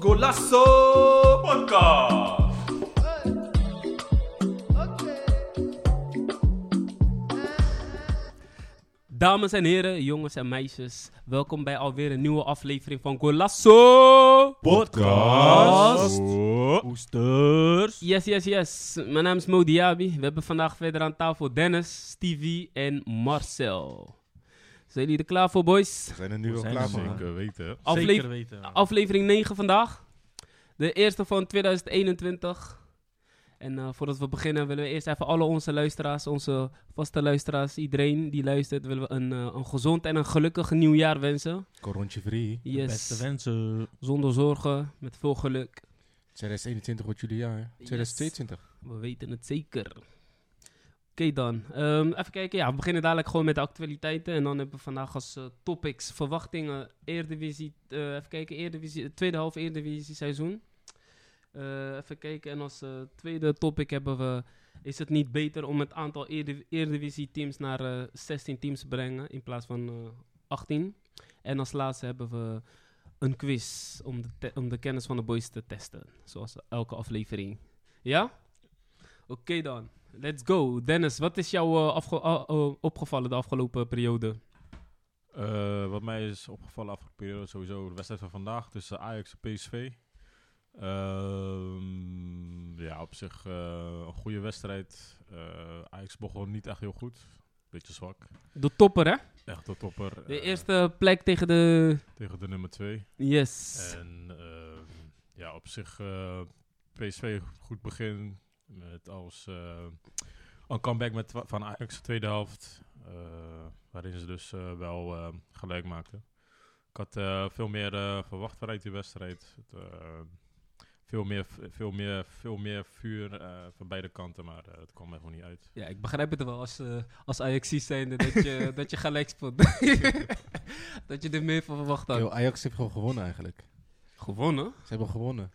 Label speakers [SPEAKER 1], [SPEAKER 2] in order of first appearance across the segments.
[SPEAKER 1] Golasso Podcast. Dames en heren, jongens en meisjes, welkom bij alweer een nieuwe aflevering van Golasso
[SPEAKER 2] Podcast.
[SPEAKER 1] Oesters. Yes, yes, yes. Mijn naam is Mo Diaby. We hebben vandaag verder aan tafel Dennis, Stevie en Marcel. Zijn jullie er klaar voor, boys?
[SPEAKER 2] zijn er nu wel
[SPEAKER 3] zijn
[SPEAKER 2] klaar
[SPEAKER 3] er
[SPEAKER 2] voor.
[SPEAKER 3] wel.
[SPEAKER 2] Zeker weten.
[SPEAKER 1] Afle-
[SPEAKER 3] Zeker weten.
[SPEAKER 1] Aflevering 9 vandaag. De eerste van 2021. En eh, voordat we beginnen willen we eerst even alle onze luisteraars, onze vaste luisteraars, iedereen die luistert, willen we een, eh, een gezond en een gelukkig nieuwjaar wensen.
[SPEAKER 2] Corontje free.
[SPEAKER 3] De Beste
[SPEAKER 1] Yes.
[SPEAKER 3] wensen.
[SPEAKER 1] Zonder zorgen, met veel geluk.
[SPEAKER 2] 2021 wordt jullie jaar. hè? 2022.
[SPEAKER 1] We weten het zeker. Oké dan, Ehm, even kijken. Ja, we beginnen dadelijk gewoon met de actualiteiten. En dan hebben we vandaag als eh, topics verwachtingen. Eredivisie, eh, even kijken, Eredivisie, tweede half Eredivisie seizoen. Eh, even kijken. En als eh, tweede topic hebben we... Is het niet beter om het aantal Erediv- Eredivisie teams naar eh, 16 teams te brengen in plaats van eh, 18? En als laatste hebben we een quiz om de, te- om de kennis van de boys te testen. Zoals elke aflevering. Ja? Oké dan, let's go. Dennis, wat is jou eh, afge- ah, eh, opgevallen de afgelopen periode?
[SPEAKER 4] Eh, wat mij is opgevallen afgelopen periode sowieso de wedstrijd van vandaag tussen Ajax en PSV. Ehm, ja, op zich eh, een goede wedstrijd. Eh, Ajax begon niet echt heel goed. Beetje zwak.
[SPEAKER 1] De topper, hè?
[SPEAKER 4] Echt de topper.
[SPEAKER 1] De
[SPEAKER 4] eh,
[SPEAKER 1] eerste plek tegen de...
[SPEAKER 4] Tegen de nummer 2.
[SPEAKER 1] Yes.
[SPEAKER 3] Eh.
[SPEAKER 4] En ehm, ja, op zich eh, PSV goed begin. Met als eh, een comeback met twa- van Ajax de tweede helft. eh, waarin ze dus eh, wel eh, gelijk maakten. Ik had eh, veel meer eh, verwacht vanuit die wedstrijd. Het, eh, veel, meer, veel, meer, veel meer vuur eh, van beide kanten, maar eh, het kwam er gewoon niet uit.
[SPEAKER 1] Ja, ik begrijp het wel als, eh als Ajaxi's zijnde dat je, dat je gelijk speelt. dat je er meer van verwacht had.
[SPEAKER 2] Yo, Ajax heeft gewoon gewonnen eigenlijk.
[SPEAKER 1] Gewonnen?
[SPEAKER 2] Ze hebben gewonnen.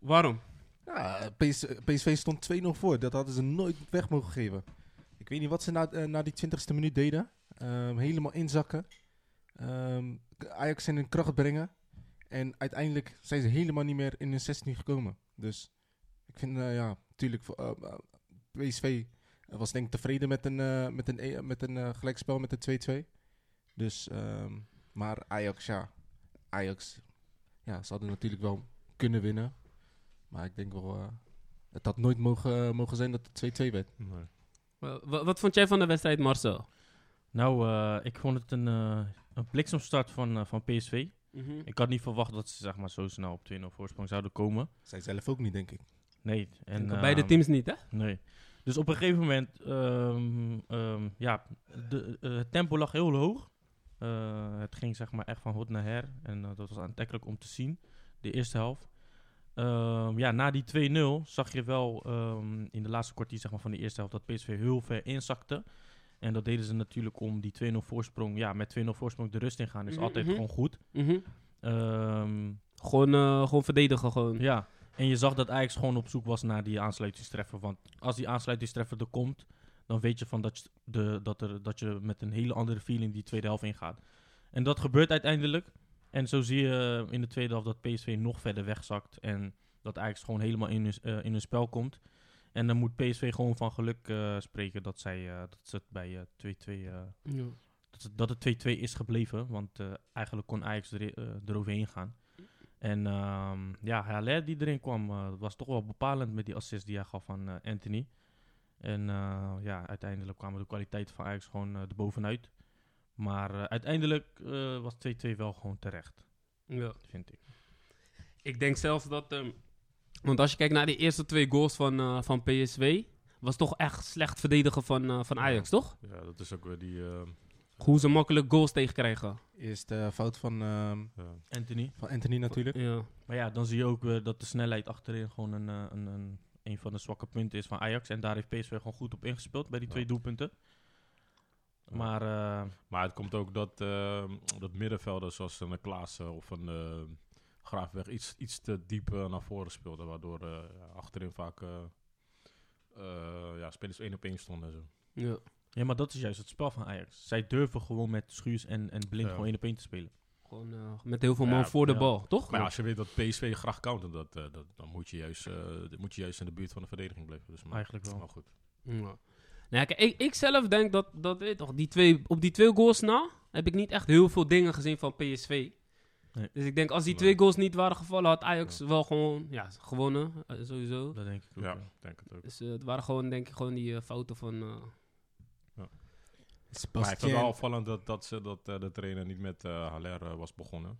[SPEAKER 1] Waarom?
[SPEAKER 2] Ja, PS PSV stond 2-0 voor. Dat hadden ze nooit weg mogen geven. Ik weet niet wat ze na, eh, na die 20ste minuut deden. Ehm, helemaal inzakken. Ehm, Ajax in hun kracht brengen. En uiteindelijk zijn ze helemaal niet meer in hun 16 gekomen. Dus ik vind, eh, ja, natuurlijk, voor, eh, eh, PSV eh, was denk ik tevreden met een, eh, met een, eh, met een eh, gelijkspel met een 2-2. Dus, ehm, maar Ajax, ja. Ajax, ja, ze hadden natuurlijk wel kunnen winnen. Maar ik denk wel, eh, het had nooit mogen, eh, mogen zijn dat het 2-2 werd.
[SPEAKER 1] Wa- wa- wat vond jij van de wedstrijd, Marcel?
[SPEAKER 3] Nou, eh, ik vond het een, eh, een bliksemstart van, eh, van PSV. Ik had niet verwacht dat ze zeg maar, zo snel op 2-0 voorsprong zouden komen.
[SPEAKER 2] Zij zelf ook niet, denk ik.
[SPEAKER 3] Nee. En,
[SPEAKER 1] En, Beide
[SPEAKER 3] ehm,
[SPEAKER 1] teams niet, hè?
[SPEAKER 3] Nee. Dus op een gegeven moment, ehm, ehm, ja, de, eh, het tempo lag heel hoog. Eh, het ging zeg maar echt van hot naar her. En eh, dat was aantrekkelijk om te zien, de eerste helft. Ehm, ja, na die 2-0 zag je wel ehm, in de laatste kwartier zeg maar, van de eerste helft dat PSV heel ver inzakte. En dat deden ze natuurlijk om die 2-0 voorsprong, ja, met 2-0 voorsprong de rust in gaan. Is
[SPEAKER 1] Mhm,
[SPEAKER 3] altijd
[SPEAKER 1] mhm.
[SPEAKER 3] gewoon goed. Ehm,
[SPEAKER 1] Gewoon, eh, gewoon verdedigen, gewoon.
[SPEAKER 3] ja, en je zag dat Ajax gewoon op zoek was naar die aansluitingstreffer. Want als die aansluitingstreffer er komt, dan weet je van dat, je de, dat, er, dat je met een hele andere feeling die tweede helft ingaat. En dat gebeurt uiteindelijk. En zo zie je eh, in de tweede helft dat PSV nog verder wegzakt. En dat Ajax gewoon helemaal in hun, eh, in hun spel komt. En dan moet PSV gewoon van geluk eh, spreken dat, zij, eh, dat ze het bij eh, 2-2 eh,
[SPEAKER 1] Ja.
[SPEAKER 3] dat het- dat het 2-2 is gebleven. Want eh, eigenlijk kon Ajax er, eh, eroverheen gaan. En ehm, ja, Haller die erin kwam, eh, was toch wel bepalend met die assist die hij gaf aan eh, Anthony. En eh, ja, uiteindelijk kwamen de kwaliteiten van Ajax gewoon eh, erbovenuit. Maar eh, uiteindelijk eh, was 2-2 wel gewoon terecht,
[SPEAKER 1] Ja.
[SPEAKER 3] vind ik.
[SPEAKER 1] Ik denk zelfs dat. ehm, want als je kijkt naar die eerste twee goals van, eh, van PSV. Was toch echt slecht verdedigen van, eh, van Ajax, toch?
[SPEAKER 4] Ja, dat is ook weer die... eh,
[SPEAKER 1] Hoe ze makkelijk goals tegenkrijgen.
[SPEAKER 2] Eerst de fout van, ehm,
[SPEAKER 4] ja.
[SPEAKER 3] Anthony.
[SPEAKER 2] van Anthony natuurlijk.
[SPEAKER 1] Ja.
[SPEAKER 3] Maar ja, dan zie je ook weer dat de snelheid achterin gewoon een, eh, een, een, een van de zwakke punten is van Ajax. En daar heeft PSV gewoon goed op ingespeeld bij die twee
[SPEAKER 4] Ja.
[SPEAKER 3] doelpunten. Maar eh,
[SPEAKER 4] Maar het komt ook dat, eh, dat middenvelden zoals een Klaassen of een eh, Graafweg iets, iets te diep eh, naar voren speelden. Waardoor eh, ja, achterin vaak eh, eh, ja, spelers één op één stonden en zo.
[SPEAKER 1] ja.
[SPEAKER 3] Ja, maar dat is juist het spel van Ajax. Zij durven gewoon met Schuurs en, en Blind
[SPEAKER 4] Ja.
[SPEAKER 3] gewoon één op één te spelen.
[SPEAKER 1] Gewoon eh, met heel veel man
[SPEAKER 4] Ja,
[SPEAKER 1] voor de
[SPEAKER 3] ja.
[SPEAKER 1] bal, toch?
[SPEAKER 4] Maar ja, als je weet dat PSV graag countert, dat, eh, dat, dan moet je, juist, eh, moet je juist in de buurt van de verdediging blijven. Dus, maar,
[SPEAKER 3] Eigenlijk wel.
[SPEAKER 4] Maar goed.
[SPEAKER 1] Ja. Nou, ja, kijk, ik, ik zelf denk dat, dat weet je toch, die twee, op die twee goals na heb ik niet echt heel veel dingen gezien van PSV.
[SPEAKER 3] Nee.
[SPEAKER 1] Dus ik denk als die
[SPEAKER 4] Nee.
[SPEAKER 1] twee goals niet waren gevallen, had Ajax wel gewoon ja, gewonnen, eh, sowieso.
[SPEAKER 3] Dat denk ik ook.
[SPEAKER 4] Ja,
[SPEAKER 3] ja.
[SPEAKER 4] ik denk het ook.
[SPEAKER 1] Dus eh, het waren gewoon, denk ik, gewoon die eh, fouten van... eh,
[SPEAKER 4] Maar ik
[SPEAKER 2] Sebastian.
[SPEAKER 4] vond het wel opvallend dat, dat, ze, dat eh, de trainer niet met eh Haller eh, was begonnen.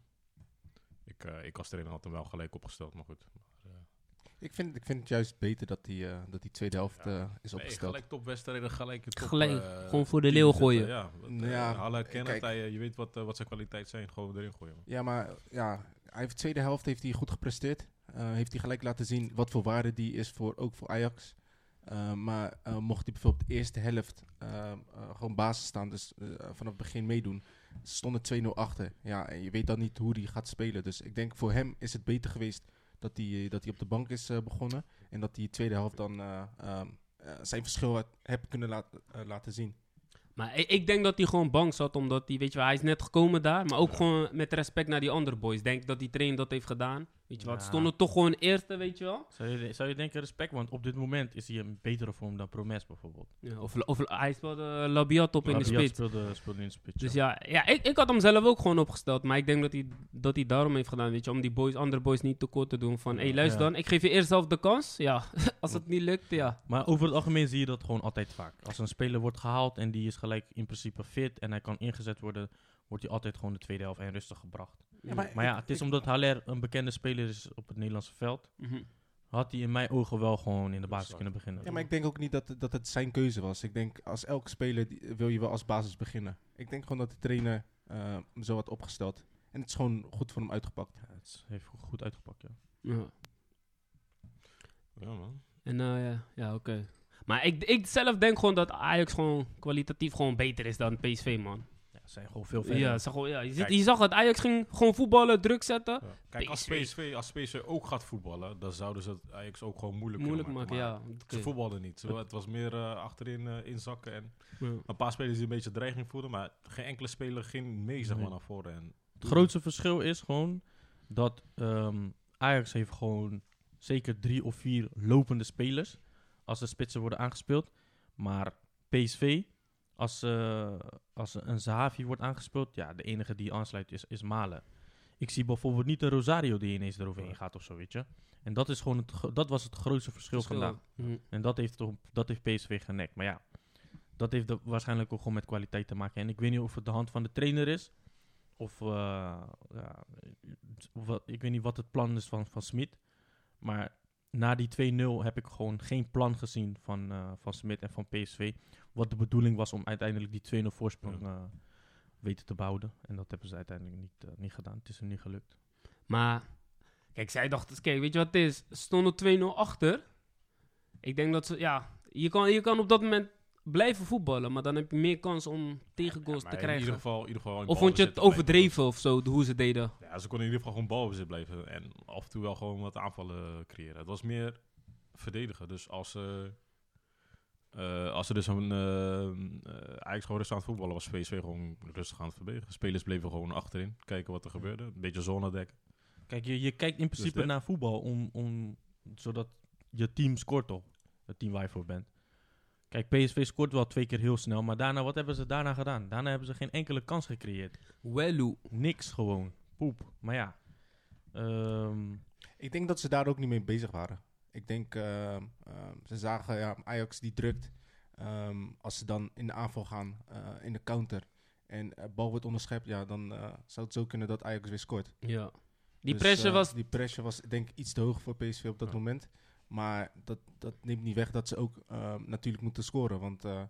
[SPEAKER 4] Ik, eh, ik als trainer had hem wel gelijk opgesteld, maar goed.
[SPEAKER 2] ik, vind, ik vind het juist beter dat die, eh, dat die tweede helft
[SPEAKER 4] Ja.
[SPEAKER 2] eh, is
[SPEAKER 4] Nee,
[SPEAKER 2] opgesteld.
[SPEAKER 4] gelijk topwedstrijden, gelijk het top...
[SPEAKER 1] Gelijk,
[SPEAKER 4] eh,
[SPEAKER 1] gewoon voor de
[SPEAKER 4] team
[SPEAKER 1] leeuw
[SPEAKER 4] zetten.
[SPEAKER 1] gooien.
[SPEAKER 4] ja, wat,
[SPEAKER 2] Nou
[SPEAKER 4] eh,
[SPEAKER 2] ja,
[SPEAKER 4] Haller kent
[SPEAKER 2] kijk.
[SPEAKER 4] het, hij, eh, je weet wat, eh, wat zijn kwaliteiten zijn, gewoon erin gooien. man.
[SPEAKER 2] ja, maar ja, hij heeft de tweede helft heeft hij goed gepresteerd. Eh, heeft hij gelijk laten zien wat voor waarde die is, voor, ook voor Ajax. Eh, maar eh, mocht hij bijvoorbeeld de eerste helft eh, eh, gewoon basis staan, dus eh, vanaf het begin meedoen, stonden 2-0 achter. Ja, en je weet dan niet hoe hij gaat spelen. Dus ik denk voor hem is het beter geweest dat hij, dat hij op de bank is eh, begonnen. En dat die tweede helft dan eh, ehm, eh, zijn verschil had, heb kunnen laat- eh, laten zien.
[SPEAKER 1] Maar ik, ik denk dat hij gewoon bang zat, omdat hij, weet je wel, hij is net gekomen daar. Maar ook
[SPEAKER 4] Ja.
[SPEAKER 1] gewoon met respect naar die andere boys. Denk dat die trainer dat heeft gedaan. Weet je wel, het
[SPEAKER 3] Ja.
[SPEAKER 1] stonden toch gewoon eerste, weet je wel.
[SPEAKER 3] Zou, je, zou je denken respect? Want op dit moment is hij een betere vorm dan Promes bijvoorbeeld.
[SPEAKER 1] Ja, of, of hij speelde Labiat op in de
[SPEAKER 3] Rabiot
[SPEAKER 1] spits.
[SPEAKER 3] Speelde, speelde in de spits.
[SPEAKER 1] Dus
[SPEAKER 3] ja.
[SPEAKER 1] ja, ja ik, ik had hem zelf ook gewoon opgesteld. Maar ik denk dat hij, dat hij daarom heeft gedaan, weet je. Om die boys, andere boys niet tekort te doen. Van, hé, hey, luister
[SPEAKER 3] Ja.
[SPEAKER 1] dan, ik geef je eerst zelf de kans. Ja, als het niet lukt, ja.
[SPEAKER 3] Maar over het algemeen zie je dat gewoon altijd vaak. Als een speler wordt gehaald en die is gelijk in principe fit en hij kan ingezet worden, wordt hij altijd gewoon de tweede helft en rustig gebracht. Maar ja, het is omdat Haller een bekende speler is op het Nederlandse veld,
[SPEAKER 1] Mhm.
[SPEAKER 3] had hij in mijn ogen wel gewoon in de basis
[SPEAKER 4] Exact.
[SPEAKER 3] kunnen beginnen.
[SPEAKER 2] Ja, maar ik denk ook niet dat, dat het zijn keuze was. Ik denk, als elke speler die- wil je wel als basis beginnen. Ik denk gewoon dat de trainer eh, hem zo had opgesteld. En het is gewoon goed voor hem uitgepakt.
[SPEAKER 3] Ja, het is- heeft goed uitgepakt, ja.
[SPEAKER 1] Ja.
[SPEAKER 4] Ja, man.
[SPEAKER 1] En eh, ja, ja oké. Maar ik, ik zelf denk gewoon dat Ajax gewoon kwalitatief gewoon beter is dan PSV, man.
[SPEAKER 3] Ja, ze zijn gewoon veel verder.
[SPEAKER 1] Ja, zag, gewoon- ja je, zit,
[SPEAKER 4] Kijk.
[SPEAKER 1] je zag het. Ajax ging gewoon voetballen, druk zetten.
[SPEAKER 4] Ja. Kijk, als
[SPEAKER 1] PSV.
[SPEAKER 4] PSV, als PSV ook gaat voetballen, dan zouden ze het Ajax ook gewoon moeilijk,
[SPEAKER 1] Moeilijk
[SPEAKER 4] kunnen
[SPEAKER 1] maken,
[SPEAKER 4] maken. Maar
[SPEAKER 1] ja. Oké.
[SPEAKER 4] Ze voetbalden niet. Ze- Het was meer eh, achterin eh, inzakken en
[SPEAKER 1] Ja.
[SPEAKER 4] een paar spelers die een beetje dreiging voelden, maar geen enkele speler ging mee zeg maar,
[SPEAKER 3] Nee.
[SPEAKER 4] naar voren. En
[SPEAKER 3] Het grootste verschil is gewoon dat ehm, Ajax heeft gewoon zeker drie of vier lopende spelers als de spitsen worden aangespeeld. Maar PSV, als, eh, als een Zahavi wordt aangespeeld, ja, de enige die aansluit is, is Malen. Ik zie bijvoorbeeld niet een Rosario die ineens eroverheen gaat of zo, weet je. En dat, is gewoon het, gro- dat was het grootste verschil, vandaag.
[SPEAKER 1] Mhm.
[SPEAKER 3] En dat heeft, toch, dat heeft PSV genekt. Maar ja, dat heeft er waarschijnlijk ook gewoon met kwaliteit te maken. En ik weet niet of het de hand van de trainer is. Of eh, ja, het- of wat, ik weet niet wat het plan is van, van Smit. Maar na die 2-0 heb ik gewoon geen plan gezien van, eh, van Smit en van PSV. Wat de bedoeling was om uiteindelijk die 2-0 voorsprong eh, weten te behouden. En dat hebben ze uiteindelijk niet, eh, niet gedaan. Het is hem niet gelukt.
[SPEAKER 1] Maar, kijk, zij dachten, kijk, weet je wat het is? Ze stonden 2-0 achter. Ik denk dat ze, ja, je kan, je kan op dat moment blijven voetballen, maar dan heb je meer kans om tegengoals
[SPEAKER 4] Ja, maar
[SPEAKER 1] te
[SPEAKER 4] In
[SPEAKER 1] krijgen.
[SPEAKER 4] ieder geval, in ieder geval in
[SPEAKER 1] of vond je het
[SPEAKER 4] balbezit blijven.
[SPEAKER 1] overdreven of zo, de- hoe ze deden?
[SPEAKER 4] Ja, ze konden in ieder geval gewoon balbezit blijven en af en toe wel gewoon wat aanvallen creëren. Het was meer verdedigen. Dus als ze, eh, als ze dus een, eh, eh, Ajax gewoon rustig aan het voetballen was, PSV gewoon rustig aan het verdedigen. Spelers bleven gewoon achterin, kijken wat er gebeurde. Een beetje zone dekken.
[SPEAKER 3] Kijk, je, je kijkt in principe
[SPEAKER 4] dat-
[SPEAKER 3] naar voetbal om, om, zodat je team scoort toch? Het team waar je voor bent. Kijk, PSV scoort wel twee keer heel snel, maar daarna, wat hebben ze daarna gedaan? Daarna hebben ze geen enkele kans gecreëerd.
[SPEAKER 1] Welu.
[SPEAKER 3] Niks gewoon. Poep. Maar ja. ehm,
[SPEAKER 2] Ik denk dat ze daar ook niet mee bezig waren. Ik denk, ehm, ehm, ze zagen ja, Ajax die drukt. Ehm, als ze dan in de aanval gaan, eh, in de counter. En eh, bal wordt onderschept, ja, dan eh, zou het zo kunnen dat Ajax weer scoort.
[SPEAKER 1] Ja. Die
[SPEAKER 2] Dus,
[SPEAKER 1] pressure
[SPEAKER 2] eh,
[SPEAKER 1] was
[SPEAKER 2] Die pressure was denk ik iets te hoog voor PSV op dat
[SPEAKER 4] Ja.
[SPEAKER 2] moment. Maar dat, dat neemt niet weg dat ze ook eh, natuurlijk moeten scoren. Want eh,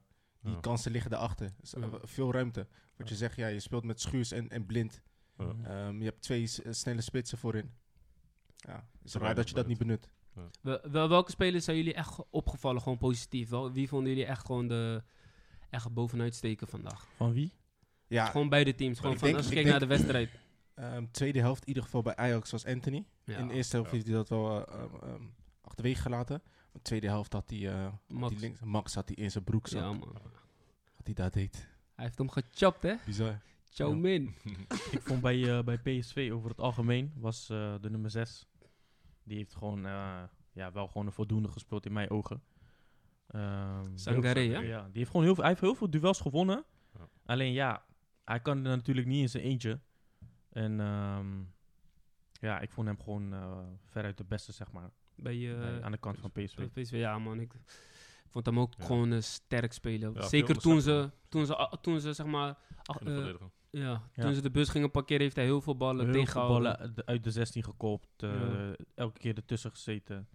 [SPEAKER 2] die
[SPEAKER 4] Ja.
[SPEAKER 2] kansen liggen daarachter. Dus, eh,
[SPEAKER 1] Ja.
[SPEAKER 2] w- Veel ruimte. Wat je zegt, ja, je speelt met Schuurs en, en Blind.
[SPEAKER 4] Ja.
[SPEAKER 2] Ehm, je hebt twee s- eh, snelle spitsen voorin. Ja, is
[SPEAKER 4] Ruimte
[SPEAKER 2] raar dat je dat niet benut.
[SPEAKER 1] Wel- wel- welke spelers zijn jullie echt opgevallen, gewoon positief? Wel, wie vonden jullie echt gewoon de echt bovenuit steken vandaag?
[SPEAKER 3] van wie?
[SPEAKER 2] Ja,
[SPEAKER 1] gewoon beide teams, gewoon
[SPEAKER 2] ik
[SPEAKER 1] van,
[SPEAKER 2] denk-
[SPEAKER 1] als je
[SPEAKER 2] ik
[SPEAKER 1] kijkt naar de
[SPEAKER 2] denk-
[SPEAKER 1] wedstrijd.
[SPEAKER 2] ehm, tweede helft in ieder geval bij Ajax was Anthony.
[SPEAKER 1] Ja,
[SPEAKER 2] In de eerste helft
[SPEAKER 4] Ja.
[SPEAKER 2] heeft hij dat wel eh, ehm, ehm, achterwege gelaten. Maar tweede helft had hij... eh,
[SPEAKER 1] Max.
[SPEAKER 2] die links, Max had hij in zijn broek.
[SPEAKER 1] Ja, man.
[SPEAKER 2] hij daar deed.
[SPEAKER 1] Hij heeft hem gechopt, hè?
[SPEAKER 2] Bizar.
[SPEAKER 1] Chowmin.
[SPEAKER 3] Ik vond bij, eh, bij PSV over het algemeen was eh, de nummer 6. Die heeft gewoon, eh, ja, wel gewoon een voldoende gespeeld in mijn ogen. Ehm,
[SPEAKER 1] Sangaré,
[SPEAKER 4] Sangaré.
[SPEAKER 1] hè?
[SPEAKER 3] ja, die heeft gewoon heel veel, hij heeft heel veel duels gewonnen.
[SPEAKER 4] Ja.
[SPEAKER 3] Alleen ja, hij kan er natuurlijk niet in zijn eentje. En ehm, ja, ik vond hem gewoon eh, veruit de beste, zeg maar.
[SPEAKER 1] Bij, eh,
[SPEAKER 3] bij- aan de kant van PSV.
[SPEAKER 1] bij PSV. Ja, man. Ik vond hem ook
[SPEAKER 4] Ja.
[SPEAKER 1] gewoon eh, sterk spelen.
[SPEAKER 4] Ja,
[SPEAKER 1] Zeker
[SPEAKER 4] veel
[SPEAKER 1] toen ze,
[SPEAKER 4] onderscheid,
[SPEAKER 1] toen, ze, ah, toen ze, zeg maar... ach-
[SPEAKER 4] In de
[SPEAKER 1] eh,
[SPEAKER 4] verdediger.
[SPEAKER 1] ja,
[SPEAKER 3] Ja.
[SPEAKER 1] toen ze de bus gingen parkeren, heeft hij heel veel
[SPEAKER 3] Heel
[SPEAKER 1] ballen
[SPEAKER 3] veel
[SPEAKER 1] tegengehouden.
[SPEAKER 3] ballen uit de- uit de 16 gekopt. eh,
[SPEAKER 1] Ja.
[SPEAKER 3] Elke keer ertussen gezeten.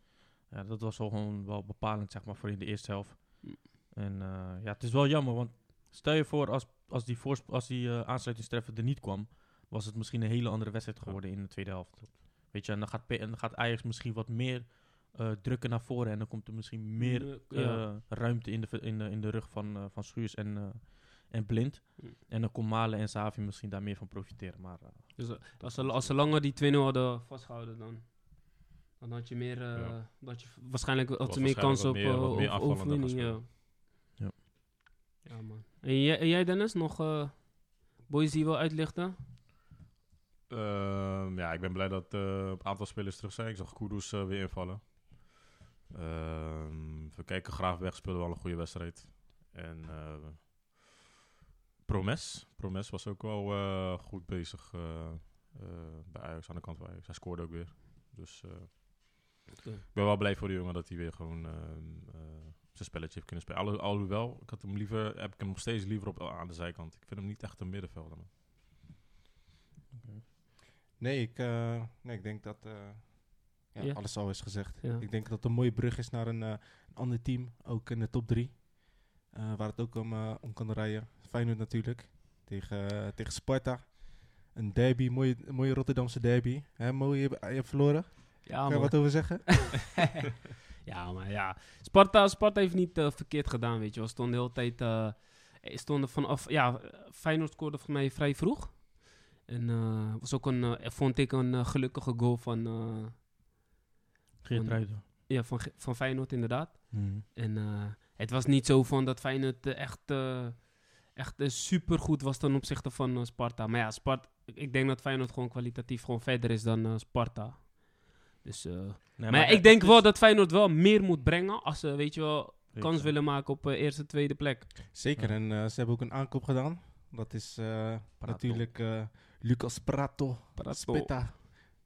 [SPEAKER 3] Ja, dat was al gewoon wel bepalend, zeg maar, voor in de eerste helft.
[SPEAKER 1] Hm.
[SPEAKER 3] En eh, ja, het is wel jammer, want stel je voor als, als die, voorsp- als die eh, aansluitingstreffer er niet kwam, was het misschien een hele andere wedstrijd geworden in de tweede helft. Weet je, en dan gaat, P- en dan gaat Ajax misschien wat meer eh, drukken naar voren en dan komt er misschien meer
[SPEAKER 1] Mm, Ja.
[SPEAKER 3] eh, ruimte in de, v- in de, in de rug van, eh, van Schuurs en, eh, en Blind.
[SPEAKER 1] Hm.
[SPEAKER 3] En dan kon Malen en Savi misschien daar meer van profiteren, maar... eh,
[SPEAKER 1] Dus eh, als ze, als ze langer die 2-0 hadden vastgehouden, dan, dan had je meer... eh,
[SPEAKER 4] Ja.
[SPEAKER 1] dat je, waarschijnlijk had
[SPEAKER 4] was
[SPEAKER 1] ze meer kans op,
[SPEAKER 4] waarschijnlijk wat
[SPEAKER 1] eh,
[SPEAKER 4] meer- wat
[SPEAKER 1] op
[SPEAKER 4] meer aanvallender
[SPEAKER 1] overwinning.
[SPEAKER 4] gaan
[SPEAKER 1] Ja.
[SPEAKER 4] spelen.
[SPEAKER 3] Ja.
[SPEAKER 1] Ja, man. En jij, en jij, Dennis, nog eh boys die je wil uitlichten?
[SPEAKER 4] Ehm, ja, ik ben blij dat eh, een aantal spelers terug zijn. Ik zag Kudus eh, weer invallen. Ehm we kijken, Graafweg speelde wel een goede wedstrijd. En eh, Promes. Promes was ook wel eh, goed bezig eh, eh, bij Ajax, aan de kant van Ajax. Hij scoorde ook weer. Dus eh,
[SPEAKER 1] Oké.
[SPEAKER 4] ik ben wel blij voor die jongen dat hij weer gewoon ehm, eh, zijn spelletje heeft kunnen spelen. Alho- Alhoewel, ik had hem liever, heb ik hem nog steeds liever op, aan de zijkant. Ik vind hem niet echt een middenvelder. man.
[SPEAKER 2] Nee, ik, eh, nee, ik denk dat... eh, ja,
[SPEAKER 1] Ja.
[SPEAKER 2] alles al is gezegd.
[SPEAKER 1] Ja.
[SPEAKER 2] Ik denk dat het een mooie brug is naar een, eh, een ander team. Ook in de top 3. waar het ook om, eh, om kan rijden. Feyenoord natuurlijk. Tegen, eh, tegen Sparta. Een derby, mooie, een mooie Rotterdamse derby. Hè, Mo, je, hebt- je hebt verloren.
[SPEAKER 1] Ja,
[SPEAKER 2] Kan je
[SPEAKER 1] man.
[SPEAKER 2] wat over zeggen?
[SPEAKER 1] ja, maar ja. Sparta, Sparta heeft niet eh, verkeerd gedaan, weet je. We stonden de hele tijd... eh, eh, stonden vanaf... Ja, eh, Feyenoord scoorde voor mij vrij vroeg. En eh, was ook een... eh, vond ik een eh, gelukkige goal van... eh,
[SPEAKER 3] Geert Ruijden.
[SPEAKER 1] ja, van, Ge- van Feyenoord inderdaad. En eh, het was niet zo van dat Feyenoord eh, echt, eh, echt eh, supergoed was ten opzichte van eh, Sparta. Maar ja, Sparta, ik denk dat Feyenoord gewoon kwalitatief gewoon verder is dan eh, Sparta. Dus, eh,
[SPEAKER 3] Nee,
[SPEAKER 1] maar,
[SPEAKER 3] het
[SPEAKER 1] ik denk
[SPEAKER 3] is-
[SPEAKER 1] wel dat Feyenoord wel meer moet brengen als ze, weet je wel,
[SPEAKER 3] Weet
[SPEAKER 1] kans
[SPEAKER 3] je.
[SPEAKER 1] willen maken op eh, eerste, tweede plek.
[SPEAKER 2] Zeker,
[SPEAKER 3] Ja.
[SPEAKER 2] en eh, ze hebben ook een aankoop gedaan. Dat is eh, natuurlijk eh, Lucas Prato, Spitta,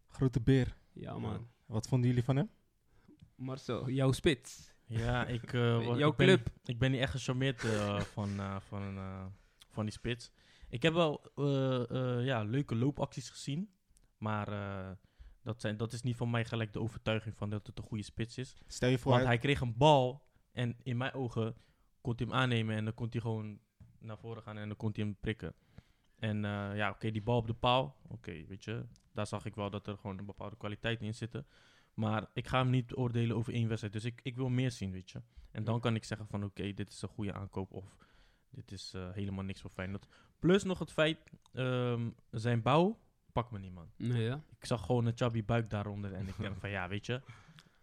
[SPEAKER 2] grote beer.
[SPEAKER 1] Ja man,
[SPEAKER 2] Wat vonden jullie van hem?
[SPEAKER 1] Marcel, jouw spits.
[SPEAKER 3] Ja, ik, eh, wa-
[SPEAKER 1] Jouw
[SPEAKER 3] ik ben,
[SPEAKER 1] club.
[SPEAKER 3] Ik ben niet echt gecharmeerd eh, van, eh, van, eh, van die spits. Ik heb wel eh, eh, ja, leuke loopacties gezien. Maar eh, dat, zijn, dat is niet van mij gelijk de overtuiging van dat het een goede spits is.
[SPEAKER 2] Stel je voor,
[SPEAKER 3] Want
[SPEAKER 2] hij-
[SPEAKER 3] hij kreeg een bal en in mijn ogen kon hij hem aannemen en dan kon hij gewoon naar voren gaan en dan kon hij hem prikken. En eh, ja, oké, die bal op de paal, oké, weet je, daar zag ik wel dat er gewoon een bepaalde kwaliteit in zitten. Maar ik ga hem niet oordelen over één wedstrijd, dus ik, ik wil meer zien, weet je. En dan kan ik zeggen van oké, dit is een goede aankoop of dit is eh, helemaal niks voor Feyenoord. Plus nog het feit, ehm, zijn bouw, pak me niet man.
[SPEAKER 1] Nee, ja.
[SPEAKER 3] Ik zag gewoon een chubby buik daaronder en ik denk van ja, weet je,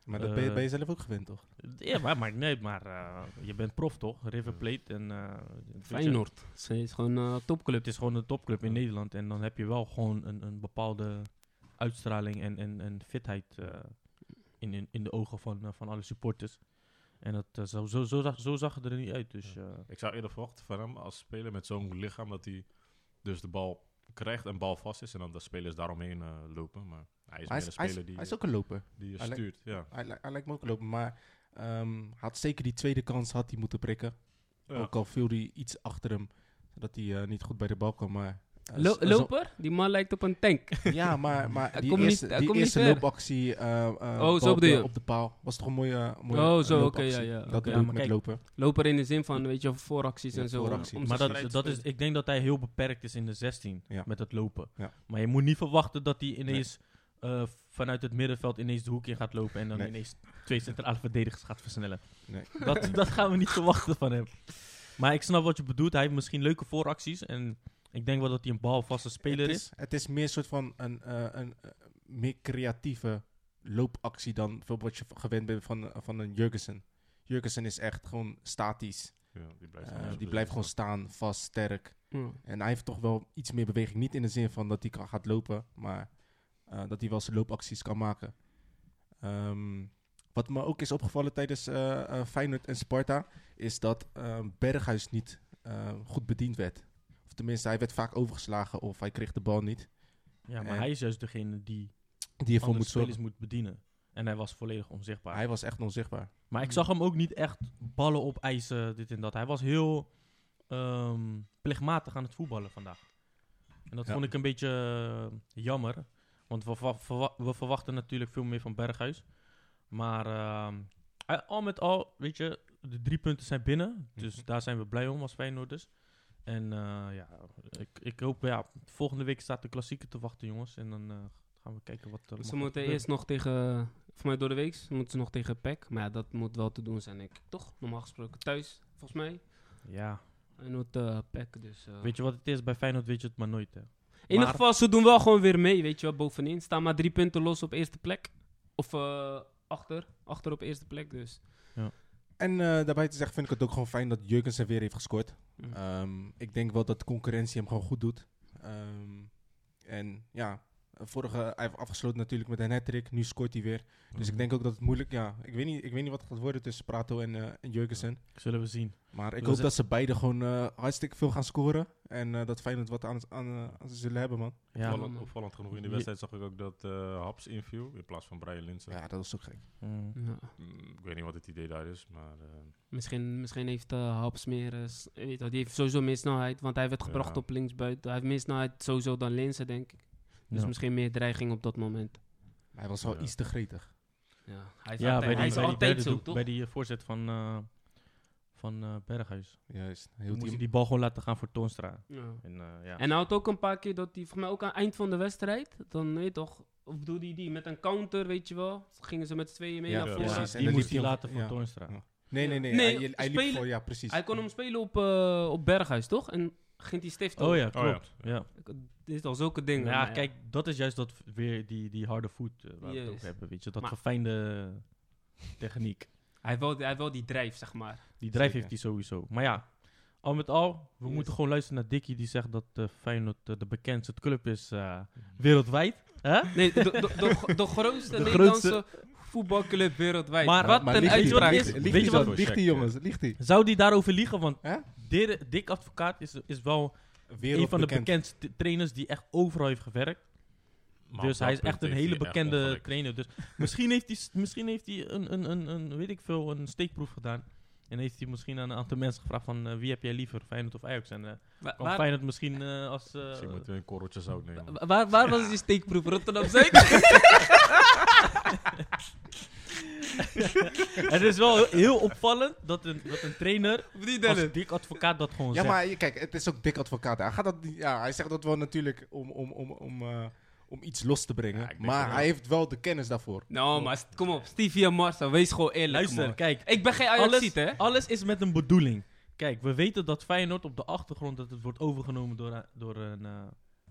[SPEAKER 2] maar dat ben, je,
[SPEAKER 3] eh,
[SPEAKER 2] ben je zelf ook gewend, toch?
[SPEAKER 3] ja, maar maakt niet uit, maar eh, je bent prof toch? River Plate en... eh, weet je,
[SPEAKER 1] Feyenoord. Ze is gewoon een eh, topclub.
[SPEAKER 3] Het is gewoon een topclub in Nederland en dan heb je wel gewoon een, een bepaalde uitstraling en, en, en fitheid eh, in, in, in de ogen van, eh, van alle supporters. En dat, eh, zo, zo, zo, zag, zo zag het er niet uit, dus... eh,
[SPEAKER 4] Ik zou eerder verwachten van hem als speler met zo'n lichaam dat hij dus de bal krijgt en bal vast is en dan de spelers daaromheen eh, lopen. Maar hij is
[SPEAKER 2] Maar
[SPEAKER 4] meer
[SPEAKER 2] Hij
[SPEAKER 4] een
[SPEAKER 2] is, hij,
[SPEAKER 4] speler
[SPEAKER 2] is,
[SPEAKER 4] die,
[SPEAKER 2] hij is ook een loper.
[SPEAKER 4] die je
[SPEAKER 2] hij lijkt-
[SPEAKER 4] stuurt. Ja.
[SPEAKER 2] Hij, li- hij lijkt me ook een loper, maar ehm, hij had zeker die tweede kans had hij moeten prikken.
[SPEAKER 4] Ja.
[SPEAKER 2] Ook al viel hij iets achter hem, zodat hij eh, niet goed bij de bal kwam. Maar, eh,
[SPEAKER 1] Lo-
[SPEAKER 2] zo- zo-
[SPEAKER 1] loper? Die man lijkt op een tank.
[SPEAKER 2] Ja, maar, maar
[SPEAKER 1] Hij
[SPEAKER 2] die
[SPEAKER 1] komt niet-
[SPEAKER 2] eerste,
[SPEAKER 1] hij
[SPEAKER 2] die
[SPEAKER 1] komt niet
[SPEAKER 2] eerste
[SPEAKER 1] ver. Oh,
[SPEAKER 2] loopactie eh, eh, bal
[SPEAKER 1] zo
[SPEAKER 2] op,
[SPEAKER 1] bedoel
[SPEAKER 2] de,
[SPEAKER 1] je.
[SPEAKER 2] op de paal was toch een mooie, mooie
[SPEAKER 1] Oh,
[SPEAKER 2] eh,
[SPEAKER 1] zo, oké,
[SPEAKER 2] loopactie.
[SPEAKER 1] ja, ja,
[SPEAKER 2] Dat
[SPEAKER 1] oké.
[SPEAKER 2] bedoel
[SPEAKER 3] Ja,
[SPEAKER 2] ik
[SPEAKER 3] maar
[SPEAKER 2] met
[SPEAKER 3] kijk,
[SPEAKER 2] lopen.
[SPEAKER 1] Loper in de zin van, weet je, vooracties
[SPEAKER 2] Ja,
[SPEAKER 1] en zo. om-
[SPEAKER 2] vooracties.
[SPEAKER 1] om
[SPEAKER 3] maar
[SPEAKER 1] zich-
[SPEAKER 3] dat, dat is, ik denk dat hij heel beperkt is in de 16
[SPEAKER 2] Ja.
[SPEAKER 3] met het lopen.
[SPEAKER 2] Ja.
[SPEAKER 3] Maar je moet niet verwachten dat hij ineens eh, vanuit het middenveld ineens de hoek in gaat lopen en dan
[SPEAKER 2] Nee.
[SPEAKER 3] ineens twee centrale verdedigers gaat versnellen.
[SPEAKER 2] Nee.
[SPEAKER 3] Dat, dat gaan we niet verwachten van hem. Maar ik snap wat je bedoelt. Hij heeft misschien leuke vooracties en ik denk wel dat hij een balvaste speler is.
[SPEAKER 2] het is, Het is meer een soort van een, eh, een eh, meer creatieve eh, loopactie dan bijvoorbeeld wat je gewend bent van, van een Jurgensen. Jurgensen is echt gewoon statisch.
[SPEAKER 4] Ja, die blijft,
[SPEAKER 2] Eh,
[SPEAKER 4] gewoon zo
[SPEAKER 2] die blijft gewoon
[SPEAKER 4] precies
[SPEAKER 2] staan, vast, sterk.
[SPEAKER 1] Ja.
[SPEAKER 2] En hij heeft toch wel iets meer beweging. Niet in de zin van dat hij kan, gaat lopen, maar eh, dat hij wel zijn loopacties kan maken. Ehm, wat me ook is opgevallen tijdens eh, eh, Feyenoord en Sparta, is dat eh, Berghuis niet eh, goed bediend werd. Of tenminste, hij werd vaak overgeslagen of hij kreeg de bal niet.
[SPEAKER 3] Ja, maar
[SPEAKER 2] En-
[SPEAKER 3] hij is juist degene die
[SPEAKER 2] Die ervoor
[SPEAKER 3] andere
[SPEAKER 2] moet
[SPEAKER 3] spelers
[SPEAKER 2] zorgen.
[SPEAKER 3] moet bedienen. En hij was volledig onzichtbaar.
[SPEAKER 2] Hij was echt onzichtbaar.
[SPEAKER 3] Maar ik zag hem ook niet echt ballen opeisen, dit en dat. Hij was heel ehm, plichtmatig aan het voetballen vandaag. En dat
[SPEAKER 2] Ja.
[SPEAKER 3] vond ik een beetje eh, jammer. Want we, verwa- verwa- we verwachten natuurlijk veel meer van Berghuis. Maar ehm, eh, al met al, weet je, de drie punten zijn binnen. Dus
[SPEAKER 4] Mhm.
[SPEAKER 3] daar zijn we blij om als Feyenoorders. En eh, ja, ik, ik hoop, ja, volgende week staat de klassieker te wachten, jongens. En dan eh, gaan we kijken wat er allemaal
[SPEAKER 1] Ze
[SPEAKER 3] gaat
[SPEAKER 1] Dus moeten
[SPEAKER 3] gebeuren.
[SPEAKER 1] eerst nog tegen, voor mij door de week, moeten ze nog tegen PEC. Maar ja, dat moet wel te doen zijn, denk ik. Toch? Normaal gesproken thuis, volgens mij.
[SPEAKER 3] Ja,
[SPEAKER 1] En het eh PEC, dus... eh.
[SPEAKER 3] weet je wat het is? Bij Feyenoord weet je het maar nooit, hè.
[SPEAKER 1] In ieder
[SPEAKER 3] Maar-
[SPEAKER 1] geval, ze doen wel gewoon weer mee, weet je wel, bovenin. Staan maar drie punten los op eerste plek. Of eh, achter, achter op eerste plek dus.
[SPEAKER 2] En eh, daarbij te zeggen vind ik het ook gewoon fijn dat Jurgensen weer heeft gescoord.
[SPEAKER 1] Mm.
[SPEAKER 2] Ehm, ik denk wel dat de concurrentie hem gewoon goed doet. Ehm, en ja, vorige, hij heeft afgesloten natuurlijk met een hat Nu scoort hij weer.
[SPEAKER 4] staan.
[SPEAKER 2] Dus ik denk ook dat het moeilijk, ja, ik weet niet, ik weet niet wat het gaat worden tussen Prato en, eh en Jurgensen.
[SPEAKER 3] Zullen we zien.
[SPEAKER 2] Maar ik
[SPEAKER 3] Dat
[SPEAKER 2] hoop
[SPEAKER 3] is-
[SPEAKER 2] dat ze beide gewoon eh, hartstikke veel gaan scoren. En eh, dat Feyenoord wat aan, aan, eh, aan ze zullen hebben, man.
[SPEAKER 3] Ja,
[SPEAKER 1] Vallen.
[SPEAKER 4] opvallend, opvallend genoeg in de
[SPEAKER 3] Je-
[SPEAKER 4] wedstrijd zag ik ook dat eh, Haps inviel in plaats van Brian Linsen.
[SPEAKER 2] Ja, dat is ook gek.
[SPEAKER 3] Mm.
[SPEAKER 1] Ja.
[SPEAKER 4] Mm, ik weet niet wat het idee daar is, maar
[SPEAKER 3] Dus
[SPEAKER 4] eh,
[SPEAKER 1] Misschien, misschien heeft eh Haps meer... eh, s- weet je wel, die heeft sowieso meer snelheid, want hij werd gebracht
[SPEAKER 4] Ja.
[SPEAKER 1] op linksbuiten. Hij heeft meer snelheid sowieso dan Linsen, denk ik. Dus
[SPEAKER 3] Ja.
[SPEAKER 1] misschien meer dreiging op dat moment.
[SPEAKER 2] Hij was wel
[SPEAKER 4] Ja.
[SPEAKER 2] iets te gretig.
[SPEAKER 1] Ja, hij is
[SPEAKER 3] Ja, bij
[SPEAKER 1] altijd,
[SPEAKER 3] die,
[SPEAKER 1] hij is
[SPEAKER 3] bij die
[SPEAKER 1] altijd
[SPEAKER 3] derde
[SPEAKER 1] zo,
[SPEAKER 3] doek-
[SPEAKER 1] toch?
[SPEAKER 3] Bij die eh, voorzet van, eh, van eh, Berghuis.
[SPEAKER 2] Juist.
[SPEAKER 3] Toen
[SPEAKER 2] Heel
[SPEAKER 3] moest hij
[SPEAKER 2] team.
[SPEAKER 3] die bal gewoon laten gaan voor Toonstra.
[SPEAKER 1] Ja.
[SPEAKER 3] En, eh, ja.
[SPEAKER 1] En hij had ook een paar keer dat hij, volgens mij ook aan het eind van de wedstrijd, dan weet je toch, of bedoelde hij die met een counter, weet je wel, gingen ze met z'n tweeën mee
[SPEAKER 2] Ja,
[SPEAKER 1] naar
[SPEAKER 4] ja,
[SPEAKER 1] voren.
[SPEAKER 3] Ja,
[SPEAKER 2] precies. En
[SPEAKER 3] die
[SPEAKER 2] dan
[SPEAKER 3] moest
[SPEAKER 2] liep
[SPEAKER 3] hij
[SPEAKER 2] hij om-
[SPEAKER 3] laten voor
[SPEAKER 2] ja.
[SPEAKER 3] Toonstra.
[SPEAKER 2] Ja. Nee, nee, nee.
[SPEAKER 1] Nee,
[SPEAKER 2] hij, hij liep
[SPEAKER 1] spelen-
[SPEAKER 2] voor, ja, precies.
[SPEAKER 1] Hij kon hem spelen op, eh, op Berghuis, toch? En ging die stift op.
[SPEAKER 3] Oh ja,
[SPEAKER 4] Oh ja.
[SPEAKER 3] klopt. ja. Nou
[SPEAKER 1] Dit is al zulke dingen.
[SPEAKER 3] Ja,
[SPEAKER 1] maar
[SPEAKER 3] kijk, dat is juist dat v- weer die, die harde voet eh, waar we het
[SPEAKER 1] Yes.
[SPEAKER 3] over hebben. Weet je, dat
[SPEAKER 1] Maar-
[SPEAKER 3] verfijnde techniek.
[SPEAKER 1] Hij heeft, wel, hij heeft wel die drijf, zeg maar.
[SPEAKER 3] Die drijf
[SPEAKER 2] Zeker.
[SPEAKER 3] heeft hij sowieso. Maar ja, al met al, we
[SPEAKER 1] Yes.
[SPEAKER 3] moeten gewoon luisteren naar Dickie die zegt dat eh, Feyenoord eh, de bekendste club is eh,
[SPEAKER 1] Mhm.
[SPEAKER 3] wereldwijd. Hè?
[SPEAKER 1] Nee, de, de, de, de grootste
[SPEAKER 3] De
[SPEAKER 1] Nederlandse voetbalclub wereldwijd.
[SPEAKER 3] Maar-
[SPEAKER 1] wat
[SPEAKER 2] maar
[SPEAKER 1] een
[SPEAKER 2] ligt hij-
[SPEAKER 1] uitspraak
[SPEAKER 3] ligt
[SPEAKER 1] is.
[SPEAKER 3] hij-
[SPEAKER 2] Ligt
[SPEAKER 3] Weet
[SPEAKER 2] hij
[SPEAKER 3] je
[SPEAKER 2] dan?
[SPEAKER 4] wat-
[SPEAKER 2] Ligt hij, jongens? Ligt hij?
[SPEAKER 3] Zou die daarover liegen? Want
[SPEAKER 2] Hè?
[SPEAKER 3] Dirk Dick Advocaat is, is wel een van de
[SPEAKER 2] Wereldbekend.
[SPEAKER 3] bekendste t- trainers die echt overal heeft gewerkt.
[SPEAKER 4] maar
[SPEAKER 3] dus
[SPEAKER 4] op
[SPEAKER 3] hij
[SPEAKER 4] dat
[SPEAKER 3] is echt
[SPEAKER 4] punt
[SPEAKER 3] een
[SPEAKER 4] heeft
[SPEAKER 3] hele
[SPEAKER 4] hij echt
[SPEAKER 3] bekende
[SPEAKER 4] ongelijk.
[SPEAKER 3] trainer. Dus misschien heeft hij, s- misschien heeft hij een, een, een, een, weet ik veel, een steekproef gedaan. En heeft hij misschien aan een aantal mensen gevraagd van eh, wie heb jij liever, Feyenoord of Ajax? En eh
[SPEAKER 1] Wa-
[SPEAKER 3] kan
[SPEAKER 1] waar,
[SPEAKER 3] Feyenoord misschien eh, als... eh,
[SPEAKER 4] Misschien moeten we een korreltje zout nemen.
[SPEAKER 1] wa- waar, waar was die steekproef? Rotterdam Zuid?
[SPEAKER 3] het is wel heel- heel opvallend dat een, dat een trainer
[SPEAKER 1] of die
[SPEAKER 3] als
[SPEAKER 1] Dylan?
[SPEAKER 3] Dick Advocaat dat gewoon
[SPEAKER 2] Ja,
[SPEAKER 3] zegt.
[SPEAKER 2] maar je- kijk, het is ook dik advocaat. Hij, gaat dat, niet- ja, hij zegt dat wel natuurlijk om, om, om, om, eh, om iets los te brengen.
[SPEAKER 4] Ja, ik denk
[SPEAKER 2] maar
[SPEAKER 4] dat
[SPEAKER 2] hij heeft wel de kennis daarvoor.
[SPEAKER 1] Nou, maar st- kom op. Stevie en Marcel, wees gewoon eerlijk.
[SPEAKER 3] Luister,
[SPEAKER 1] man.
[SPEAKER 3] kijk.
[SPEAKER 1] Ik ben geen
[SPEAKER 3] alles,
[SPEAKER 1] Ajaxiet, hè?
[SPEAKER 3] alles is met een bedoeling. Kijk, we weten dat Feyenoord op de achtergrond dat het wordt overgenomen door, a- door een eh,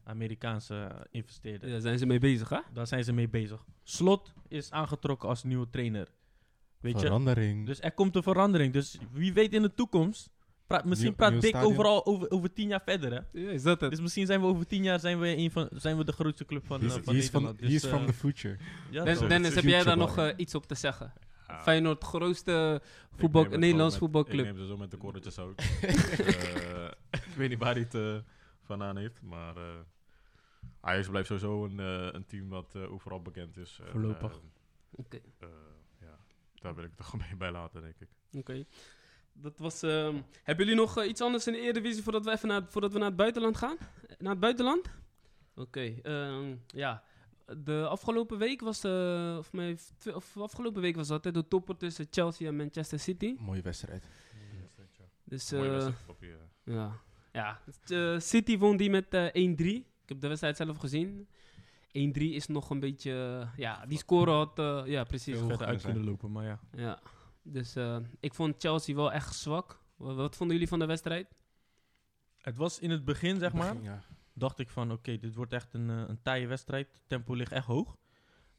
[SPEAKER 3] Amerikaanse eh, investeerder.
[SPEAKER 1] Daar zijn ze mee bezig, hè?
[SPEAKER 3] Daar zijn ze mee bezig. Slot is aangetrokken als nieuwe trainer. Weet je?
[SPEAKER 2] Verandering.
[SPEAKER 3] Dus er komt een verandering. Dus wie weet in de toekomst. praat- misschien
[SPEAKER 2] Nieuw-
[SPEAKER 3] praat
[SPEAKER 2] nieuw
[SPEAKER 3] Dick
[SPEAKER 2] stadion.
[SPEAKER 3] overal over, over tien jaar verder. Hè?
[SPEAKER 1] Ja, is dat het?
[SPEAKER 3] Dus misschien zijn we over tien jaar zijn we een van, zijn we de grootste club van, eh,
[SPEAKER 2] He is-
[SPEAKER 3] van
[SPEAKER 2] he is van
[SPEAKER 3] Nederland.
[SPEAKER 2] he is
[SPEAKER 3] Dus,
[SPEAKER 2] from
[SPEAKER 3] eh,
[SPEAKER 2] the future.
[SPEAKER 3] ja,
[SPEAKER 1] Den-
[SPEAKER 3] toch.
[SPEAKER 4] zo.
[SPEAKER 1] Dennis, heb jij daar nog
[SPEAKER 2] YouTuber.
[SPEAKER 1] eh, iets op te zeggen?
[SPEAKER 4] Ja,
[SPEAKER 1] Feyenoord, grootste
[SPEAKER 4] ik
[SPEAKER 1] voetbal,
[SPEAKER 4] neem het
[SPEAKER 1] Nederlands
[SPEAKER 4] gewoon met-
[SPEAKER 1] voetbalclub.
[SPEAKER 4] Ik neem ze zo met een korreltje zout. Eh, ik weet niet waar hij het eh, vandaan heeft, maar eh Ajax blijft sowieso een, eh, een team wat eh, overal bekend is. En,
[SPEAKER 3] Voorlopig.
[SPEAKER 4] eh,
[SPEAKER 1] Oké.
[SPEAKER 4] eh, ja, daar wil ik het toch mee bij laten, denk ik.
[SPEAKER 1] Oké. Dat was. ehm, hebben jullie nog eh, iets anders in de Eredivisie voordat we even naar, voordat we naar het buitenland gaan? Eh, Naar het buitenland? Oké. ehm, ja. De afgelopen week was de, of, mij heeft twe- of afgelopen week was dat hè, de topper tussen Chelsea en Manchester City.
[SPEAKER 2] Mooie wedstrijd.
[SPEAKER 1] Dus
[SPEAKER 4] Mooie
[SPEAKER 1] eh,
[SPEAKER 4] wedstrijd op je-
[SPEAKER 1] ja, ja. Eh, City won die met eh, 1-3. Ik heb de wedstrijd zelf gezien. 1-3 is nog een beetje, eh, ja, die score had, eh, ja, precies.
[SPEAKER 2] Veel
[SPEAKER 3] Vet uit
[SPEAKER 2] zijn.
[SPEAKER 3] kunnen lopen, maar ja.
[SPEAKER 1] Ja, dus eh, ik vond Chelsea wel echt zwak. Wa- Wat vonden jullie van de wedstrijd?
[SPEAKER 3] Het was in het begin, zeg maar.
[SPEAKER 2] Ja.
[SPEAKER 3] dacht ik van, oké, dit wordt echt een, eh, een taaie wedstrijd. Tempo ligt echt hoog.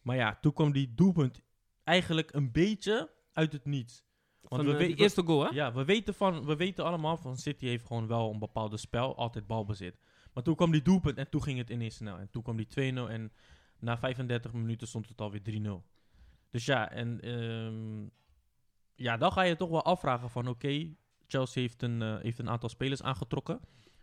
[SPEAKER 3] Maar ja, toen kwam die doelpunt eigenlijk een beetje uit het niets.
[SPEAKER 1] Van
[SPEAKER 3] we
[SPEAKER 1] eh,
[SPEAKER 3] weten-
[SPEAKER 1] die eerste goal, hè?
[SPEAKER 3] Ja, we weten, van, we weten allemaal van City heeft gewoon wel een bepaalde spel, altijd balbezit. Maar toen kwam die doelpunt en toen ging het ineens snel. En toen kwam die 2-0 en na 35 minuten stond het alweer 3-0. Dus ja, en ehm, ja, dan ga je toch wel afvragen van oké, Chelsea heeft een, eh, heeft een aantal spelers aangetrokken.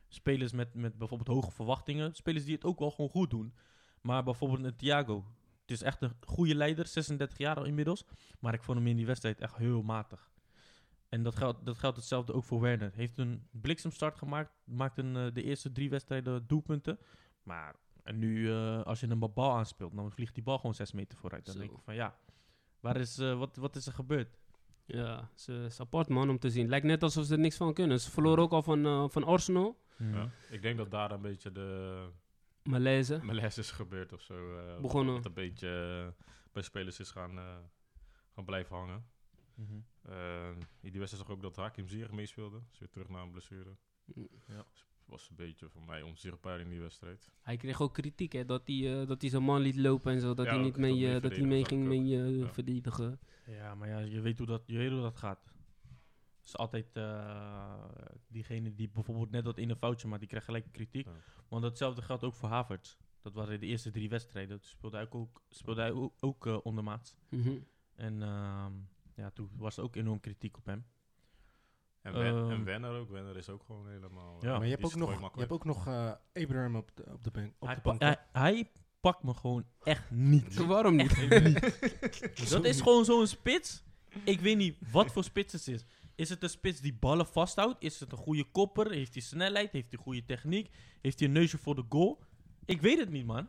[SPEAKER 3] Spelers met, met bijvoorbeeld hoge verwachtingen. Spelers die het ook wel gewoon goed doen. Maar bijvoorbeeld een Thiago. Het is echt een goede leider, 36 jaar al inmiddels. Maar ik vond hem in die wedstrijd echt heel matig. En dat geldt, dat geldt hetzelfde ook voor Werner. Heeft een bliksemstart gemaakt. Maakt een, eh, de eerste drie wedstrijden doelpunten. Maar en nu, eh, als je een bal aanspeelt, dan vliegt die bal gewoon 6 meter vooruit. Dan
[SPEAKER 1] Zo.
[SPEAKER 3] denk ik van ja, waar is, eh, wat, wat is er gebeurd?
[SPEAKER 1] Ja, ze is apart man om te zien. Lijkt net alsof ze er niks van kunnen. Ze verloren ook al van, eh, van Arsenal.
[SPEAKER 4] Ja. Ik denk dat daar een beetje de
[SPEAKER 1] Malaise.
[SPEAKER 4] MLS is gebeurd of zo. eh,
[SPEAKER 1] Begonnen.
[SPEAKER 4] Dat een beetje eh, bij spelers is gaan, eh, gaan blijven hangen.
[SPEAKER 3] Mhm.
[SPEAKER 4] Eh, in die wedstrijd zag ik ook dat Hakim Ziyech meespeelde. Is weer terug na een blessure.
[SPEAKER 3] Ja.
[SPEAKER 4] Was een beetje voor mij onzichtbaar in die wedstrijd.
[SPEAKER 1] Hij kreeg ook kritiek, hè, dat hij, eh, dat hij zijn man liet lopen en zo. Dat
[SPEAKER 4] Ja,
[SPEAKER 1] hij
[SPEAKER 4] ook
[SPEAKER 1] niet
[SPEAKER 4] dat
[SPEAKER 1] mee, eh, dat hij
[SPEAKER 4] meeverdedigen
[SPEAKER 1] mee
[SPEAKER 4] zag ik
[SPEAKER 1] ging
[SPEAKER 4] ook.
[SPEAKER 1] mee, eh,
[SPEAKER 4] Ja.
[SPEAKER 1] verdedigen.
[SPEAKER 3] Ja, maar ja, je weet hoe dat, je weet hoe dat gaat. Het is altijd eh, diegene die bijvoorbeeld net dat ene foutje maakt, die krijgt gelijk kritiek.
[SPEAKER 4] Ja.
[SPEAKER 3] Want datzelfde geldt ook voor Havertz. Dat waren de eerste drie wedstrijden. Toen speelde hij ook- ook, speelde hij ook, ook eh, ondermaats.
[SPEAKER 1] Mhm.
[SPEAKER 3] En ehm, ja, toen was er ook enorm kritiek op hem.
[SPEAKER 4] En, Wen-
[SPEAKER 3] Ehm.
[SPEAKER 4] en Wenner ook. Wenner is ook gewoon helemaal...
[SPEAKER 3] Ja.
[SPEAKER 2] maar je hebt,
[SPEAKER 4] die
[SPEAKER 2] ook
[SPEAKER 4] is
[SPEAKER 2] nog,
[SPEAKER 4] gewoon
[SPEAKER 2] je
[SPEAKER 4] makkelijk.
[SPEAKER 2] hebt ook nog eh, Abraham op de, op de, bank, op
[SPEAKER 3] Hij,
[SPEAKER 2] de
[SPEAKER 3] pa-
[SPEAKER 2] bank.
[SPEAKER 3] hij, hij pakt me gewoon echt niet.
[SPEAKER 1] Waarom niet?
[SPEAKER 3] Dat is gewoon zo'n spits. Ik weet niet wat voor spits het is. Is het een spits die ballen vasthoudt? Is het een goede kopper? Heeft hij snelheid? Heeft hij goede techniek? Heeft hij een neusje voor de goal? Ik weet het niet, man.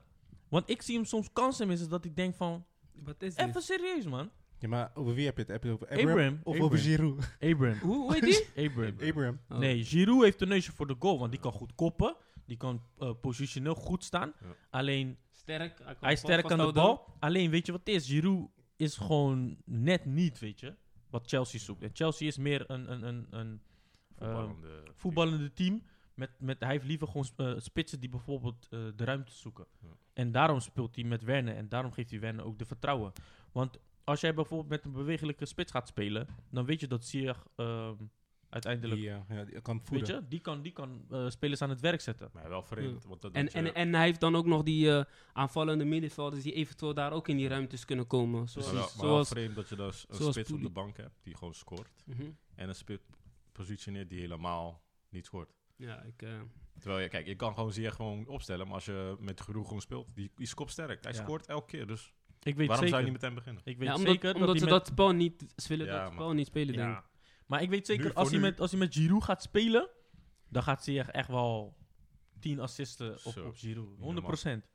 [SPEAKER 3] Want ik zie hem soms kansen missen dat ik denk van...
[SPEAKER 1] Wat is dit?
[SPEAKER 3] Even serieus, man.
[SPEAKER 2] Ja, maar over wie heb je het? Heb je het over Abraham,
[SPEAKER 3] Abraham.
[SPEAKER 2] of
[SPEAKER 3] Abraham.
[SPEAKER 2] over Giroud?
[SPEAKER 3] Abraham.
[SPEAKER 1] Hoe, hoe heet die?
[SPEAKER 3] Abraham.
[SPEAKER 2] Abraham.
[SPEAKER 1] Oh.
[SPEAKER 3] Nee, Giroud heeft een neusje voor de goal. Want die kan goed koppen. Die kan eh, positioneel goed staan.
[SPEAKER 4] Ja.
[SPEAKER 3] Alleen,
[SPEAKER 1] Sterk. kan
[SPEAKER 3] hij is
[SPEAKER 1] vast-
[SPEAKER 3] sterk aan de
[SPEAKER 1] vasthouden.
[SPEAKER 3] bal. Alleen, weet je wat het is? Giroud is gewoon net niet, weet je. Wat Chelsea zoekt. En Chelsea is meer een... een, een, een
[SPEAKER 4] Voetballende
[SPEAKER 3] Ehm,
[SPEAKER 4] team.
[SPEAKER 3] voetballende team. Met, met, hij heeft liever gewoon eh, spitsen die bijvoorbeeld eh, de ruimte zoeken.
[SPEAKER 4] Ja.
[SPEAKER 3] En daarom speelt hij met Werner. En daarom geeft hij Werner ook de vertrouwen. Want als jij bijvoorbeeld met een bewegelijke spits gaat spelen... dan weet je dat Ziyech ehm, uiteindelijk...
[SPEAKER 2] Die, eh, ja, die kan
[SPEAKER 3] weet
[SPEAKER 2] voeden.
[SPEAKER 3] je, die kan, die kan eh, spelers aan het werk zetten.
[SPEAKER 4] Maar wel vreemd. Want dat
[SPEAKER 1] En,
[SPEAKER 4] doet je-
[SPEAKER 1] en, en hij heeft dan ook nog die eh, aanvallende middenvelders die eventueel daar ook in die ruimtes kunnen komen.
[SPEAKER 4] maar
[SPEAKER 1] Zoals,
[SPEAKER 4] wel- maar wel
[SPEAKER 1] zoals,
[SPEAKER 4] vreemd dat je dus een
[SPEAKER 1] zoals
[SPEAKER 4] spits op de
[SPEAKER 1] Poelie.
[SPEAKER 4] bank hebt die gewoon scoort.
[SPEAKER 1] Mhm.
[SPEAKER 4] En een spits positioneert die helemaal niet scoort.
[SPEAKER 1] Ja, ik, eh,
[SPEAKER 4] Terwijl, je, kijk, je kan gewoon zeer gewoon opstellen. Maar als je met Giroud gewoon speelt, die, die is kopsterk. Hij
[SPEAKER 3] Ja.
[SPEAKER 4] scoort elke keer. Dus
[SPEAKER 3] Ik weet
[SPEAKER 4] waarom
[SPEAKER 3] zeker,
[SPEAKER 4] zou je niet met hem beginnen?
[SPEAKER 3] ik weet
[SPEAKER 1] ja, omdat,
[SPEAKER 3] zeker
[SPEAKER 1] omdat
[SPEAKER 3] dat
[SPEAKER 1] ze
[SPEAKER 3] hij
[SPEAKER 1] dat spel niet ze willen,
[SPEAKER 4] Ja,
[SPEAKER 1] dat
[SPEAKER 4] maar-
[SPEAKER 1] spel niet spelen, denk ik.
[SPEAKER 3] Ja. Maar ik weet zeker,
[SPEAKER 4] Nu,
[SPEAKER 3] als
[SPEAKER 4] voor
[SPEAKER 3] hij,
[SPEAKER 4] nu.
[SPEAKER 3] met, als hij met Giroud gaat spelen... dan gaat Ziyech echt wel 10 assisten op,
[SPEAKER 4] Zo.
[SPEAKER 3] op Giroud.
[SPEAKER 4] normaal.
[SPEAKER 3] 100%.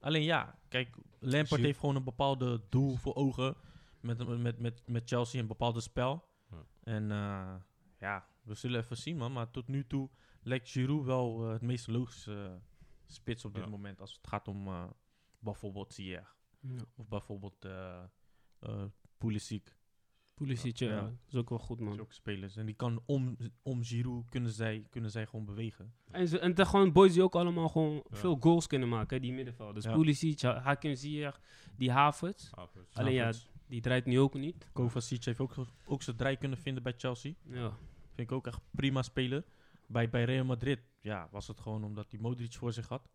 [SPEAKER 3] Alleen ja, kijk, Lampard
[SPEAKER 2] Giroud-
[SPEAKER 3] heeft gewoon een bepaalde doel voor ogen... met, met, met, met Chelsea, een bepaalde spel.
[SPEAKER 4] Ja.
[SPEAKER 3] En eh, ja, we zullen even zien, man. Maar tot nu toe lijkt Giroud wel eh, het meest logische eh, spits op dit
[SPEAKER 4] Ja.
[SPEAKER 3] moment... als het gaat om eh, bijvoorbeeld Ziyech.
[SPEAKER 1] Ja.
[SPEAKER 3] Of bijvoorbeeld eh eh, Pulisic.
[SPEAKER 1] Pulisic, ja,
[SPEAKER 3] Ja.
[SPEAKER 1] is ook wel goed,
[SPEAKER 3] Dat
[SPEAKER 1] man.
[SPEAKER 3] zijn ook spelers. En die kan om, om Giroud kunnen zij, kunnen zij gewoon bewegen.
[SPEAKER 1] En, ze, en het zijn gewoon boys die ook allemaal gewoon
[SPEAKER 4] Ja.
[SPEAKER 1] veel goals kunnen maken, hè, die middenvelders.
[SPEAKER 3] Ja.
[SPEAKER 1] Pulisic, Ha- Hakim Ziyech, die Havertz.
[SPEAKER 4] Havertz.
[SPEAKER 1] Alleen ja,
[SPEAKER 3] Havertz.
[SPEAKER 1] die draait nu ook niet.
[SPEAKER 3] Kovacic heeft ook, ook zijn draai kunnen vinden bij Chelsea.
[SPEAKER 1] Ja.
[SPEAKER 3] Vind ik ook echt prima speler. Bij, bij Real Madrid ja, was het gewoon omdat hij Modric voor zich had.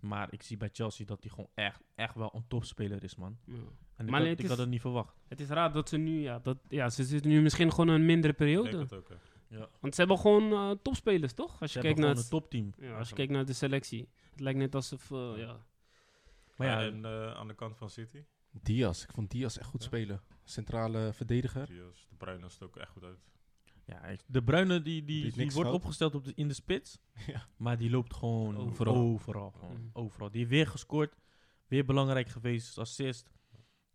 [SPEAKER 3] Maar ik zie bij Chelsea dat hij gewoon echt, echt wel een topspeler is, man.
[SPEAKER 1] ja.
[SPEAKER 3] En ik,
[SPEAKER 1] Maar
[SPEAKER 3] had,
[SPEAKER 1] het
[SPEAKER 3] ik
[SPEAKER 1] is-
[SPEAKER 3] had het niet verwacht.
[SPEAKER 1] Het is raar dat ze nu, ja, dat, ja, ze zitten nu misschien gewoon in een mindere
[SPEAKER 4] Ik denk
[SPEAKER 1] periode.
[SPEAKER 4] dat ook. hè.
[SPEAKER 1] Want ze hebben gewoon eh, topspelers, toch? Als
[SPEAKER 3] Ze
[SPEAKER 1] je,
[SPEAKER 3] hebben
[SPEAKER 1] kijkt naar
[SPEAKER 3] gewoon
[SPEAKER 1] het,
[SPEAKER 3] een topteam.
[SPEAKER 1] ja, als je kijkt naar de selectie. Het lijkt net alsof, eh, ja.
[SPEAKER 3] Maar ja,
[SPEAKER 4] en eh, aan de kant van City,
[SPEAKER 2] Diaz. Ik vond Diaz echt goed
[SPEAKER 4] Ja.
[SPEAKER 2] spelen. Centrale verdediger.
[SPEAKER 4] Diaz, de Bruyne is het ook echt goed uit.
[SPEAKER 3] ja, ik- de Bruyne die, die,
[SPEAKER 2] Doet
[SPEAKER 3] die,
[SPEAKER 2] niks
[SPEAKER 3] wordt
[SPEAKER 2] fout.
[SPEAKER 3] opgesteld op de, in de spits.
[SPEAKER 2] Ja.
[SPEAKER 3] Maar die loopt gewoon
[SPEAKER 1] Overal.
[SPEAKER 3] overal. Overal, gewoon.
[SPEAKER 1] Mm.
[SPEAKER 3] overal. Die heeft weer gescoord. Weer belangrijk geweest als assist.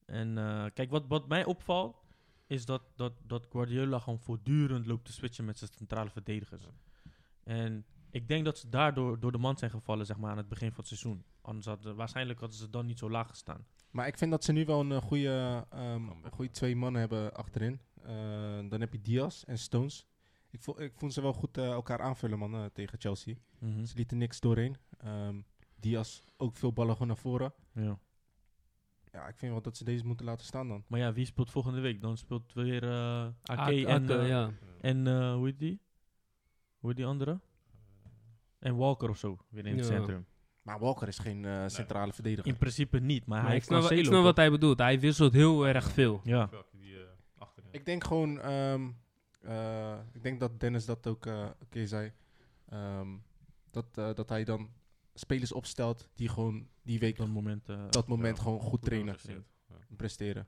[SPEAKER 3] En eh, kijk, wat, wat mij opvalt... is dat, dat, dat Guardiola gewoon voortdurend loopt te switchen met zijn centrale verdedigers. En ik denk dat ze daardoor door de mand zijn gevallen zeg maar, aan het begin van het seizoen. Anders hadden, waarschijnlijk hadden ze dan niet zo laag gestaan.
[SPEAKER 2] Maar ik vind dat ze nu wel een eh, goede, ehm,
[SPEAKER 4] Comeback.
[SPEAKER 2] goede twee mannen hebben achterin. Eh, dan heb je Diaz en Stones. Ik, vo ik vond ze wel goed eh, elkaar aanvullen, man, eh, tegen Chelsea.
[SPEAKER 4] Mhm.
[SPEAKER 2] Ze lieten niks doorheen. Ehm, Diaz ook veel ballen gewoon naar voren.
[SPEAKER 3] Ja.
[SPEAKER 2] Eh, Ja, ik vind wel dat ze deze moeten laten staan dan.
[SPEAKER 3] Maar ja, wie speelt volgende week? Dan speelt weer eh AK,
[SPEAKER 1] Ake-
[SPEAKER 3] en,
[SPEAKER 1] Ake,
[SPEAKER 3] eh,
[SPEAKER 1] ja.
[SPEAKER 3] en eh, hoe heet die? Hoe heet die andere? En Walker of zo, weer in het
[SPEAKER 1] Ja.
[SPEAKER 3] centrum.
[SPEAKER 2] Maar Walker is geen eh, centrale verdediger.
[SPEAKER 3] In principe niet, maar,
[SPEAKER 1] Maar
[SPEAKER 3] hij
[SPEAKER 1] ik
[SPEAKER 3] heeft
[SPEAKER 1] snap, wel-
[SPEAKER 3] Cancelo.
[SPEAKER 1] ik snap wat
[SPEAKER 3] toch?
[SPEAKER 1] hij bedoelt. Hij wisselt heel erg veel.
[SPEAKER 3] Ja,
[SPEAKER 4] Welke die eh, achterin.
[SPEAKER 2] Ik denk gewoon, ehm, eh, ik denk dat Dennis dat ook eh, een keer zei. Ehm, dat, eh, dat hij dan spelers opstelt die gewoon die
[SPEAKER 3] op
[SPEAKER 2] week,
[SPEAKER 3] dat moment. eh,
[SPEAKER 2] dat moment
[SPEAKER 4] ja,
[SPEAKER 2] gewoon goed trainen
[SPEAKER 4] gepresteerd. Ja.
[SPEAKER 2] en presteren.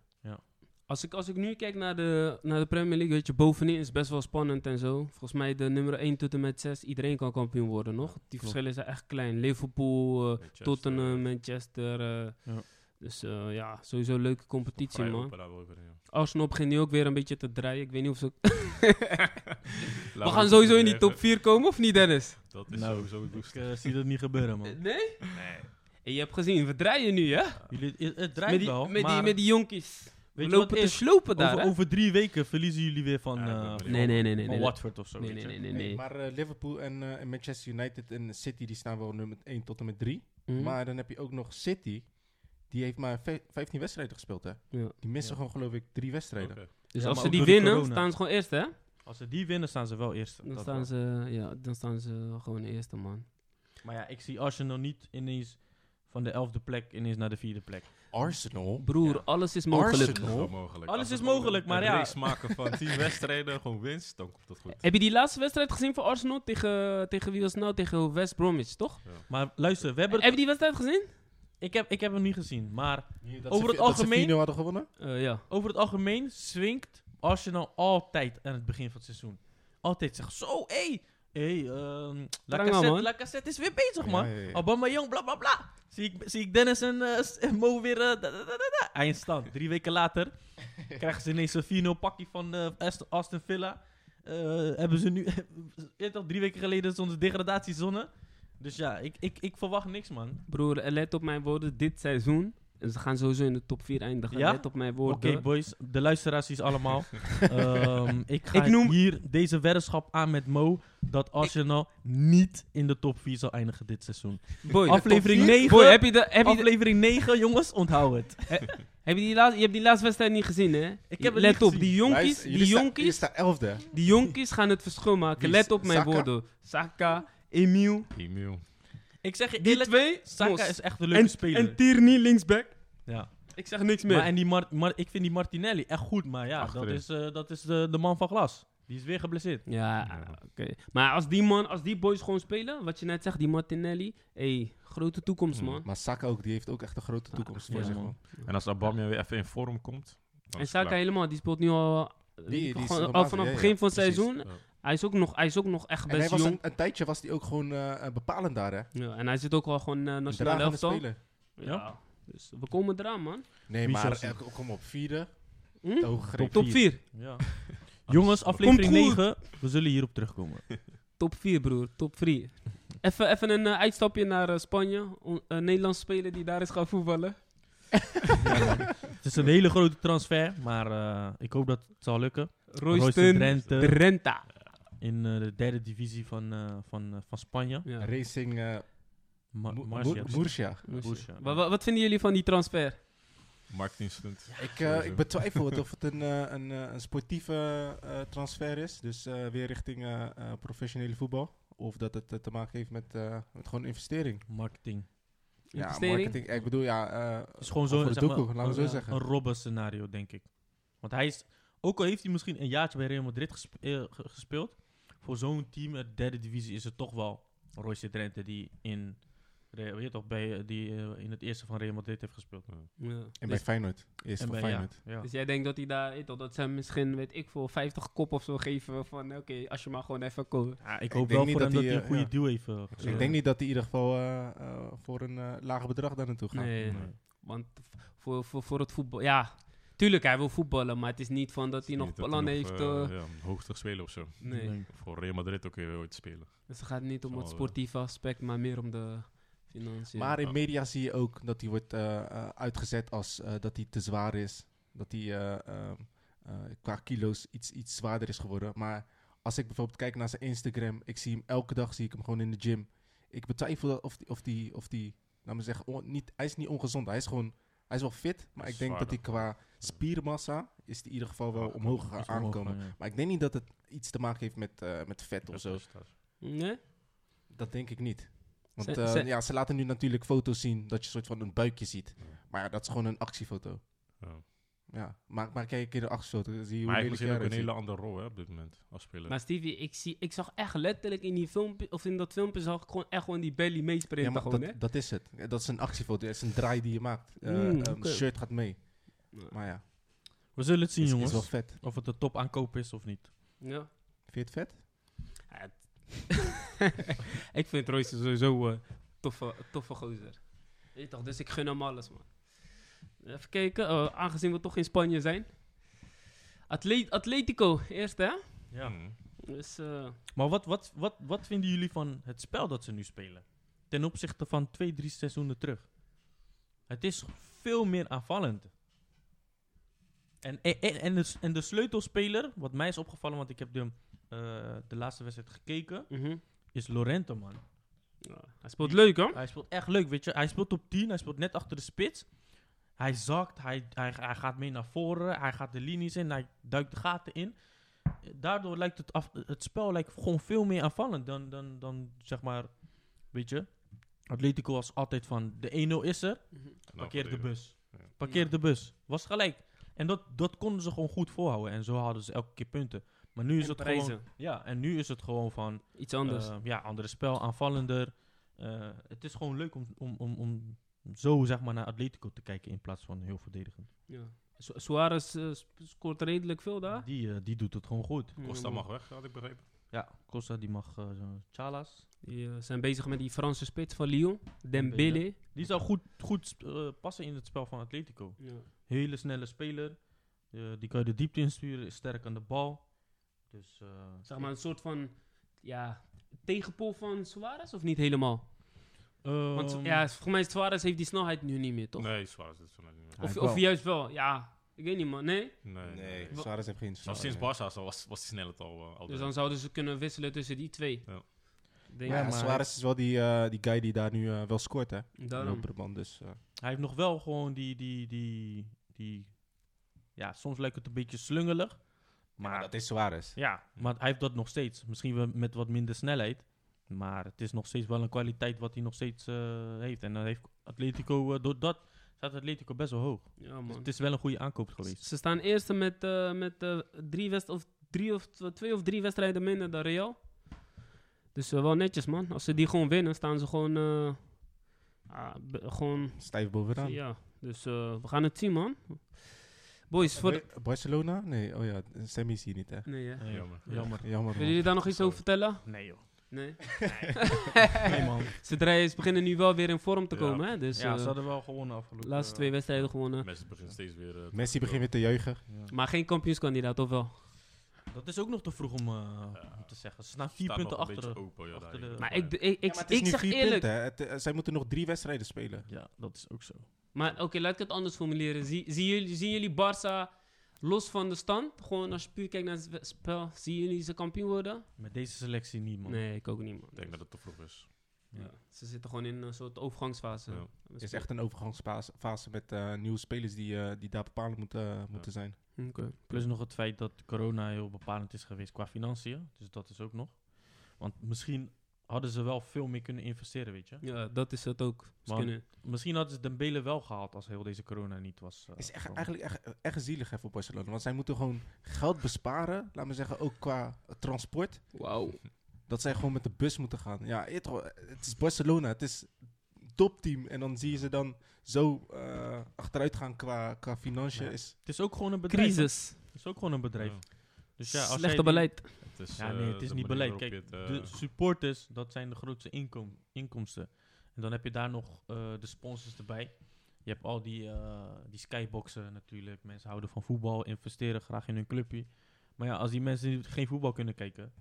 [SPEAKER 1] Als ik, als ik nu kijk naar de, naar de Premier League, weet je, bovenin is best wel spannend en zo. Volgens mij de nummer 1 tot en met 6, iedereen kan kampioen worden, nog. Die verschillen zijn echt klein. Liverpool, eh,
[SPEAKER 4] Manchester,
[SPEAKER 1] Tottenham,
[SPEAKER 4] eh,
[SPEAKER 1] Manchester. eh,
[SPEAKER 3] Ja.
[SPEAKER 1] Dus eh, ja, sowieso een leuke competitie,
[SPEAKER 4] vrij
[SPEAKER 1] man.
[SPEAKER 4] open daar wel weer in, ja.
[SPEAKER 1] Arsenal begint nu ook weer een beetje te draaien. Ik weet niet of ze...
[SPEAKER 4] Laten
[SPEAKER 1] We gaan sowieso in die
[SPEAKER 4] zeggen,
[SPEAKER 1] top 4 komen, of niet, Dennis?
[SPEAKER 4] Dat is
[SPEAKER 3] Nou,
[SPEAKER 4] sowieso het
[SPEAKER 3] Ik
[SPEAKER 4] doelstelling.
[SPEAKER 3] eh, zie dat niet gebeuren, man.
[SPEAKER 1] Nee? En je hebt gezien, we draaien nu, hè?
[SPEAKER 3] Jullie, het, het draait
[SPEAKER 1] Met die,
[SPEAKER 3] wel,
[SPEAKER 1] met,
[SPEAKER 3] maar
[SPEAKER 1] die, met die jonkies.
[SPEAKER 3] weet
[SPEAKER 1] We
[SPEAKER 3] je wat
[SPEAKER 1] lopen te
[SPEAKER 3] is?
[SPEAKER 1] slopen daar,
[SPEAKER 3] over,
[SPEAKER 1] hè?
[SPEAKER 3] over drie weken verliezen jullie weer van,
[SPEAKER 4] Ja, ik ben
[SPEAKER 3] eh,
[SPEAKER 4] benieuwd.
[SPEAKER 3] van-
[SPEAKER 1] Nee, nee, nee, nee.
[SPEAKER 3] van
[SPEAKER 1] nee, dat-
[SPEAKER 3] Watford of zo.
[SPEAKER 1] nee,
[SPEAKER 3] weet
[SPEAKER 1] nee,
[SPEAKER 3] je.
[SPEAKER 1] nee, nee,
[SPEAKER 2] Nee,
[SPEAKER 1] nee.
[SPEAKER 2] maar eh, Liverpool en, eh, en Manchester United en City die staan wel nummer 1 tot en met 3.
[SPEAKER 1] Mhm.
[SPEAKER 2] Maar dan heb je ook nog City. Die heeft maar vij- 15 wedstrijden gespeeld, hè?
[SPEAKER 1] Ja.
[SPEAKER 2] Die missen
[SPEAKER 3] Ja.
[SPEAKER 2] gewoon, geloof ik, drie wedstrijden.
[SPEAKER 4] Oké.
[SPEAKER 1] Dus
[SPEAKER 3] Ja, maar
[SPEAKER 1] als ze
[SPEAKER 3] ook
[SPEAKER 1] die
[SPEAKER 3] door die
[SPEAKER 1] winnen,
[SPEAKER 3] corona.
[SPEAKER 1] staan ze gewoon eerst, hè?
[SPEAKER 3] Als ze die winnen, staan ze wel eerst.
[SPEAKER 1] Dan
[SPEAKER 3] dat
[SPEAKER 1] staan,
[SPEAKER 3] wel.
[SPEAKER 1] ze, ja, dan staan ze gewoon eerste, man.
[SPEAKER 3] Maar ja, ik zie Arsenal niet ineens van de elfde plek ineens naar de vierde plek.
[SPEAKER 2] Arsenal?
[SPEAKER 1] Broer,
[SPEAKER 3] Ja.
[SPEAKER 1] alles is mogelijk.
[SPEAKER 4] Dat Nou, is wel mogelijk.
[SPEAKER 3] Alles
[SPEAKER 4] Als we
[SPEAKER 3] is
[SPEAKER 4] gewoon
[SPEAKER 3] mogelijk,
[SPEAKER 4] een-
[SPEAKER 3] maar
[SPEAKER 4] een
[SPEAKER 3] ja.
[SPEAKER 4] race maken van 10 wedstrijden, gewoon winst, dan komt dat goed.
[SPEAKER 1] Heb je die laatste wedstrijd gezien van Arsenal? Tegen, tegen wie was het nou? Tegen West Bromwich, toch?
[SPEAKER 3] Maar luister, we hebben
[SPEAKER 1] Heb
[SPEAKER 3] het-
[SPEAKER 1] je die wedstrijd gezien?
[SPEAKER 3] ik, heb, ik heb hem niet gezien. Maar
[SPEAKER 2] Dat
[SPEAKER 3] Over
[SPEAKER 2] ze-
[SPEAKER 3] het
[SPEAKER 2] dat ze
[SPEAKER 3] algemeen-
[SPEAKER 2] 4-0 hadden gewonnen?
[SPEAKER 1] Eh, ja.
[SPEAKER 3] over het algemeen swingt Arsenal altijd aan het begin van het seizoen. Altijd zeggen zo, hé, hey, hé, ehm,
[SPEAKER 1] man.
[SPEAKER 3] Lacazette Lacazette is weer bezig, man.
[SPEAKER 2] Ja, ja, ja.
[SPEAKER 3] Obama Jong, bla bla bla. Zie ik, zie ik Dennis en, eh, s- en Mo weer. eh, da, da, da, da, da. Eindstand. Drie weken later krijgen ze ineens een 4-0 pakje van eh, Aston, Aston Villa. Eh, hebben ze nu. je weet toch, drie weken geleden is onze degradatiezone. Dus ja, ik, ik, ik verwacht niks, man.
[SPEAKER 1] Broer, eh, let op mijn woorden. Dit seizoen, en ze gaan sowieso in de top 4 eindigen.
[SPEAKER 3] Ja?
[SPEAKER 1] Let op mijn
[SPEAKER 3] Oké,
[SPEAKER 1] woorden.
[SPEAKER 3] boys, de luisteraars is allemaal. Ehm, ik ga
[SPEAKER 1] Ik noem-
[SPEAKER 3] hier deze weddenschap aan met Mo. Dat Arsenal niet in de top 4 zal eindigen dit seizoen.
[SPEAKER 1] Boy,
[SPEAKER 3] Aflevering
[SPEAKER 1] top vier?
[SPEAKER 3] 9.
[SPEAKER 1] Boy, heb je, de, heb, je de-
[SPEAKER 3] Aflevering 9, jongens, onthoud het.
[SPEAKER 1] heb je die laatste, je hebt die laatste wedstrijd niet gezien, hè?
[SPEAKER 3] Ik heb het
[SPEAKER 1] Let
[SPEAKER 3] niet
[SPEAKER 1] op,
[SPEAKER 3] gezien.
[SPEAKER 1] die jonkies,
[SPEAKER 2] Luister,
[SPEAKER 1] die
[SPEAKER 2] jullie sta- Jullie
[SPEAKER 1] jonkies,
[SPEAKER 2] staan elfde, hè?
[SPEAKER 1] die jonkies gaan het verschil maken.
[SPEAKER 2] Wie is-
[SPEAKER 1] Let op mijn
[SPEAKER 2] Saka?
[SPEAKER 1] woorden. Saka, Emiel,
[SPEAKER 4] Emiel.
[SPEAKER 3] Ik zeg je
[SPEAKER 1] die
[SPEAKER 3] eerlijk,
[SPEAKER 1] twee.
[SPEAKER 3] Saka
[SPEAKER 1] mos.
[SPEAKER 3] is echt een leuke
[SPEAKER 1] en,
[SPEAKER 3] speler.
[SPEAKER 1] En Tierney linksback.
[SPEAKER 3] ja.
[SPEAKER 1] Ik zeg niks meer.
[SPEAKER 3] maar, en die Mar Mar- ik vind die Martinelli echt goed, maar ja, dat
[SPEAKER 4] Achterin.
[SPEAKER 3] is, eh, dat is de, de man van glas. Die is weer geblesseerd.
[SPEAKER 1] ja,
[SPEAKER 4] Ja.
[SPEAKER 1] oké. Maar als die man, als die boys gewoon spelen, wat je net zegt, die Martinelli, hey, grote toekomst,
[SPEAKER 4] Hmm.
[SPEAKER 1] man.
[SPEAKER 2] Maar Saka ook, die heeft ook echt een grote toekomst voor
[SPEAKER 1] Ah, ja,
[SPEAKER 2] zich,
[SPEAKER 3] man.
[SPEAKER 2] man.
[SPEAKER 4] En als Abamia weer even in vorm komt. dan
[SPEAKER 1] En
[SPEAKER 4] is het
[SPEAKER 1] Saka
[SPEAKER 4] klaar.
[SPEAKER 1] helemaal, die speelt nu al, eh,
[SPEAKER 2] die is
[SPEAKER 1] gewoon
[SPEAKER 2] nog
[SPEAKER 1] al
[SPEAKER 2] basis,
[SPEAKER 1] vanaf
[SPEAKER 2] ja,
[SPEAKER 1] het
[SPEAKER 2] ja,
[SPEAKER 1] begin van het
[SPEAKER 2] precies.
[SPEAKER 1] seizoen.
[SPEAKER 4] Ja.
[SPEAKER 1] Hij is ook nog, hij is ook nog echt
[SPEAKER 2] En hij
[SPEAKER 1] best
[SPEAKER 2] was
[SPEAKER 1] jong.
[SPEAKER 2] een, een tijdje was hij ook gewoon eh, eh, bepalend daar, hè?
[SPEAKER 1] Ja, en hij zit ook wel gewoon eh nationale
[SPEAKER 2] Dragende
[SPEAKER 1] elftal.
[SPEAKER 2] speler.
[SPEAKER 1] Ja. Dus we komen eraan, man.
[SPEAKER 2] Nee,
[SPEAKER 3] Wie
[SPEAKER 2] maar
[SPEAKER 3] zou
[SPEAKER 2] eh, kom op, vierde.
[SPEAKER 1] Hm?
[SPEAKER 2] De hoge greep.
[SPEAKER 1] Top 4.
[SPEAKER 3] Ja. jongens, aflevering
[SPEAKER 1] Komt goed.
[SPEAKER 3] 9, we zullen hierop terugkomen.
[SPEAKER 1] Top 4, broer. Top 3. Even, even een eh, uitstapje naar eh, Spanje. On- een Nederlands speler die daar is gaan voetballen.
[SPEAKER 3] Het is een hele grote transfer, maar eh, ik hoop dat het zal lukken. Royston
[SPEAKER 1] Royston
[SPEAKER 3] Drenthe.
[SPEAKER 1] Drenta.
[SPEAKER 3] In eh, de derde divisie van, eh, van, eh, van Spanje.
[SPEAKER 1] Ja.
[SPEAKER 2] Racing eh,
[SPEAKER 3] Ma
[SPEAKER 2] Mo-
[SPEAKER 3] Marcia.
[SPEAKER 2] Mo- Murcia.
[SPEAKER 3] Borussia.
[SPEAKER 1] Wa- wa- wat vinden jullie van die transfer?
[SPEAKER 4] Marketing stunt.
[SPEAKER 2] Ik, eh,
[SPEAKER 4] Sowieso.
[SPEAKER 2] ik betwijfel het of het een, eh, een, eh, een sportieve eh, transfer is. Dus eh, weer richting eh, eh, professionele voetbal. Of dat het eh, te maken heeft met, eh, met gewoon investering.
[SPEAKER 3] Marketing.
[SPEAKER 1] Investering?
[SPEAKER 2] Ja, marketing. Ik bedoel, ja. eh,
[SPEAKER 3] Het is gewoon
[SPEAKER 2] voor
[SPEAKER 3] zo,
[SPEAKER 2] de
[SPEAKER 3] zeg maar, oh,
[SPEAKER 2] doekoe, laten we zo
[SPEAKER 3] een, eh,
[SPEAKER 2] zeggen.
[SPEAKER 3] een robben scenario, denk ik. Want hij is, ook al heeft hij misschien een jaartje bij Real Madrid gesp- eh, ge- gespeeld, voor zo'n team uit de derde divisie is het toch wel Royce Drenthe die in, Re- weet je toch, bij, eh, die, eh, in het eerste van Real Madrid heeft gespeeld.
[SPEAKER 1] Ja.
[SPEAKER 2] en bij
[SPEAKER 1] Dus,
[SPEAKER 2] Feyenoord. Eerst van
[SPEAKER 3] bij- ja,
[SPEAKER 2] Feyenoord.
[SPEAKER 3] ja.
[SPEAKER 1] dus jij denkt dat hij daar, weet je wel, dat ze hem misschien, weet ik veel, 50 kop of zo geven van, oké, als je maar gewoon even komt.
[SPEAKER 3] Ja, ik hoop
[SPEAKER 2] denk
[SPEAKER 3] wel
[SPEAKER 2] niet
[SPEAKER 3] voor hem dat
[SPEAKER 2] dat hij,
[SPEAKER 3] hij een
[SPEAKER 2] eh,
[SPEAKER 3] goede
[SPEAKER 2] ja.
[SPEAKER 3] deal heeft. eh, gespeeld.
[SPEAKER 2] Ik denk niet dat hij in ieder geval eh, eh, voor een eh lager bedrag daar naartoe gaat.
[SPEAKER 1] Nee,
[SPEAKER 3] Nee.
[SPEAKER 1] want v- voor, voor, voor het voetbal, ja, tuurlijk, hij wil voetballen, maar het is niet van dat hij nog
[SPEAKER 4] Niet dat
[SPEAKER 1] plannen
[SPEAKER 4] nog,
[SPEAKER 1] heeft.
[SPEAKER 4] eh,
[SPEAKER 1] eh,
[SPEAKER 4] ja, hoogtig spelen of zo.
[SPEAKER 1] nee.
[SPEAKER 3] Nee.
[SPEAKER 4] Voor Real Madrid ook weer ooit spelen.
[SPEAKER 1] dus het gaat niet om
[SPEAKER 4] Zal eh,
[SPEAKER 1] het
[SPEAKER 4] wel.
[SPEAKER 1] sportieve aspect, maar meer om de financiën.
[SPEAKER 2] Maar in
[SPEAKER 4] Ja. Oh.
[SPEAKER 2] media zie je ook dat hij wordt eh, eh, uitgezet als eh, dat hij te zwaar is. Dat hij eh, ehm, eh, qua kilo's iets, iets zwaarder is geworden. Maar als ik bijvoorbeeld kijk naar zijn Instagram, ik zie hem elke dag, zie ik hem gewoon in de gym. Ik betwijfel dat of die, of die, of die laat me zeggen, on- niet, hij is niet ongezond. Hij is gewoon Hij is wel fit, maar
[SPEAKER 4] Hij
[SPEAKER 2] ik
[SPEAKER 4] is
[SPEAKER 2] denk dat hij
[SPEAKER 4] zwaarder.
[SPEAKER 2] qua spiermassa is die in ieder geval wel
[SPEAKER 4] Ja,
[SPEAKER 2] Oh, omhoog gaan
[SPEAKER 3] Is omhoog
[SPEAKER 2] aankomen.
[SPEAKER 3] gaan, ja.
[SPEAKER 2] Maar ik denk niet dat het iets te maken heeft met, eh, met vet of
[SPEAKER 4] Dat
[SPEAKER 2] zo.
[SPEAKER 4] is- dat is-
[SPEAKER 1] Nee?
[SPEAKER 2] Dat denk ik niet. Want
[SPEAKER 1] Ze-
[SPEAKER 2] eh,
[SPEAKER 1] ze-
[SPEAKER 2] ja, ze laten nu natuurlijk foto's zien dat je een soort van een buikje ziet. Maar ja, dat is gewoon een actiefoto.
[SPEAKER 4] ja.
[SPEAKER 2] Ja, maak maar kijk een keer de actiefoto. dan Zie je
[SPEAKER 4] Maar hij
[SPEAKER 2] hoe
[SPEAKER 4] heeft
[SPEAKER 2] lelijk
[SPEAKER 4] misschien ook
[SPEAKER 2] jij
[SPEAKER 4] een hele
[SPEAKER 2] eruit
[SPEAKER 4] andere rol hè, op dit moment als speler.
[SPEAKER 1] Maar Stevie, ik, zie, ik zag echt letterlijk in die filmpje, of in dat filmpje zag ik gewoon echt gewoon die belly
[SPEAKER 2] ziet. ja,
[SPEAKER 1] meesprinten
[SPEAKER 2] maar
[SPEAKER 1] gewoon, hè?
[SPEAKER 2] dat, dat is het. Dat is een actiefoto. Dat is een draai die je maakt. Eh
[SPEAKER 1] Mm,
[SPEAKER 2] ehm,
[SPEAKER 1] oké.
[SPEAKER 2] shirt gaat mee.
[SPEAKER 1] Ja.
[SPEAKER 2] Maar ja,
[SPEAKER 3] We zullen het zien,
[SPEAKER 2] is, is
[SPEAKER 3] jongens.
[SPEAKER 2] wel vet.
[SPEAKER 3] Of het een top aankoop is of niet.
[SPEAKER 1] Ja.
[SPEAKER 2] Vind je het vet?
[SPEAKER 1] Ja, het- ik vind Royce sowieso een toffe, toffe gozer. Weet je toch, dus ik gun hem alles, man. Even kijken, eh, aangezien we toch in Spanje zijn. Atlet Atletico, eerst hè?
[SPEAKER 4] Ja. Mm.
[SPEAKER 1] Dus, eh,
[SPEAKER 3] Maar wat, wat, wat, wat vinden jullie van het spel dat ze nu spelen? Ten opzichte van twee, drie seizoenen terug. Het is veel meer aanvallend. En, en, en, en de, s- en de sleutelspeler, wat mij is opgevallen, want ik heb de, eh, de laatste wedstrijd gekeken,
[SPEAKER 1] mhm.
[SPEAKER 3] is Lorente, man.
[SPEAKER 1] Ja, hij speelt leuk, hoor.
[SPEAKER 3] Hij speelt echt leuk, weet je. Hij speelt op 10, hij speelt net achter de spits. Hij zakt, hij, hij, hij gaat mee naar voren, hij gaat de linies in, hij duikt de gaten in. Daardoor lijkt het, af, het spel lijkt gewoon veel meer aanvallend dan, dan, dan, zeg maar, weet je. Atletico was altijd van, de 1-0 is
[SPEAKER 1] Nou,
[SPEAKER 3] er, parkeer de bus.
[SPEAKER 4] Ja.
[SPEAKER 3] Parkeer de bus. Was gelijk. En dat, dat konden ze gewoon goed voorhouden en zo hadden ze elke keer punten. Maar nu is
[SPEAKER 1] En
[SPEAKER 3] het
[SPEAKER 1] prijzen.
[SPEAKER 3] gewoon, ja, en nu is het gewoon van,
[SPEAKER 1] Iets anders.
[SPEAKER 3] eh, ja, andere spel, aanvallender. Eh, het is gewoon leuk om, om, om, om zo zeg maar, naar Atletico te kijken in plaats van heel verdedigend.
[SPEAKER 1] ja. Su- Suarez eh, sp- scoort redelijk veel daar.
[SPEAKER 3] Die, eh, die doet het gewoon goed.
[SPEAKER 1] Hm.
[SPEAKER 4] Costa mag weg, had ik begrepen.
[SPEAKER 3] Ja, Costa die mag eh, zo- Chalas.
[SPEAKER 1] Die eh, zijn bezig met die Franse spits van Lyon, Dembele.
[SPEAKER 3] Die zou goed, goed eh, passen in het spel van Atletico.
[SPEAKER 1] Ja.
[SPEAKER 3] Hele snelle speler. Eh, die kan je de diepte insturen, is sterk aan de bal. Dus, eh,
[SPEAKER 1] Zeg maar een soort van ja, tegenpool van Suarez of niet helemaal? Want
[SPEAKER 3] ehm,
[SPEAKER 1] ja, volgens mij Suarez heeft die snelheid nu niet meer, toch?
[SPEAKER 4] Nee, Suarez dat is van niet meer.
[SPEAKER 1] Of,
[SPEAKER 2] Hij
[SPEAKER 1] of
[SPEAKER 2] wel.
[SPEAKER 1] juist wel, ja. Ik weet niet, man. Nee?
[SPEAKER 4] Nee. nee.
[SPEAKER 1] Wa-
[SPEAKER 2] Suarez heeft geen
[SPEAKER 4] Al
[SPEAKER 2] snelheid.
[SPEAKER 4] sinds Barca was, was hij snel het al. eh, al
[SPEAKER 1] Dus
[SPEAKER 4] de-
[SPEAKER 1] dan zouden ze kunnen wisselen tussen die twee.
[SPEAKER 4] Ja.
[SPEAKER 1] Denk
[SPEAKER 2] Ja,
[SPEAKER 1] ik.
[SPEAKER 2] maar Suarez is wel die, eh, die guy die daar nu eh, wel scoort, hè?
[SPEAKER 1] Daarom.
[SPEAKER 2] Lopende band, dus... eh,
[SPEAKER 3] Hij heeft nog wel gewoon die, die, die, die... Ja, soms lijkt het een beetje slungelig. Maar
[SPEAKER 2] dat is Suarez.
[SPEAKER 3] Ja, maar hij heeft dat nog steeds. Misschien wel met wat minder snelheid. Maar het is nog steeds wel een kwaliteit wat hij nog steeds eh, heeft. En dan heeft Atletico, eh, door dat staat Atletico best wel hoog.
[SPEAKER 1] Ja,
[SPEAKER 3] Dus
[SPEAKER 1] man.
[SPEAKER 3] het is wel een goede aankoop geweest.
[SPEAKER 1] Ze staan eerste met, eh, met eh, drie west of drie of tw- twee of drie wedstrijden minder dan Real. Dus eh, wel netjes, man. Als ze die gewoon winnen, staan ze gewoon. eh, ah, be- gewoon
[SPEAKER 2] Stijf bovenaan.
[SPEAKER 1] ja, dus eh, we gaan het zien, man. Boys, voor. de-
[SPEAKER 2] Bar- Barcelona? Nee, oh ja, Sammy is hier niet, hè?
[SPEAKER 1] Nee, hè?
[SPEAKER 3] Nee,
[SPEAKER 4] Jammer.
[SPEAKER 3] Jammer.
[SPEAKER 2] Jammer.
[SPEAKER 1] Willen
[SPEAKER 2] man.
[SPEAKER 1] jullie daar nog iets over vertellen?
[SPEAKER 3] Nee joh.
[SPEAKER 1] Nee.
[SPEAKER 3] Nee man.
[SPEAKER 1] Ze draaien- ze beginnen nu wel weer in vorm te
[SPEAKER 4] Ja.
[SPEAKER 1] komen, hè? Dus
[SPEAKER 3] Ja,
[SPEAKER 1] eh,
[SPEAKER 3] ze hadden wel gewonnen
[SPEAKER 1] de
[SPEAKER 3] afgelopen. eh,
[SPEAKER 1] laatste twee wedstrijden gewonnen.
[SPEAKER 4] Messi begint steeds weer... eh, te
[SPEAKER 2] Messi begint
[SPEAKER 4] komen.
[SPEAKER 2] weer te juichen.
[SPEAKER 3] Ja.
[SPEAKER 1] Maar geen kampioenskandidaat, of wel?
[SPEAKER 3] Dat is ook nog te vroeg om, eh,
[SPEAKER 4] Ja.
[SPEAKER 3] om te zeggen. Ze staan
[SPEAKER 4] Staat
[SPEAKER 3] vier
[SPEAKER 4] nog
[SPEAKER 3] punten
[SPEAKER 4] een beetje
[SPEAKER 3] achter.
[SPEAKER 4] open, ja,
[SPEAKER 3] achter
[SPEAKER 4] daar.
[SPEAKER 3] de-
[SPEAKER 1] Maar
[SPEAKER 4] Ja.
[SPEAKER 1] ik, ik, ik,
[SPEAKER 2] Ja, maar het is
[SPEAKER 1] ik
[SPEAKER 2] nu
[SPEAKER 1] zeg
[SPEAKER 2] vier
[SPEAKER 1] eerlijk.
[SPEAKER 2] punten, hè. Het, eh, zij moeten nog drie wedstrijden spelen.
[SPEAKER 3] Ja, dat is ook zo.
[SPEAKER 1] Maar oké, laat ik het anders formuleren. Zie, zien jullie, zien jullie Barça los van de stand? Gewoon als je puur kijkt naar het we- spel, zien jullie ze kampioen worden?
[SPEAKER 3] Met deze selectie niet man.
[SPEAKER 1] Nee, ik ook niet, man.
[SPEAKER 4] Ik denk dat het te vroeg is.
[SPEAKER 1] Ja, Ze zitten gewoon in een soort overgangsfase.
[SPEAKER 4] Ja.
[SPEAKER 2] Het is echt een overgangsfase fase met eh, nieuwe spelers die, eh, die daar bepalend moeten, eh, moeten zijn.
[SPEAKER 1] Oké.
[SPEAKER 3] Plus nog het feit dat corona heel bepalend is geweest qua financiën. Dus dat is ook nog. Want misschien hadden ze wel veel meer kunnen investeren, weet je.
[SPEAKER 1] Ja, dat is het ook. Ze
[SPEAKER 3] Man.
[SPEAKER 1] kunnen-
[SPEAKER 3] Misschien hadden ze Dembele wel gehaald als heel deze corona niet was. eh,
[SPEAKER 2] Het is echt,
[SPEAKER 3] gekomen.
[SPEAKER 2] eigenlijk echt, echt zielig hè, voor Barcelona. Want zij moeten gewoon geld besparen. Laat me zeggen, ook qua transport.
[SPEAKER 1] Wauw.
[SPEAKER 2] Dat zij gewoon met de bus moeten gaan. Ja, je weet toch, eh, het is Barcelona. Het is topteam. En dan zie je ze dan zo eh, achteruit gaan qua, qua financiën.
[SPEAKER 3] Ja.
[SPEAKER 2] Is,
[SPEAKER 3] Het is ook gewoon een bedrijf. hè?
[SPEAKER 1] Crisis.
[SPEAKER 3] Het is ook gewoon een bedrijf.
[SPEAKER 4] Ja.
[SPEAKER 3] Dus ja, als jij
[SPEAKER 1] Slechte
[SPEAKER 3] die-
[SPEAKER 1] beleid.
[SPEAKER 4] Het is,
[SPEAKER 3] Ja, nee,
[SPEAKER 4] eh,
[SPEAKER 3] het is
[SPEAKER 4] de
[SPEAKER 3] niet
[SPEAKER 4] manier
[SPEAKER 3] beleid. Dus Kijk,
[SPEAKER 4] waarop je het, eh,
[SPEAKER 3] de supporters, dat zijn de grootste inkom inkomsten. En dan heb je daar nog eh, de sponsors erbij. Je hebt al die, eh, die skyboxen natuurlijk. Mensen houden van voetbal, investeren graag in hun clubje. Maar ja, als die mensen geen voetbal kunnen kijken,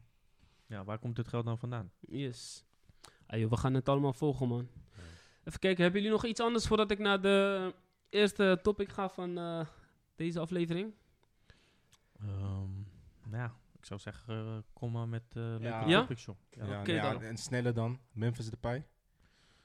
[SPEAKER 3] ja, waar komt dit geld dan vandaan?
[SPEAKER 1] Yes. Ah, joh, we gaan het allemaal volgen, man. Even kijken, hebben jullie nog iets anders voordat ik naar de eerste topic ga van eh, deze aflevering?
[SPEAKER 3] Ehm, nou ja, ik zou zeggen, eh, kom maar met eh leuke
[SPEAKER 2] Ja?
[SPEAKER 3] topics, joh. eh,
[SPEAKER 2] ja,
[SPEAKER 1] oké
[SPEAKER 2] nou ja,
[SPEAKER 1] dan.
[SPEAKER 2] en sneller dan. Memphis Depay.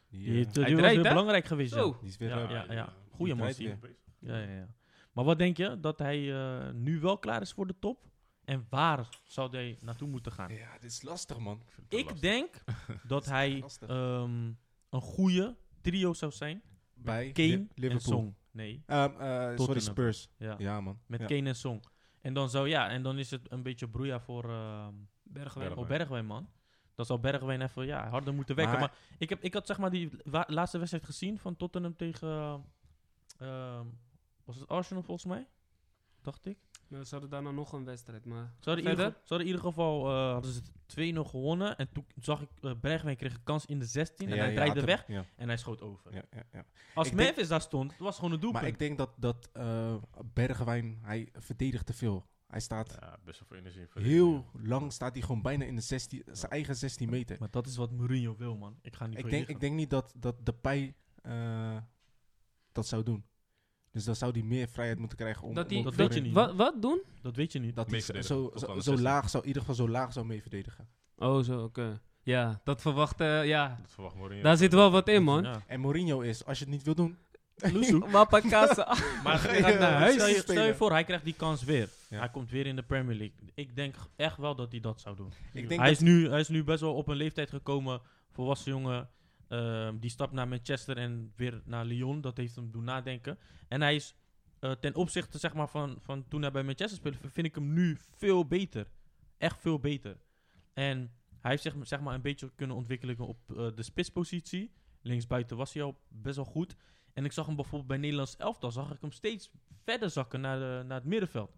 [SPEAKER 2] Die,
[SPEAKER 3] Die,
[SPEAKER 2] eh,
[SPEAKER 3] die was
[SPEAKER 1] draait,
[SPEAKER 3] weer
[SPEAKER 1] hè?
[SPEAKER 3] belangrijk geweest, joh.
[SPEAKER 1] Zo.
[SPEAKER 2] die is weer...
[SPEAKER 3] Ja,
[SPEAKER 2] eh,
[SPEAKER 3] ja, ja. Goeie man,
[SPEAKER 2] draait
[SPEAKER 3] Steve.
[SPEAKER 2] weer.
[SPEAKER 3] Ja, ja, ja. Maar wat denk je? Dat hij eh, nu wel klaar is voor de top? En waar zou hij naartoe moeten gaan?
[SPEAKER 2] Ja, dit is lastig, man.
[SPEAKER 3] Ik denk dat hij
[SPEAKER 2] lastig.
[SPEAKER 3] ehm, een goede trio zou zijn.
[SPEAKER 2] Bij
[SPEAKER 3] Kane
[SPEAKER 2] Li- Liverpool.
[SPEAKER 3] en Song. Nee,
[SPEAKER 2] Ehm, eh, sorry,
[SPEAKER 3] Tottenham.
[SPEAKER 2] Spurs.
[SPEAKER 3] ja.
[SPEAKER 2] Ja, man.
[SPEAKER 3] Met
[SPEAKER 2] ja.
[SPEAKER 3] Kane en Song. En dan, zou, ja, en dan is het een beetje broeia voor ehm
[SPEAKER 1] Bergwijn.
[SPEAKER 4] Ja.
[SPEAKER 3] oh, Bergwijn, man. Dan zou Bergwijn even ja, harder moeten wekken.
[SPEAKER 2] Maar-
[SPEAKER 3] Maar, ik, heb, ik had zeg maar die wa- laatste wedstrijd gezien van Tottenham tegen... ehm, was het Arsenal volgens mij? Dacht ik.
[SPEAKER 1] Nou, ze hadden daarna nog een wedstrijd, maar...
[SPEAKER 3] Ze hadden, in ieder
[SPEAKER 1] Verder?
[SPEAKER 3] geval, ze hadden in ieder geval eh, hadden ze 2-0 gewonnen. En toen zag ik, eh, Bergwijn kreeg een kans in de 16. En
[SPEAKER 2] Ja,
[SPEAKER 3] hij
[SPEAKER 2] ja,
[SPEAKER 3] draaide
[SPEAKER 2] had hem.
[SPEAKER 3] weg
[SPEAKER 2] Ja,
[SPEAKER 3] en hij schoot over.
[SPEAKER 2] ja, ja, ja.
[SPEAKER 3] Als
[SPEAKER 2] Ik denk-
[SPEAKER 3] Memphis daar stond, het was gewoon een doelpunt.
[SPEAKER 2] Maar ik denk dat, dat eh, Bergwijn, hij verdedigt te veel. Hij staat
[SPEAKER 4] Ja, best wel veel energie. voor
[SPEAKER 2] heel lang, staat hij gewoon bijna in de 16, zijn eigen 16 meter.
[SPEAKER 3] Maar dat is wat Mourinho wil, man. Ik ga niet
[SPEAKER 2] Ik denk, ik denk niet dat, dat Depay eh dat zou doen. Dus dan zou hij meer vrijheid moeten krijgen om...
[SPEAKER 1] Dat hij-
[SPEAKER 2] om-
[SPEAKER 3] dat
[SPEAKER 2] om-
[SPEAKER 3] weet je niet.
[SPEAKER 1] Wat, wat doen?
[SPEAKER 3] Dat weet je niet.
[SPEAKER 2] Dat hij
[SPEAKER 4] Mee
[SPEAKER 2] zo,
[SPEAKER 4] verdedigen,
[SPEAKER 2] zo,
[SPEAKER 4] tot aan de
[SPEAKER 2] zo
[SPEAKER 4] 16.
[SPEAKER 2] laag zou, in ieder geval zo laag zou mee verdedigen.
[SPEAKER 1] Oh, zo, oké. Ja, dat verwacht... eh, ja,
[SPEAKER 4] Dat verwacht Mourinho.
[SPEAKER 1] daar zit wel wat in, man.
[SPEAKER 3] Ja.
[SPEAKER 2] En Mourinho is, als je het niet wil doen...
[SPEAKER 1] Mappa Casa.
[SPEAKER 3] Maar
[SPEAKER 2] Ja,
[SPEAKER 3] gaat naar
[SPEAKER 2] ja,
[SPEAKER 3] huis.
[SPEAKER 2] precies
[SPEAKER 3] Stel, je, stel je
[SPEAKER 2] spelen.
[SPEAKER 3] voor, hij krijgt die kans weer.
[SPEAKER 2] Ja.
[SPEAKER 3] Hij komt weer in de Premier League. Ik denk echt wel dat hij dat zou doen.
[SPEAKER 2] Ik denk
[SPEAKER 3] Hij
[SPEAKER 2] dat-
[SPEAKER 3] is, nu, hij is nu best wel op een leeftijd gekomen, volwassen jongen. ehm, die stap naar Manchester en weer naar Lyon, dat heeft hem doen nadenken. En hij is eh, ten opzichte zeg maar, van, van toen hij bij Manchester speelde, vind ik hem nu veel beter. Echt veel beter. En hij heeft zich zeg maar, een beetje kunnen ontwikkelen op eh, de spitspositie. Linksbuiten was hij al best wel goed. En ik zag hem bijvoorbeeld bij Nederlands elftal, zag ik hem steeds verder zakken naar, de, naar het middenveld.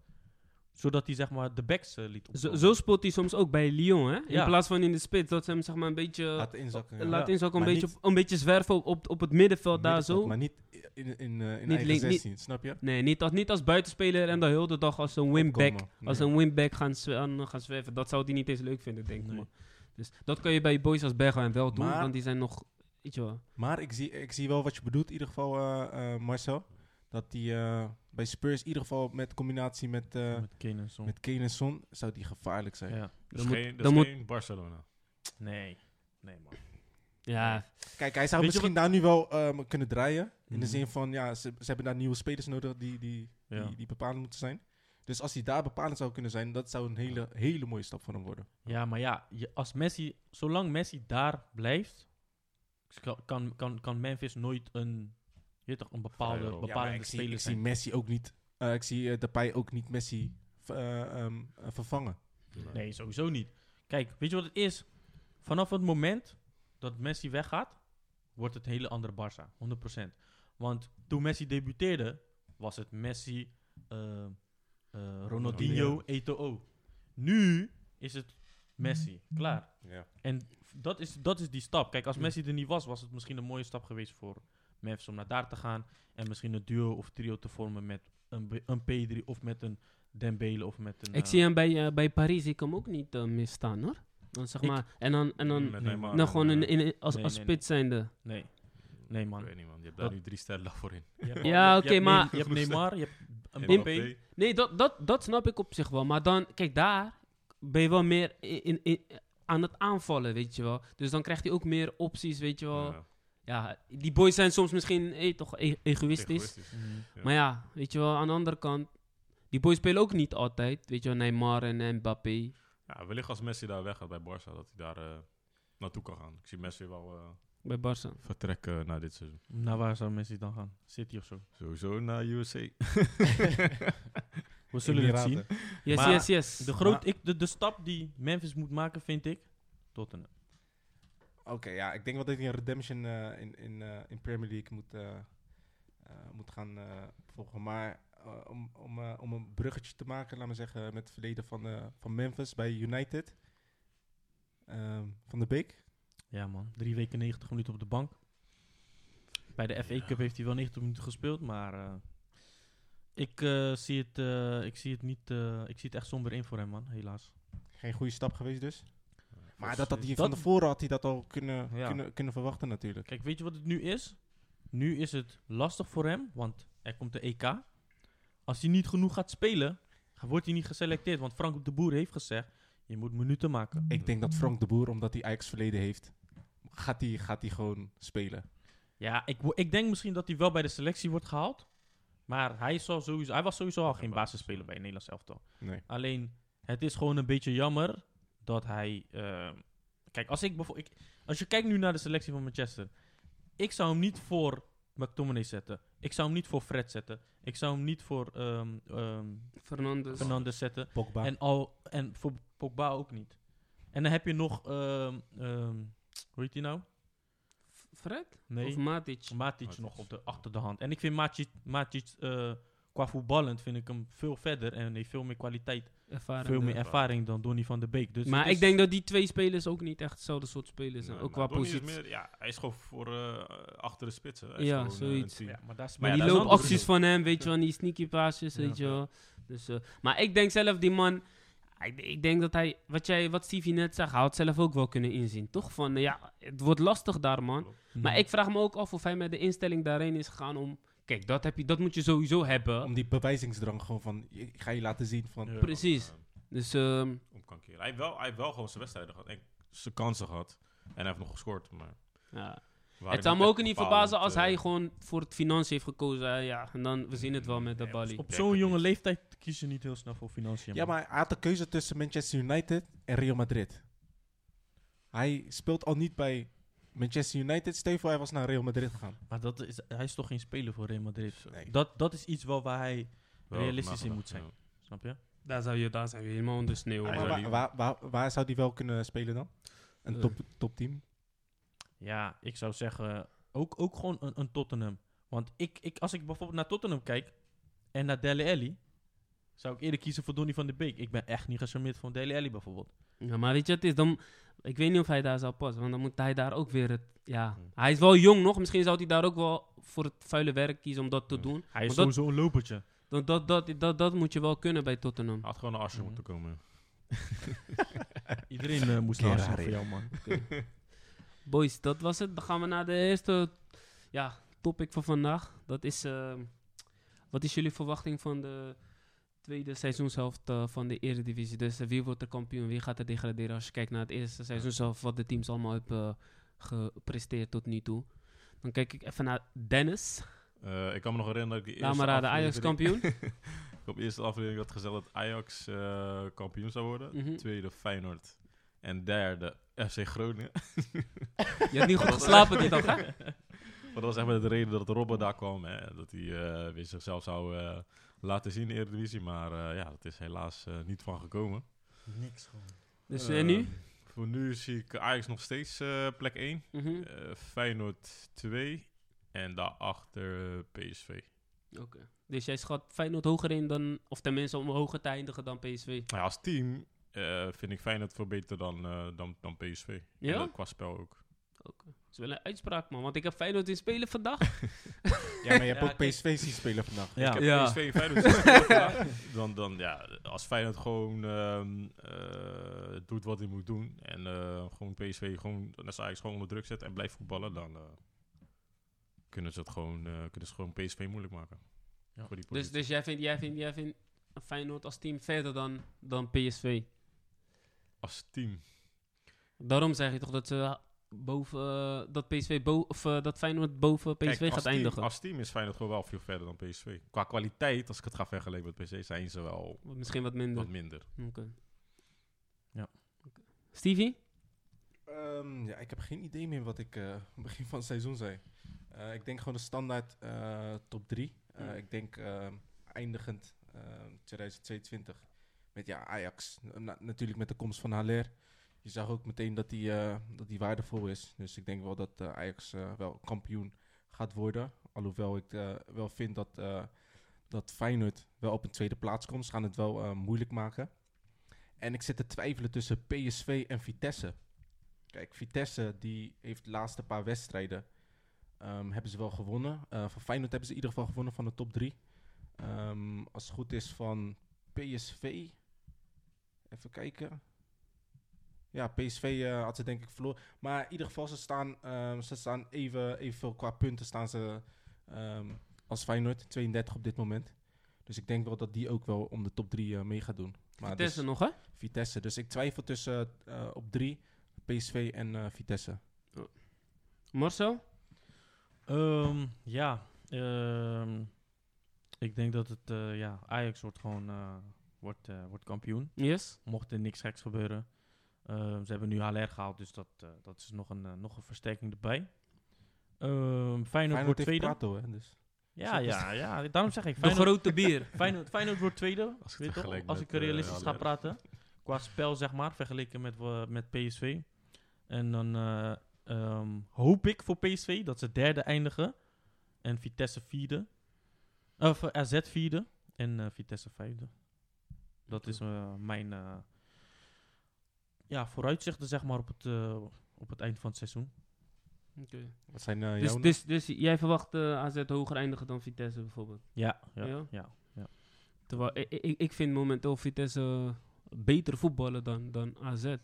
[SPEAKER 3] Zodat hij zeg maar, de backs eh, liet
[SPEAKER 1] Zo,
[SPEAKER 3] opkomen.
[SPEAKER 1] zo speelt hij soms ook bij Lyon, hè? In
[SPEAKER 3] Ja.
[SPEAKER 1] plaats van in de spits, dat ze hem zeg maar een beetje...
[SPEAKER 2] Laat inzakken. ja.
[SPEAKER 1] laat in zo ook een
[SPEAKER 2] Maar
[SPEAKER 1] beetje,
[SPEAKER 2] niet-
[SPEAKER 1] op- een beetje zwerven op, op, op het middenveld daar
[SPEAKER 2] Middenveld,
[SPEAKER 1] zo.
[SPEAKER 2] Maar niet in, in, in, eh,
[SPEAKER 1] Niet
[SPEAKER 2] in eigen
[SPEAKER 1] link- niet-
[SPEAKER 2] 16, snap je?
[SPEAKER 1] Nee, niet als, niet als buitenspeler en dan heel de dag als een wingback.
[SPEAKER 2] Opkomen.
[SPEAKER 1] Als
[SPEAKER 2] Nee.
[SPEAKER 1] een wingback gaan, zwe- aan- gaan zwerven. Dat zou hij niet eens leuk vinden, denk ik.
[SPEAKER 3] Nee.
[SPEAKER 1] man. Dus dat kan je bij boys als Bergwijn wel doen,
[SPEAKER 2] Maar-
[SPEAKER 1] want die zijn nog... Weet je wel.
[SPEAKER 2] Maar ik zie, ik zie wel wat je bedoelt, in ieder geval, eh, eh, Marcel. Dat die eh, bij Spurs, in ieder geval met combinatie met, eh,
[SPEAKER 3] Met Kane en Son.
[SPEAKER 2] met Kane en Son, zou die gevaarlijk zijn.
[SPEAKER 3] Ja.
[SPEAKER 4] Dat is
[SPEAKER 1] Dan moet-
[SPEAKER 4] geen, dat
[SPEAKER 1] dan
[SPEAKER 4] is
[SPEAKER 1] moet-
[SPEAKER 4] geen Barcelona.
[SPEAKER 3] Nee. Nee, man.
[SPEAKER 1] Ja,
[SPEAKER 2] Kijk, hij zou
[SPEAKER 3] Weet je
[SPEAKER 2] misschien daar nu wel ehm, kunnen draaien. In de
[SPEAKER 3] Mhm.
[SPEAKER 2] zin van, ja, ze, ze hebben daar nieuwe spelers nodig die, die,
[SPEAKER 3] Ja.
[SPEAKER 2] die, die bepalend moeten zijn. Dus als hij daar bepalend zou kunnen zijn, dat zou een hele, hele mooie stap voor hem worden.
[SPEAKER 3] Ja, maar ja, je, als Messi, zolang Messi daar blijft, kan- kan, kan, kan Memphis nooit een, je weet toch, een bepaalde,
[SPEAKER 4] Vrije rol. Ja,
[SPEAKER 3] bepalende
[SPEAKER 2] ik, zie,
[SPEAKER 3] speler
[SPEAKER 2] ik zie
[SPEAKER 3] zijn.
[SPEAKER 2] Messi ook niet, eh, ik zie eh, Depay ook niet Messi v- eh, ehm, eh, vervangen.
[SPEAKER 3] Nee, sowieso niet. Kijk, weet je wat het is? Vanaf het moment dat Messi weggaat, wordt het een hele andere Barça. 100%. Want toen Messi debuteerde, was het Messi, eh, eh, Ronaldinho,
[SPEAKER 4] Ronaldinho.
[SPEAKER 3] Eto'o. Nu is het Messi. Klaar.
[SPEAKER 2] Ja.
[SPEAKER 3] En f- dat is, dat is die stap. Kijk, als
[SPEAKER 1] Ja.
[SPEAKER 3] Messi er niet was, was het misschien een mooie stap geweest voor Memphis om naar daar te gaan. En misschien een duo of trio te vormen met een, B- een P3 of met een Dembele of met een...
[SPEAKER 1] ik
[SPEAKER 3] eh,
[SPEAKER 1] zie hem bij, eh, bij Parijs, ik hem ook niet eh, misstaan, hoor. Dan zeg
[SPEAKER 3] Ik-
[SPEAKER 1] maar, en dan, en dan,
[SPEAKER 4] Met
[SPEAKER 3] nee,
[SPEAKER 4] Neymar
[SPEAKER 1] dan
[SPEAKER 4] en,
[SPEAKER 1] gewoon in,
[SPEAKER 4] eh,
[SPEAKER 1] in, als,
[SPEAKER 3] nee,
[SPEAKER 1] als
[SPEAKER 3] nee,
[SPEAKER 1] spits
[SPEAKER 3] nee.
[SPEAKER 1] zijnde.
[SPEAKER 3] Nee. Nee, man.
[SPEAKER 4] Ik weet niet, man. Je hebt daar
[SPEAKER 3] Dat-
[SPEAKER 4] nu drie sterren voor in.
[SPEAKER 3] Je hebt-
[SPEAKER 1] Ja,
[SPEAKER 3] je hebt
[SPEAKER 1] oké,
[SPEAKER 3] Ne-
[SPEAKER 1] maar-
[SPEAKER 3] Je hebt Neymar, je hebt
[SPEAKER 4] En
[SPEAKER 3] Mbappé.
[SPEAKER 1] Nee, dat, dat, dat snap ik op zich wel. Maar dan, kijk, daar ben je wel meer in, in, in- aan het aanvallen, weet je wel. Dus dan krijgt hij ook meer opties, weet je wel. Ja,
[SPEAKER 4] Ja,
[SPEAKER 1] die boys zijn soms misschien eh, toch e- egoïstisch.
[SPEAKER 4] egoïstisch.
[SPEAKER 3] Mhm.
[SPEAKER 4] Ja.
[SPEAKER 1] Maar ja, weet je wel, aan de andere kant, die boys spelen ook niet altijd. Weet je wel, Neymar en en Mbappé.
[SPEAKER 4] Ja, wellicht als Messi daar weggaat bij Barça, dat hij daar eh, naartoe kan gaan. Ik zie Messi wel eh,
[SPEAKER 1] Bij Barca.
[SPEAKER 4] vertrekken naar dit seizoen.
[SPEAKER 3] Naar Nou, waar zou Messi dan gaan? City of zo?
[SPEAKER 4] Sowieso naar USA.
[SPEAKER 3] We zullen het zien.
[SPEAKER 2] Emiraten.
[SPEAKER 1] Yes,
[SPEAKER 3] Maar
[SPEAKER 1] yes, yes.
[SPEAKER 3] De, groot, ik, de, de stap die Memphis moet maken, vind ik, Tottenham.
[SPEAKER 2] Oké, ja, ik denk wel dat hij een redemption eh, in, in, eh, in Premier League moet, eh, eh, moet gaan eh, volgen. Maar eh, om, om, eh, om een bruggetje te maken, laat maar zeggen, met het verleden van, eh, van Memphis bij United. Ehm, van de Beek.
[SPEAKER 3] Ja, man. Drie weken 90 minuten op de bank. Bij de FA Cup heeft hij wel 90 minuten gespeeld, maar eh, ik, eh, zie het, eh, ik zie het niet. eh, ik zie het echt somber in voor hem, man, helaas.
[SPEAKER 2] Geen goede stap geweest dus. Maar dat, dat hij
[SPEAKER 3] dat-
[SPEAKER 2] van tevoren had hij dat al kunnen,
[SPEAKER 3] Ja.
[SPEAKER 2] kunnen, kunnen verwachten natuurlijk.
[SPEAKER 3] Kijk, weet je wat het nu is? Nu is het lastig voor hem, want er komt de EK. Als hij niet genoeg gaat spelen, ga- wordt hij niet geselecteerd. Want Frank de Boer heeft gezegd: je moet minuten maken.
[SPEAKER 2] Ik denk dat Frank de Boer, omdat hij Ajax verleden heeft, gaat hij gaat hij gewoon spelen.
[SPEAKER 3] Ja, ik, wo- ik denk misschien dat hij wel bij de selectie wordt gehaald. Maar hij, zal sowieso, hij was sowieso al geen basisspeler bij het Nederlands elftal.
[SPEAKER 2] Nee.
[SPEAKER 3] Alleen, het is gewoon een beetje jammer dat hij... eh, kijk, als, ik bijvoor- ik, als je kijkt nu naar de selectie van Manchester. Ik zou hem niet voor McTominay zetten. Ik zou hem niet voor Fred zetten. Ik zou hem niet voor ehm ehm,
[SPEAKER 1] Fernandes.
[SPEAKER 3] Fernandes zetten.
[SPEAKER 2] Pogba.
[SPEAKER 3] En, al, en voor Pogba ook niet. En dan heb je nog... ehm, ehm, hoe heet die nou?
[SPEAKER 1] F- Fred?
[SPEAKER 3] Nee.
[SPEAKER 1] Of Matic?
[SPEAKER 3] Matic
[SPEAKER 4] Matic.
[SPEAKER 3] nog op de, achter de hand. En ik vind Matic, Matic eh, qua voetballend vind ik hem veel verder en heeft veel meer kwaliteit,
[SPEAKER 1] Ervaren.
[SPEAKER 3] veel meer
[SPEAKER 4] ervaring.
[SPEAKER 3] ervaring dan Donny van de Beek. Dus
[SPEAKER 1] maar
[SPEAKER 3] het is- Nou,
[SPEAKER 1] ik denk dat die twee spelers ook niet echt hetzelfde soort spelers zijn.
[SPEAKER 4] Nee,
[SPEAKER 1] ook qua
[SPEAKER 4] maar Nou, Donny is
[SPEAKER 1] positie.
[SPEAKER 4] meer- ja, hij is gewoon voor eh, achter de spitsen. Hij is
[SPEAKER 1] Ja,
[SPEAKER 4] gewoon, eh,
[SPEAKER 1] zoiets.
[SPEAKER 4] een team.
[SPEAKER 3] Ja, maar daar is-
[SPEAKER 1] Maar
[SPEAKER 4] Maar
[SPEAKER 3] ja,
[SPEAKER 4] ja,
[SPEAKER 1] die
[SPEAKER 3] dat is
[SPEAKER 1] loopacties
[SPEAKER 4] loopacties
[SPEAKER 3] anders.
[SPEAKER 1] van hem, weet je wel, die sneaky paasjes,
[SPEAKER 3] Ja.
[SPEAKER 1] weet je wel. Dus, eh, maar ik denk zelf, die man... Ik, ik denk dat hij, wat, jij, wat Stevie net zegt, hij had zelf ook wel kunnen inzien. Toch van, eh, ja, het wordt lastig daar, man. Maar ik vraag me ook af of hij met de instelling daarheen is gegaan om... Kijk, dat, heb je, dat moet je sowieso hebben.
[SPEAKER 2] Om die bewijzingsdrang gewoon van, ik ga je laten zien van...
[SPEAKER 4] Ja,
[SPEAKER 1] Precies.
[SPEAKER 4] om, eh,
[SPEAKER 1] Dus ehm,
[SPEAKER 4] Om kan keren. Hij heeft wel, hij heeft wel gewoon zijn wedstrijden gehad. En zijn kansen gehad. En hij heeft nog gescoord. Maar
[SPEAKER 1] ja.
[SPEAKER 4] waren
[SPEAKER 1] het zou me ook
[SPEAKER 4] echt
[SPEAKER 1] niet
[SPEAKER 4] bepalend,
[SPEAKER 1] verbazen als
[SPEAKER 4] eh,
[SPEAKER 1] hij gewoon voor het financiën heeft gekozen. eh, ja, en dan, we zien het wel met de
[SPEAKER 4] Nee, dat is
[SPEAKER 1] balie.
[SPEAKER 3] Op
[SPEAKER 4] denk
[SPEAKER 3] zo'n
[SPEAKER 4] het
[SPEAKER 3] jonge
[SPEAKER 4] niet.
[SPEAKER 3] leeftijd kies je niet heel snel voor financiën.
[SPEAKER 2] Ja,
[SPEAKER 3] man.
[SPEAKER 2] maar hij had de keuze tussen Manchester United en Real Madrid. Hij speelt al niet bij Manchester United. Stel je voor, hij was naar Real Madrid gegaan.
[SPEAKER 3] Maar dat is, hij is toch geen speler voor Real Madrid.
[SPEAKER 2] Nee.
[SPEAKER 3] Dat, dat is iets wel waar hij,
[SPEAKER 4] wel
[SPEAKER 3] realistisch in
[SPEAKER 4] nagedacht,
[SPEAKER 3] moet zijn.
[SPEAKER 4] ja.
[SPEAKER 3] snap je?
[SPEAKER 1] Daar, zou je, daar zijn we helemaal onder sneeuw.
[SPEAKER 4] Hij
[SPEAKER 2] Maar
[SPEAKER 1] man.
[SPEAKER 4] zou
[SPEAKER 2] waar,
[SPEAKER 4] die-
[SPEAKER 2] waar, waar, waar zou hij wel kunnen spelen dan? Een
[SPEAKER 1] Eh.
[SPEAKER 2] top, topteam?
[SPEAKER 3] Ja, ik zou zeggen, ook, ook gewoon een, een Tottenham. Want ik, ik, als ik bijvoorbeeld naar Tottenham kijk en naar Dele Alli, zou ik eerder kiezen voor Donny van de Beek. Ik ben echt niet gecharmeerd van Dele Alli bijvoorbeeld.
[SPEAKER 1] Ja, maar weet je, het is dan. Ik weet niet of hij daar zou passen, want dan moet hij daar ook weer het. Ja, hij is wel jong nog. Misschien zou hij daar ook wel voor het vuile werk kiezen om dat te
[SPEAKER 4] Ja.
[SPEAKER 1] doen.
[SPEAKER 3] Hij is
[SPEAKER 1] Maar dat-
[SPEAKER 3] sowieso een lopertje.
[SPEAKER 1] Dat, dat, dat, dat, dat moet je wel kunnen bij Tottenham.
[SPEAKER 4] Hij had gewoon naar Arsenal
[SPEAKER 3] Mhm.
[SPEAKER 4] moeten komen.
[SPEAKER 3] Iedereen eh, moest naar Arsenal voor jou, man.
[SPEAKER 1] Boys, dat was het. Dan gaan we naar de eerste ja, topic van vandaag. Dat is. eh, wat is jullie verwachting van de tweede seizoenshelft eh, van de Eredivisie? Dus eh, wie wordt de kampioen? Wie gaat er degraderen? Als je kijkt naar het eerste seizoenshelft, wat de teams allemaal hebben eh, gepresteerd tot nu toe. Dan kijk ik even naar Dennis.
[SPEAKER 4] Eh, ik kan me nog herinneren dat ik de
[SPEAKER 1] Laat
[SPEAKER 4] eerste
[SPEAKER 1] maar raden,
[SPEAKER 4] aflevering-
[SPEAKER 1] Ajax kampioen.
[SPEAKER 4] Ik op de eerste aflevering had gezegd dat Ajax eh, kampioen zou worden.
[SPEAKER 1] Mhm.
[SPEAKER 4] Tweede Feyenoord. En derde FC Groningen.
[SPEAKER 1] Je hebt niet goed geslapen die dag, hè?
[SPEAKER 4] Maar dat was echt met de reden dat Robben daar kwam. Hè? Dat hij eh, weer zichzelf zou eh, laten zien in de Eredivisie. Maar eh, ja, dat is helaas eh, niet van gekomen.
[SPEAKER 3] Niks gewoon.
[SPEAKER 1] Dus
[SPEAKER 4] Eh,
[SPEAKER 1] en nu?
[SPEAKER 4] Voor nu zie ik Ajax nog steeds eh, plek 1.
[SPEAKER 1] Mhm.
[SPEAKER 4] Feyenoord 2. En daarachter eh, PSV.
[SPEAKER 1] Dus jij schat Feyenoord hoger in dan, of tenminste om hoger te eindigen dan PSV.
[SPEAKER 4] Maar ja, als team eh, vind ik Feyenoord veel beter dan, eh, dan, dan PSV. En
[SPEAKER 1] Ja?
[SPEAKER 4] dat qua spel ook.
[SPEAKER 1] Dat is wel een uitspraak, man. Want ik heb Feyenoord in spelen vandaag.
[SPEAKER 2] Ja, maar je hebt
[SPEAKER 3] Ja,
[SPEAKER 2] ook
[SPEAKER 3] kijk.
[SPEAKER 2] PSV zien spelen vandaag.
[SPEAKER 3] Ja.
[SPEAKER 4] Ik heb
[SPEAKER 1] Ja.
[SPEAKER 4] PSV en Feyenoord zien spelen vandaag. dan, dan, ja, als Feyenoord gewoon ehm, eh, doet wat hij moet doen. En eh, gewoon PSV gewoon, als Ajax gewoon onder druk zet en blijft voetballen. Dan eh, kunnen, ze het gewoon, eh, kunnen ze gewoon PSV moeilijk maken.
[SPEAKER 3] Ja.
[SPEAKER 4] Voor die
[SPEAKER 1] Dus,
[SPEAKER 4] positie.
[SPEAKER 1] dus jij vindt, jij vindt, jij vindt Feyenoord als team verder dan, dan PSV.
[SPEAKER 4] als team.
[SPEAKER 1] Daarom zeg je toch dat ze boven, eh, dat PSV bo of eh, dat Feyenoord boven PSV
[SPEAKER 4] Kijk, als
[SPEAKER 1] gaat
[SPEAKER 4] team-
[SPEAKER 1] eindigen.
[SPEAKER 4] Als team is Feyenoord gewoon wel veel verder dan PSV. Qua kwaliteit, als ik het ga vergelijken met PSV, zijn ze wel
[SPEAKER 1] Misschien wat minder.
[SPEAKER 4] wat minder.
[SPEAKER 1] Oké.
[SPEAKER 3] Ja.
[SPEAKER 1] Oké. Stevie?
[SPEAKER 2] Ehm, ja, ik heb geen idee meer wat ik eh, aan het begin van het seizoen zei. Eh, ik denk gewoon een standaard eh, top 3.
[SPEAKER 1] Mm.
[SPEAKER 2] Ik denk ehm, eindigend ehm, 2022 met ja, Ajax. Na- na- natuurlijk met de komst van Haller. Je zag ook meteen dat die, eh, dat die waardevol is. Dus ik denk wel dat eh, Ajax eh, wel kampioen gaat worden. Alhoewel ik eh, wel vind dat, eh, dat Feyenoord wel op een tweede plaats komt. Ze gaan het wel eh, moeilijk maken. En ik zit te twijfelen tussen PSV en Vitesse. Kijk, Vitesse die heeft de laatste paar wedstrijden ehm, hebben ze wel gewonnen. Eh, van Feyenoord hebben ze in ieder geval gewonnen van de top 3. als het goed is van PSV. Even kijken. Ja, PSV eh, had ze denk ik verloren. Maar in ieder geval, ze staan, ehm, ze staan even, evenveel qua punten staan ze, ehm, als Feyenoord. 32 op dit moment. Dus ik denk wel dat die ook wel om de top 3 mee gaat doen. Maar dus-
[SPEAKER 1] Vitesse nog, hè?
[SPEAKER 2] Vitesse. Dus ik twijfel tussen eh, op drie PSV en eh, Vitesse.
[SPEAKER 1] Marcel?
[SPEAKER 3] Ehm, ja, ehm, ik denk dat het, eh, ja, Ajax wordt gewoon eh, wordt, eh, wordt kampioen.
[SPEAKER 1] Yes?
[SPEAKER 3] Mocht er niks geks gebeuren. Ehm, ze hebben nu HLR gehaald, dus dat, eh, dat is nog een, eh, nog een versterking erbij. Ehm Feyenoord, wordt
[SPEAKER 2] heeft
[SPEAKER 3] tweede.
[SPEAKER 2] Prato, hè, dus.
[SPEAKER 3] Ja, ja, ja, daarom zeg ik.
[SPEAKER 1] De
[SPEAKER 3] Feyenoord,
[SPEAKER 1] grote bier.
[SPEAKER 3] Feyenoord, Feyenoord wordt tweede,
[SPEAKER 4] Als ik
[SPEAKER 3] weet je toch?
[SPEAKER 4] vergelijk
[SPEAKER 3] als
[SPEAKER 4] met,
[SPEAKER 3] ik realistisch
[SPEAKER 4] eh,
[SPEAKER 3] ga
[SPEAKER 4] HLR.
[SPEAKER 3] praten. Qua spel, zeg maar, vergeleken met, eh, met PSV. En dan eh, ehm, hoop ik voor PSV dat ze derde eindigen. En Vitesse vierde. Of eh, AZ vierde. En eh, Vitesse vijfde. Dat is eh, mijn eh, ja, vooruitzichten, zeg maar, op het, eh, op het eind van het seizoen.
[SPEAKER 1] Oké.
[SPEAKER 2] Wat zijn eh,
[SPEAKER 1] Dus,
[SPEAKER 2] jouw...
[SPEAKER 1] dus, dus jij verwacht eh, AZ hoger eindigen dan Vitesse bijvoorbeeld?
[SPEAKER 3] Ja, ja,
[SPEAKER 1] Ja?
[SPEAKER 3] ja.
[SPEAKER 1] Terwijl ik, ik, ik vind momenteel Vitesse eh, beter voetballen dan, dan AZ.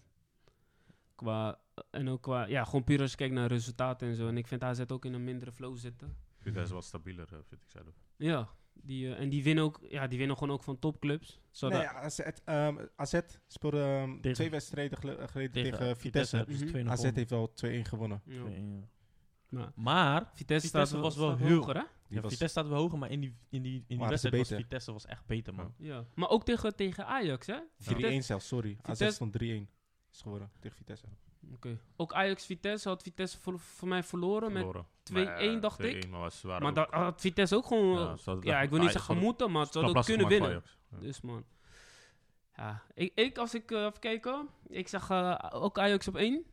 [SPEAKER 1] Qua, eh, en ook qua, ja, gewoon puur als je kijkt naar resultaten en zo. En ik vind AZ ook in een mindere flow zitten.
[SPEAKER 4] Vitesse is wat stabieler, eh, vind ik zelf.
[SPEAKER 1] Ja, die, eh, en die winnen, ook, ja, die winnen gewoon ook van topclubs. Zo
[SPEAKER 2] Nee,
[SPEAKER 1] dat-
[SPEAKER 2] AZ, ehm, AZ speelde ehm,
[SPEAKER 3] Tegen-
[SPEAKER 2] twee wedstrijden gele- geleden tegen, eh, Vitesse.
[SPEAKER 3] hebben ze
[SPEAKER 1] Mhm.
[SPEAKER 3] 2-0
[SPEAKER 2] AZ
[SPEAKER 3] gewonnen.
[SPEAKER 2] heeft al 2-1 gewonnen.
[SPEAKER 1] ja.
[SPEAKER 3] 2-1, ja.
[SPEAKER 1] Nou.
[SPEAKER 3] Maar
[SPEAKER 1] Vitesse, staat
[SPEAKER 3] Vitesse
[SPEAKER 1] wel-
[SPEAKER 3] was wel
[SPEAKER 1] staat
[SPEAKER 3] heel-
[SPEAKER 1] hoger, hè?
[SPEAKER 2] Die
[SPEAKER 3] ja,
[SPEAKER 2] was-
[SPEAKER 3] Vitesse staat wel hoger, maar in die, in die, in die
[SPEAKER 2] Waren ze
[SPEAKER 3] wedstrijd was
[SPEAKER 2] beter?
[SPEAKER 3] Vitesse was echt beter, man.
[SPEAKER 1] Ja. Maar ook tegen, tegen Ajax, hè?
[SPEAKER 2] 3-1 nou, zelfs, sorry.
[SPEAKER 1] Vitesse-
[SPEAKER 2] AZ stond 3-1. Is geworden tegen Vitesse.
[SPEAKER 1] Oké. Ook Ajax-Vitesse had Vitesse voor, voor mij verloren,
[SPEAKER 4] Verloren.
[SPEAKER 1] met 2-1
[SPEAKER 4] Maar,
[SPEAKER 1] dacht ik.
[SPEAKER 4] 2-1, Maar was
[SPEAKER 1] met...
[SPEAKER 4] waren
[SPEAKER 1] Maar
[SPEAKER 4] ook-
[SPEAKER 1] dat had Vitesse ook gewoon...
[SPEAKER 4] ja,
[SPEAKER 1] eh,
[SPEAKER 4] ze hadden
[SPEAKER 1] ja,
[SPEAKER 4] echt-
[SPEAKER 1] ik wil niet
[SPEAKER 4] Ajax
[SPEAKER 1] zeggen
[SPEAKER 4] hadden-
[SPEAKER 1] moeten, maar ze
[SPEAKER 4] knap
[SPEAKER 1] hadden ook
[SPEAKER 4] lastig
[SPEAKER 1] kunnen
[SPEAKER 4] gemaakt
[SPEAKER 1] winnen.
[SPEAKER 4] voor Ajax. Ja.
[SPEAKER 1] Dus man. Ja, ik, ik als ik eh even kijk, hoor. ik zag eh, ook Ajax op 1.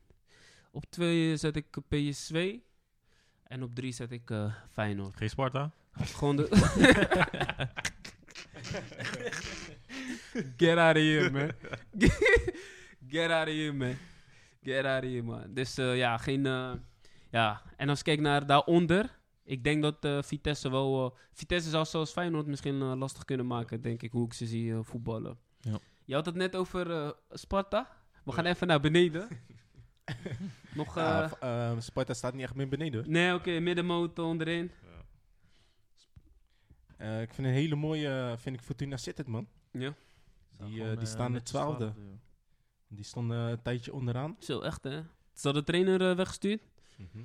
[SPEAKER 1] Op 2 zet ik PSV. En op 3 zet ik eh, Feyenoord.
[SPEAKER 4] Geen Sparta?
[SPEAKER 1] Gewoon de. Get out of here, man. Get out of here, man. Get out of here, man. Dus eh, ja, geen. eh, ja, en als ik kijk naar daaronder. Ik denk dat eh, Vitesse wel. eh, Vitesse zou zoals Feyenoord misschien eh, lastig kunnen maken, denk ik, hoe ik ze zie eh, voetballen.
[SPEAKER 3] Ja.
[SPEAKER 1] Je had het net over eh, Sparta. We gaan even naar beneden. Nog. eh,
[SPEAKER 2] Ja, v- ehm, Sparta staat niet echt meer beneden. hoor.
[SPEAKER 1] nee, oké, middenmotor onderin.
[SPEAKER 4] Ja.
[SPEAKER 2] Eh, ik vind een hele mooie, eh, vind ik Fortuna Sittard, man.
[SPEAKER 1] Ja.
[SPEAKER 2] Die, eh, die staan de twaalfde. Die stonden eh, een tijdje onderaan.
[SPEAKER 1] Zo, echt hè. Ze hadden de trainer eh, weggestuurd.
[SPEAKER 2] Mhm.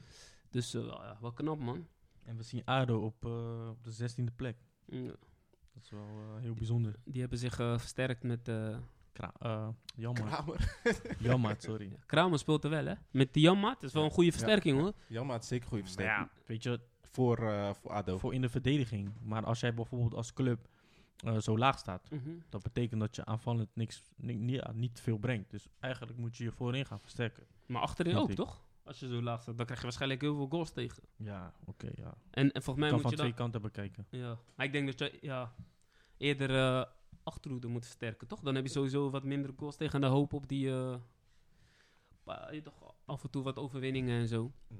[SPEAKER 1] Dus eh, wel, ja, wel knap, man.
[SPEAKER 3] En we zien ADO op, eh, op de zestiende plek.
[SPEAKER 1] Ja,
[SPEAKER 3] Dat is wel eh, heel bijzonder.
[SPEAKER 1] Mm, Die hebben zich eh, versterkt met... eh
[SPEAKER 3] Kra eh, jammer.
[SPEAKER 2] Kramer.
[SPEAKER 3] jammer, sorry.
[SPEAKER 1] Kramer speelt er wel, hè? Met Diamma. Het is wel een goede
[SPEAKER 2] Ja.
[SPEAKER 1] versterking, hoor.
[SPEAKER 2] Jammer, het is zeker een goede
[SPEAKER 3] Maar
[SPEAKER 2] versterking.
[SPEAKER 3] ja, weet je,
[SPEAKER 2] Voor, eh, voor ADO.
[SPEAKER 3] voor in de verdediging. Maar als jij bijvoorbeeld als club eh, zo laag staat,
[SPEAKER 1] Mhm.
[SPEAKER 3] dat betekent dat je aanvallend niks, ni- ni- ja, niet veel brengt. Dus eigenlijk moet je je voorin gaan versterken.
[SPEAKER 1] Maar achterin
[SPEAKER 3] Snap
[SPEAKER 1] ook,
[SPEAKER 3] ik.
[SPEAKER 1] toch? Als je zo laag staat, dan krijg je waarschijnlijk heel veel goals tegen.
[SPEAKER 3] Ja, oké, ja.
[SPEAKER 1] En, en volgens mij
[SPEAKER 3] kan
[SPEAKER 1] moet
[SPEAKER 3] van
[SPEAKER 1] je
[SPEAKER 3] twee
[SPEAKER 1] dan...
[SPEAKER 3] kanten bekijken.
[SPEAKER 1] Ja. Maar ik denk dat je ja, eerder eh achterhoede moet versterken, toch? Dan heb je sowieso wat minder goals tegen. En dan hoop op die... eh, pa- je toch af en toe wat overwinningen en zo. Mm.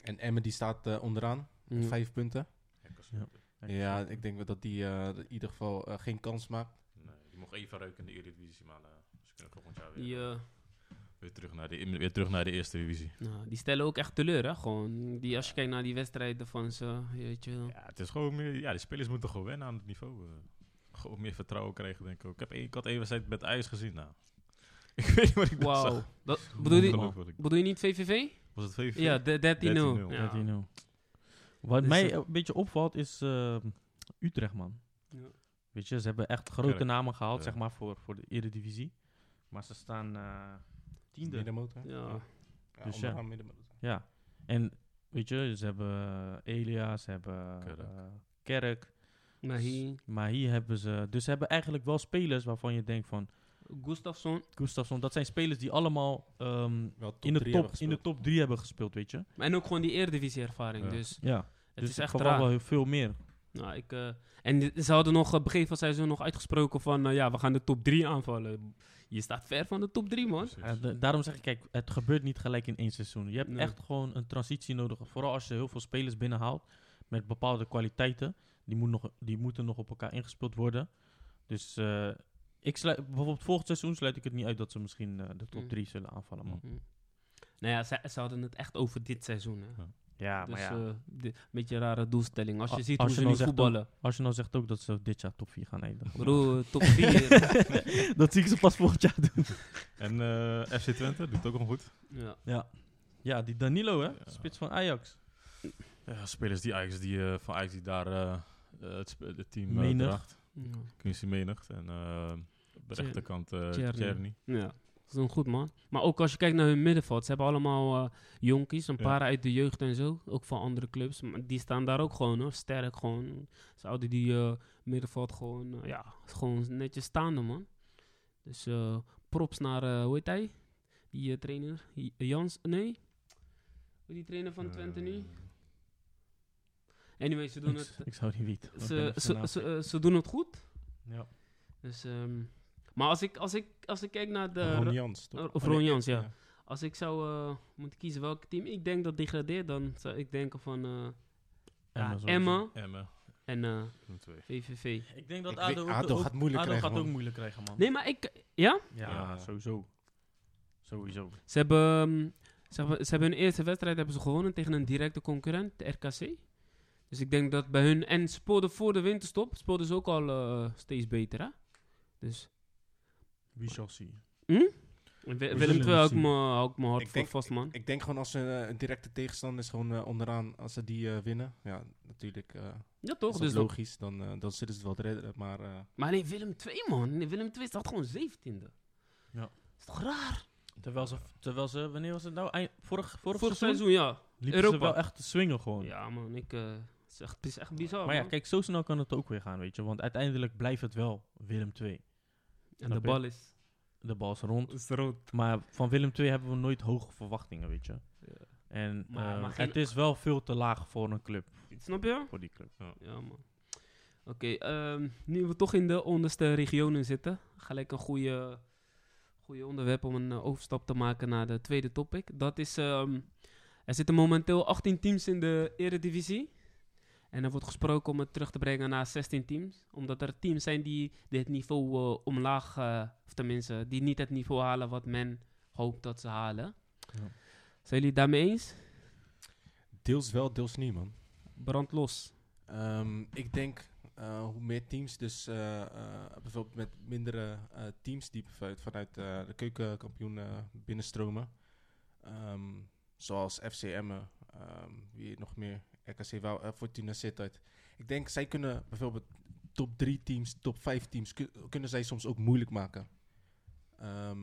[SPEAKER 2] En Emmen die staat eh, onderaan.
[SPEAKER 1] Ja.
[SPEAKER 2] Vijf punten.
[SPEAKER 3] Ja.
[SPEAKER 2] Ja, ik denk wel dat die eh, in ieder geval eh, geen kans maakt.
[SPEAKER 4] Nee, die mocht even ruiken in de Eredivisie, maar eh, ze kunnen volgend jaar weer,
[SPEAKER 1] Die, eh,
[SPEAKER 4] weer, terug naar de, weer terug naar de Eerste Divisie.
[SPEAKER 1] Nou, die stellen ook echt teleur, hè? Gewoon, die, als je kijkt naar die wedstrijden van ze, weet je wel.
[SPEAKER 4] Ja, het is gewoon meer, ja, de spelers moeten gewoon wennen aan het niveau. eh. gewoon meer vertrouwen krijgen, denk ik ook. Ik, heb één, ik had één wedstrijd met IJs gezien, nou. Ik weet niet wat ik daar
[SPEAKER 1] Wauw.
[SPEAKER 4] zag.
[SPEAKER 1] Dat- Bedoel je,
[SPEAKER 4] Ongelooflijk.
[SPEAKER 1] bedoel je niet VVV?
[SPEAKER 4] Was het VV?
[SPEAKER 1] Ja, de- 13-0.
[SPEAKER 4] 13-0.
[SPEAKER 1] Ja.
[SPEAKER 3] 13-0. Wat
[SPEAKER 1] Dus,
[SPEAKER 3] mij
[SPEAKER 1] eh,
[SPEAKER 3] een beetje opvalt is eh, Utrecht, man.
[SPEAKER 1] Ja.
[SPEAKER 3] Weet je, ze hebben echt grote
[SPEAKER 4] Kerk.
[SPEAKER 3] namen gehaald,
[SPEAKER 4] Ja.
[SPEAKER 3] zeg maar, voor, voor de Eredivisie. Maar ze staan eh, tiende.
[SPEAKER 2] Middenmotor.
[SPEAKER 1] Ja.
[SPEAKER 2] Ja,
[SPEAKER 3] Dus ja.
[SPEAKER 2] onderaan middenmotor.
[SPEAKER 3] Ja. En weet je, ze hebben eh, Elia, ze hebben
[SPEAKER 4] Kerk.
[SPEAKER 3] Kerk. Kerk.
[SPEAKER 1] Maar hier,
[SPEAKER 3] Maar hier hebben ze... Dus ze hebben eigenlijk wel spelers waarvan je denkt van...
[SPEAKER 1] Gustafsson.
[SPEAKER 3] Gustafsson, dat zijn spelers die allemaal ehm,
[SPEAKER 2] Wel top
[SPEAKER 3] in, de
[SPEAKER 2] drie
[SPEAKER 3] top,
[SPEAKER 2] hebben
[SPEAKER 3] in de
[SPEAKER 2] gespeeld.
[SPEAKER 3] top drie hebben gespeeld, weet je.
[SPEAKER 1] En ook gewoon die Eredivisie-ervaring.
[SPEAKER 4] Ja.
[SPEAKER 1] Dus het
[SPEAKER 3] Ja. dus
[SPEAKER 1] is echt
[SPEAKER 3] verwacht
[SPEAKER 1] raar.
[SPEAKER 3] wel heel veel meer.
[SPEAKER 1] Nou, ik, eh, en die- ze hadden nog, eh, begin van het seizoen nog uitgesproken van, eh, ja, we gaan de top 3 aanvallen. Je staat ver van de top 3, man.
[SPEAKER 4] Precies.
[SPEAKER 3] Ja, Eh, da- daarom zeg ik, kijk, het gebeurt niet gelijk in één seizoen. Je hebt
[SPEAKER 1] Dus, eh, Nee.
[SPEAKER 3] echt gewoon een transitie nodig. Vooral als je heel veel spelers binnenhaalt met bepaalde kwaliteiten. Die, moet nog, die moeten nog op elkaar ingespeeld worden. Dus eh, ik sluit, bijvoorbeeld volgend seizoen sluit ik het niet uit dat ze misschien eh, de top
[SPEAKER 1] Mm.
[SPEAKER 3] 3 zullen aanvallen. Man.
[SPEAKER 1] Mhm. Nou ja, ze, ze hadden het echt over dit seizoen. Hè.
[SPEAKER 3] Ja,
[SPEAKER 1] dus eh, di- een beetje een rare doelstelling. Als je
[SPEAKER 3] A-
[SPEAKER 1] ziet
[SPEAKER 3] als
[SPEAKER 1] hoe
[SPEAKER 3] je
[SPEAKER 1] ze nu
[SPEAKER 3] dan zegt
[SPEAKER 1] voetballen.
[SPEAKER 3] als je nou zegt ook dat ze dit jaar top 4 gaan eindigen.
[SPEAKER 1] Bro, top 4.
[SPEAKER 3] dat zie ik ze pas volgend jaar doen.
[SPEAKER 4] En eh, FC Twente doet ook nog goed.
[SPEAKER 1] ja.
[SPEAKER 3] Ja, die Danilo hè,
[SPEAKER 4] Ja.
[SPEAKER 3] spits van Ajax.
[SPEAKER 4] Ja, spelers die Ajax, die, eh, van Ajax die daar eh, eh, het, sp- het team eh,
[SPEAKER 3] Menig.
[SPEAKER 4] draagt. Quincy Menigt en eh, op de
[SPEAKER 1] Tjer-
[SPEAKER 4] rechterkant eh
[SPEAKER 1] Tjerni.
[SPEAKER 4] Tjerni.
[SPEAKER 1] Ja, dat is een goed man. Maar ook als je kijkt naar hun middenveld, ze hebben allemaal eh jonkies, een
[SPEAKER 4] Ja.
[SPEAKER 1] paar uit de jeugd en zo, ook van andere clubs. Maar die staan daar ook gewoon hoor, sterk gewoon. Ze houden die eh, middenveld gewoon, eh, ja, gewoon netjes staande man. Dus eh, props naar, eh, hoe heet hij? Die eh, trainer, J- Jans, nee? Hoe heet die trainer
[SPEAKER 4] Eh,
[SPEAKER 1] van Twente nu? Anyway, ze doen
[SPEAKER 3] Ik,
[SPEAKER 1] het,
[SPEAKER 3] ik zou het niet weten. Ik ben
[SPEAKER 1] ze,
[SPEAKER 3] even zijn
[SPEAKER 1] ze,
[SPEAKER 3] naam
[SPEAKER 1] ze, eh, ze doen het goed.
[SPEAKER 3] kwijt. Ja.
[SPEAKER 1] Dus, ehm, maar als ik, als, ik, als ik kijk naar de...
[SPEAKER 2] Ron Jans, toch?
[SPEAKER 1] eh, Of
[SPEAKER 2] Oh, nee,
[SPEAKER 1] Ron Jans, ja.
[SPEAKER 2] ja.
[SPEAKER 1] Als ik zou eh, moeten kiezen welk team ik denk dat degradeert, dan zou ik denken van eh, ja,
[SPEAKER 3] sowieso.
[SPEAKER 1] Emma
[SPEAKER 4] Emmen,
[SPEAKER 1] en eh,
[SPEAKER 4] Willem II.
[SPEAKER 1] VVV.
[SPEAKER 3] Ik denk dat
[SPEAKER 2] Ik
[SPEAKER 3] ADO,
[SPEAKER 2] weet-
[SPEAKER 3] ook-
[SPEAKER 2] ADO
[SPEAKER 3] ook-
[SPEAKER 2] gaat moeilijk
[SPEAKER 3] ADO
[SPEAKER 2] krijgen,
[SPEAKER 3] gaat ook
[SPEAKER 2] man.
[SPEAKER 3] moeilijk krijgen, man.
[SPEAKER 1] Nee, maar ik... Ja?
[SPEAKER 3] Ja,
[SPEAKER 4] Ja.
[SPEAKER 3] sowieso. Sowieso.
[SPEAKER 1] Ze hebben, ehm, ze, hebben, ze hebben hun eerste wedstrijd hebben ze gewonnen tegen een directe concurrent, de RKC. Dus ik denk dat bij hun... En ze speelden voor de winterstop, speelden ze ook al eh, steeds beter, hè? Dus...
[SPEAKER 3] We shall see.
[SPEAKER 1] en Wi-
[SPEAKER 3] zullen
[SPEAKER 1] Willem
[SPEAKER 3] het
[SPEAKER 1] II hou ik
[SPEAKER 3] zien.
[SPEAKER 1] me- hou ik mijn hart
[SPEAKER 2] Ik
[SPEAKER 1] voor
[SPEAKER 2] denk-
[SPEAKER 1] vast, man.
[SPEAKER 2] Ik denk gewoon als ze eh, een directe tegenstander is, gewoon eh, onderaan, als ze die eh, winnen. Ja, natuurlijk. eh,
[SPEAKER 1] Ja,
[SPEAKER 2] is
[SPEAKER 1] toch?
[SPEAKER 2] dat
[SPEAKER 1] Dus dat-
[SPEAKER 2] logisch, dan, eh, dan zullen ze het wel redden. Maar eh,
[SPEAKER 1] maar nee, Willem II, man. Nee, Willem II staat gewoon 17e.
[SPEAKER 3] Ja.
[SPEAKER 1] Is toch raar?
[SPEAKER 3] Terwijl ze, terwijl ze, wanneer was het nou? Eind, vorig, vorig,
[SPEAKER 1] Vorig
[SPEAKER 3] seizoen
[SPEAKER 1] seizoen, ja.
[SPEAKER 3] liepen
[SPEAKER 1] Europa.
[SPEAKER 3] ze wel echt te swingen gewoon.
[SPEAKER 1] Ja, man, ik, eh, het, is echt, het is echt bizar.
[SPEAKER 3] maar ja,
[SPEAKER 1] man.
[SPEAKER 3] kijk, zo snel kan het ook weer gaan, weet je. Want uiteindelijk blijft het wel Willem 2.
[SPEAKER 1] en de
[SPEAKER 3] snap je?
[SPEAKER 1] bal is.
[SPEAKER 3] De bal is rond.
[SPEAKER 1] is rood.
[SPEAKER 3] Maar van Willem 2 hebben we nooit hoge verwachtingen, weet je.
[SPEAKER 1] Ja.
[SPEAKER 3] En
[SPEAKER 1] Maar-
[SPEAKER 3] eh,
[SPEAKER 1] maar geen-
[SPEAKER 3] het is wel veel te laag voor een club,
[SPEAKER 1] Snap je?
[SPEAKER 3] voor die club.
[SPEAKER 1] Ja, man. Oké, ehm, nu we toch in de onderste regionen zitten, gelijk een goede, goede onderwerp om een eh, overstap te maken naar de tweede topic. Dat is, ehm, er zitten momenteel 18 teams in de eredivisie. En er wordt gesproken om het terug te brengen naar 16 teams. Omdat er teams zijn die dit niveau eh, omlaag, eh, of tenminste, die niet het niveau halen wat men hoopt dat ze halen.
[SPEAKER 3] Ja.
[SPEAKER 1] Zijn jullie het daarmee eens?
[SPEAKER 2] deels wel, deels niet, man.
[SPEAKER 1] Brand los.
[SPEAKER 2] Ehm, ik denk eh, hoe meer teams, dus eh, eh, bijvoorbeeld met mindere eh, teams die vanuit, vanuit eh, de keukenkampioen eh, binnenstromen. Ehm, zoals FC Emmen, ehm, wie nog meer, RKC Wou, eh, Fortuna Sittard. Ik denk zij kunnen bijvoorbeeld top 3 teams, top 5 teams, ku- kunnen zij soms ook moeilijk maken. Ehm,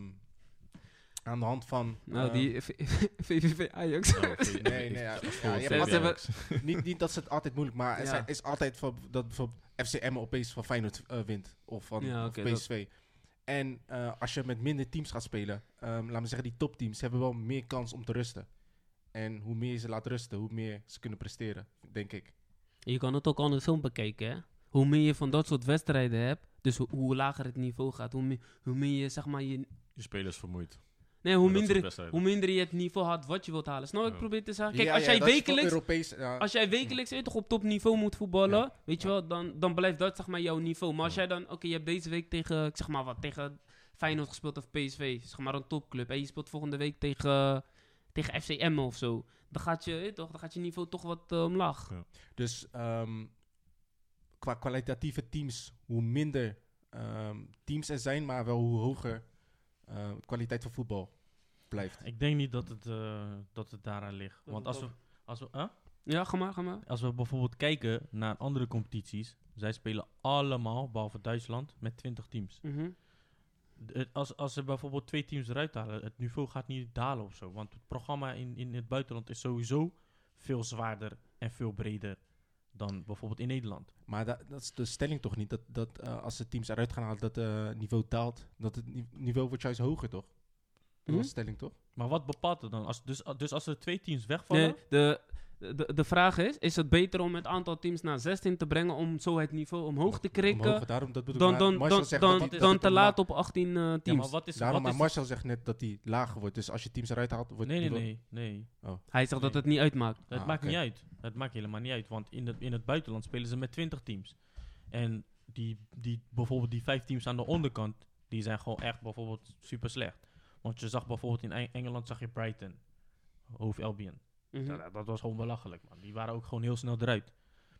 [SPEAKER 2] aan de hand van...
[SPEAKER 1] Nou,
[SPEAKER 2] ehm,
[SPEAKER 1] die VVV Ajax.
[SPEAKER 4] Oh,
[SPEAKER 2] Nee, nee, ja, ja, je hebt
[SPEAKER 1] Wat hebben-
[SPEAKER 2] niet, niet dat ze het altijd moeilijk, maar er
[SPEAKER 1] Ja.
[SPEAKER 2] zijn- is altijd van, dat bijvoorbeeld FCM opeens van Feyenoord eh, wint of van
[SPEAKER 1] Ja,
[SPEAKER 2] of
[SPEAKER 1] oké, dat-
[SPEAKER 2] PSV. En eh, als je met minder teams gaat spelen, ehm laten we zeggen die topteams hebben wel meer kans om te rusten. En hoe meer je ze laat rusten, hoe meer ze kunnen presteren, denk ik.
[SPEAKER 1] Je kan het ook andersom bekijken, hè? Hoe meer je van dat soort wedstrijden hebt, dus hoe, hoe lager het niveau gaat, hoe meer, hoe meer je, zeg maar, je...
[SPEAKER 4] Je spelers vermoeid.
[SPEAKER 1] Nee, hoe
[SPEAKER 4] Maar dat soort
[SPEAKER 1] minder,
[SPEAKER 4] wedstrijden.
[SPEAKER 1] hoe minder je het niveau had wat je wilt halen. Snap wat ik
[SPEAKER 4] Ja.
[SPEAKER 1] probeer te zeggen?
[SPEAKER 2] Ja,
[SPEAKER 1] Nou, Kijk, als,
[SPEAKER 2] ja,
[SPEAKER 1] jij
[SPEAKER 2] dat is voor
[SPEAKER 1] wekelijks,
[SPEAKER 2] Europees, ja,
[SPEAKER 1] als jij wekelijks weet je toch, op topniveau moet voetballen, weet je
[SPEAKER 2] Ja.
[SPEAKER 1] wel, dan, dan blijft dat zeg maar jouw niveau. Maar als
[SPEAKER 4] Ja.
[SPEAKER 1] jij dan, oké, je hebt deze week tegen, ik zeg maar wat, tegen Feyenoord gespeeld of PSV, zeg maar een topclub, en je speelt volgende week tegen, tegen FCM of zo, dan gaat je, weet je toch, dan gaat je niveau toch wat eh, omlaag.
[SPEAKER 2] Dus ehm, qua kwalitatieve teams, hoe minder ehm, teams er zijn, maar wel hoe hoger eh, de kwaliteit van voetbal blijft.
[SPEAKER 3] Ik denk niet dat het, eh, dat het daaraan ligt.
[SPEAKER 1] Dat
[SPEAKER 3] Want
[SPEAKER 1] het
[SPEAKER 3] als we, als, we, huh?
[SPEAKER 1] Ja, ga maar, ga maar.
[SPEAKER 3] als we bijvoorbeeld kijken naar andere competities, zij spelen allemaal, behalve Duitsland, met 20 teams.
[SPEAKER 1] Mhm.
[SPEAKER 3] D- het- als, als ze bijvoorbeeld twee teams eruit halen, het niveau gaat niet dalen of zo. Want het programma in, in het buitenland is sowieso veel zwaarder en veel breder dan bijvoorbeeld in Nederland.
[SPEAKER 2] Maar da- dat is de stelling toch niet? Dat, dat eh, als de teams eruit gaan halen, dat het niveau daalt. Dat het ni- niveau wordt juist hoger, toch? Dat was
[SPEAKER 1] Hm?
[SPEAKER 2] de stelling, toch?
[SPEAKER 3] Maar wat bepaalt het dan? Als, dus, dus als er twee teams wegvallen,
[SPEAKER 1] Nee, de, de, de vraag is: is het beter om het aantal teams naar 16 te brengen om zo het niveau omhoog te krikken?
[SPEAKER 2] Omhoog, daarom dat bedoel ik.
[SPEAKER 1] Dan, dan,
[SPEAKER 2] maar Marcel
[SPEAKER 1] dan,
[SPEAKER 2] zegt dat
[SPEAKER 1] dan,
[SPEAKER 2] die- dat
[SPEAKER 1] dan
[SPEAKER 2] het
[SPEAKER 1] te
[SPEAKER 2] omlaag-
[SPEAKER 1] laat op 18 eh,
[SPEAKER 3] ja,
[SPEAKER 1] teams.
[SPEAKER 3] maar wat is,
[SPEAKER 2] Daarom,
[SPEAKER 3] wat
[SPEAKER 2] maar
[SPEAKER 3] is
[SPEAKER 2] Marcel zegt net dat die lager wordt. Dus als je teams eruit haalt, wordt
[SPEAKER 3] Nee, nee,
[SPEAKER 2] die wel-
[SPEAKER 3] nee, nee.
[SPEAKER 1] Hij zegt dat het niet uitmaakt.
[SPEAKER 3] Dat
[SPEAKER 2] Ah,
[SPEAKER 3] maakt
[SPEAKER 2] oké.
[SPEAKER 3] niet uit. Dat maakt helemaal niet uit. Want in het, in het buitenland spelen ze met 20 teams. En die, die, bijvoorbeeld die vijf teams aan de onderkant, die zijn gewoon echt bijvoorbeeld super slecht. Want je zag bijvoorbeeld in Eng- Engeland zag je Brighton, Hove Albion.
[SPEAKER 1] Mhm.
[SPEAKER 3] Ja, dat, dat was gewoon belachelijk, man. Die waren ook gewoon heel snel eruit.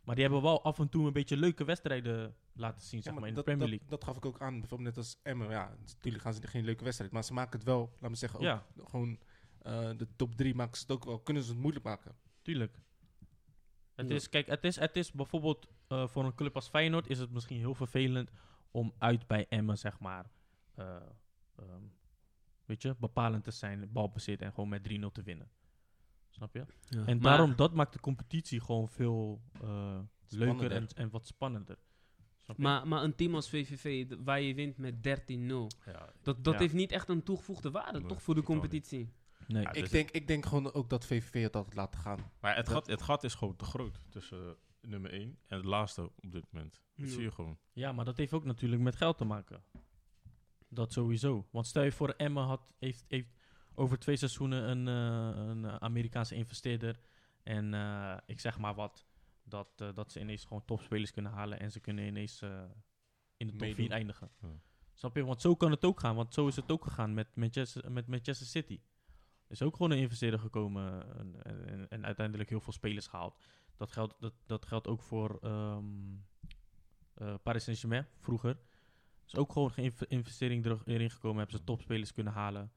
[SPEAKER 3] Maar die hebben wel af en toe een beetje leuke wedstrijden laten zien,
[SPEAKER 2] Ja,
[SPEAKER 3] zeg maar,
[SPEAKER 2] maar
[SPEAKER 3] in
[SPEAKER 2] dat,
[SPEAKER 3] de Premier
[SPEAKER 2] dat,
[SPEAKER 3] League.
[SPEAKER 2] dat gaf ik ook aan, bijvoorbeeld net als Emmen. Ja, natuurlijk gaan ze geen leuke wedstrijd. Maar ze maken het wel, laat me zeggen, ook
[SPEAKER 3] Ja,
[SPEAKER 2] gewoon eh, de top drie maken ze het ook wel. Kunnen ze het moeilijk maken.
[SPEAKER 3] tuurlijk. Het
[SPEAKER 1] Ja.
[SPEAKER 3] is, kijk, het is, het is bijvoorbeeld eh, voor een club als Feyenoord is het misschien heel vervelend om uit bij Emmen, zeg maar, eh, ehm, weet je, bepalend te zijn, balbezit en gewoon met 3-0 te winnen. Snap je? En
[SPEAKER 1] Maar-
[SPEAKER 3] daarom, dat maakt de competitie gewoon veel eh, leuker en,
[SPEAKER 2] Spannender.
[SPEAKER 3] en wat spannender. Snap je?
[SPEAKER 1] Maar, maar een team als VVV, d- waar je wint met 13-0,
[SPEAKER 4] Ja,
[SPEAKER 1] dat, dat
[SPEAKER 3] Ja.
[SPEAKER 1] heeft niet echt een toegevoegde waarde,
[SPEAKER 4] Nee,
[SPEAKER 1] toch, voor de
[SPEAKER 4] totaal niet.
[SPEAKER 1] competitie?
[SPEAKER 3] nee.
[SPEAKER 4] Ja,
[SPEAKER 2] ik,
[SPEAKER 4] dus-
[SPEAKER 2] denk, ik denk gewoon ook dat VVV het altijd laat gaan.
[SPEAKER 4] maar het
[SPEAKER 2] Dat-
[SPEAKER 4] gat, het gat is gewoon te groot tussen eh, nummer 1 en het laatste op dit moment. Dat
[SPEAKER 1] Ja.
[SPEAKER 4] zie je gewoon.
[SPEAKER 3] Ja, maar dat heeft ook natuurlijk met geld te maken. Dat sowieso. Want stel je voor, Emma had, heeft, heeft over twee seizoenen een, eh, een eh, Amerikaanse investeerder. En eh, ik zeg maar wat, dat, eh, dat ze ineens gewoon topspelers kunnen halen en ze kunnen ineens eh, in de top
[SPEAKER 4] Meedoen.
[SPEAKER 3] 4 eindigen.
[SPEAKER 4] Ja.
[SPEAKER 3] Snap je? Want zo kan het ook gaan. Want zo is het ook gegaan met Manchester, met Manchester City. Er is ook gewoon een investeerder gekomen en, en- en, en uiteindelijk heel veel spelers gehaald. Dat geldt, dat, dat geldt ook voor ehm, eh, Paris Saint-Germain vroeger. is ook gewoon geen inv- investering er- erin gekomen. Hebben ze topspelers kunnen halen.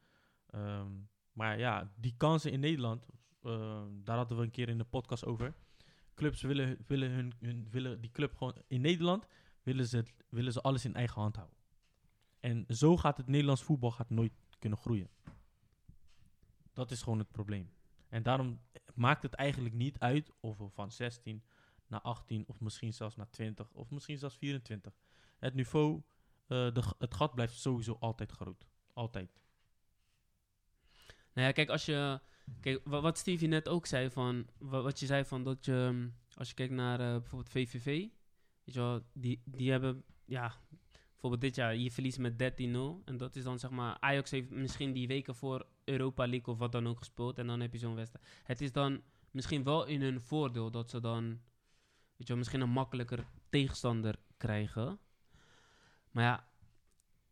[SPEAKER 3] Ehm, maar ja, die kansen in Nederland, ehm, daar hadden we een keer in de podcast over. Clubs willen, willen, hun, hun, willen die club gewoon in Nederland, willen ze, het- willen ze alles in eigen hand houden. En zo gaat het Nederlands voetbal gaat nooit kunnen groeien. Dat is gewoon het probleem. En daarom maakt het eigenlijk niet uit of we van 16 naar 18 of misschien zelfs naar 20 of misschien zelfs 24. Het niveau, eh, de, g- het gat blijft sowieso altijd groot. Altijd.
[SPEAKER 1] Nou ja, kijk, als je. Kijk, wa- wat Stevie net ook zei van. wa- Wat je zei van dat je. ehm, Als je kijkt naar eh, bijvoorbeeld VVV. Weet je wel, die, die hebben. Ja, bijvoorbeeld dit jaar. Je verliest met 13-0. En dat is dan zeg maar. Ajax heeft misschien die weken voor Europa League of wat dan ook gespeeld. En dan heb je zo'n wedstrijd. Het is dan misschien wel in hun voordeel dat ze dan. Weet je wel, misschien een makkelijker tegenstander krijgen. Maar ja,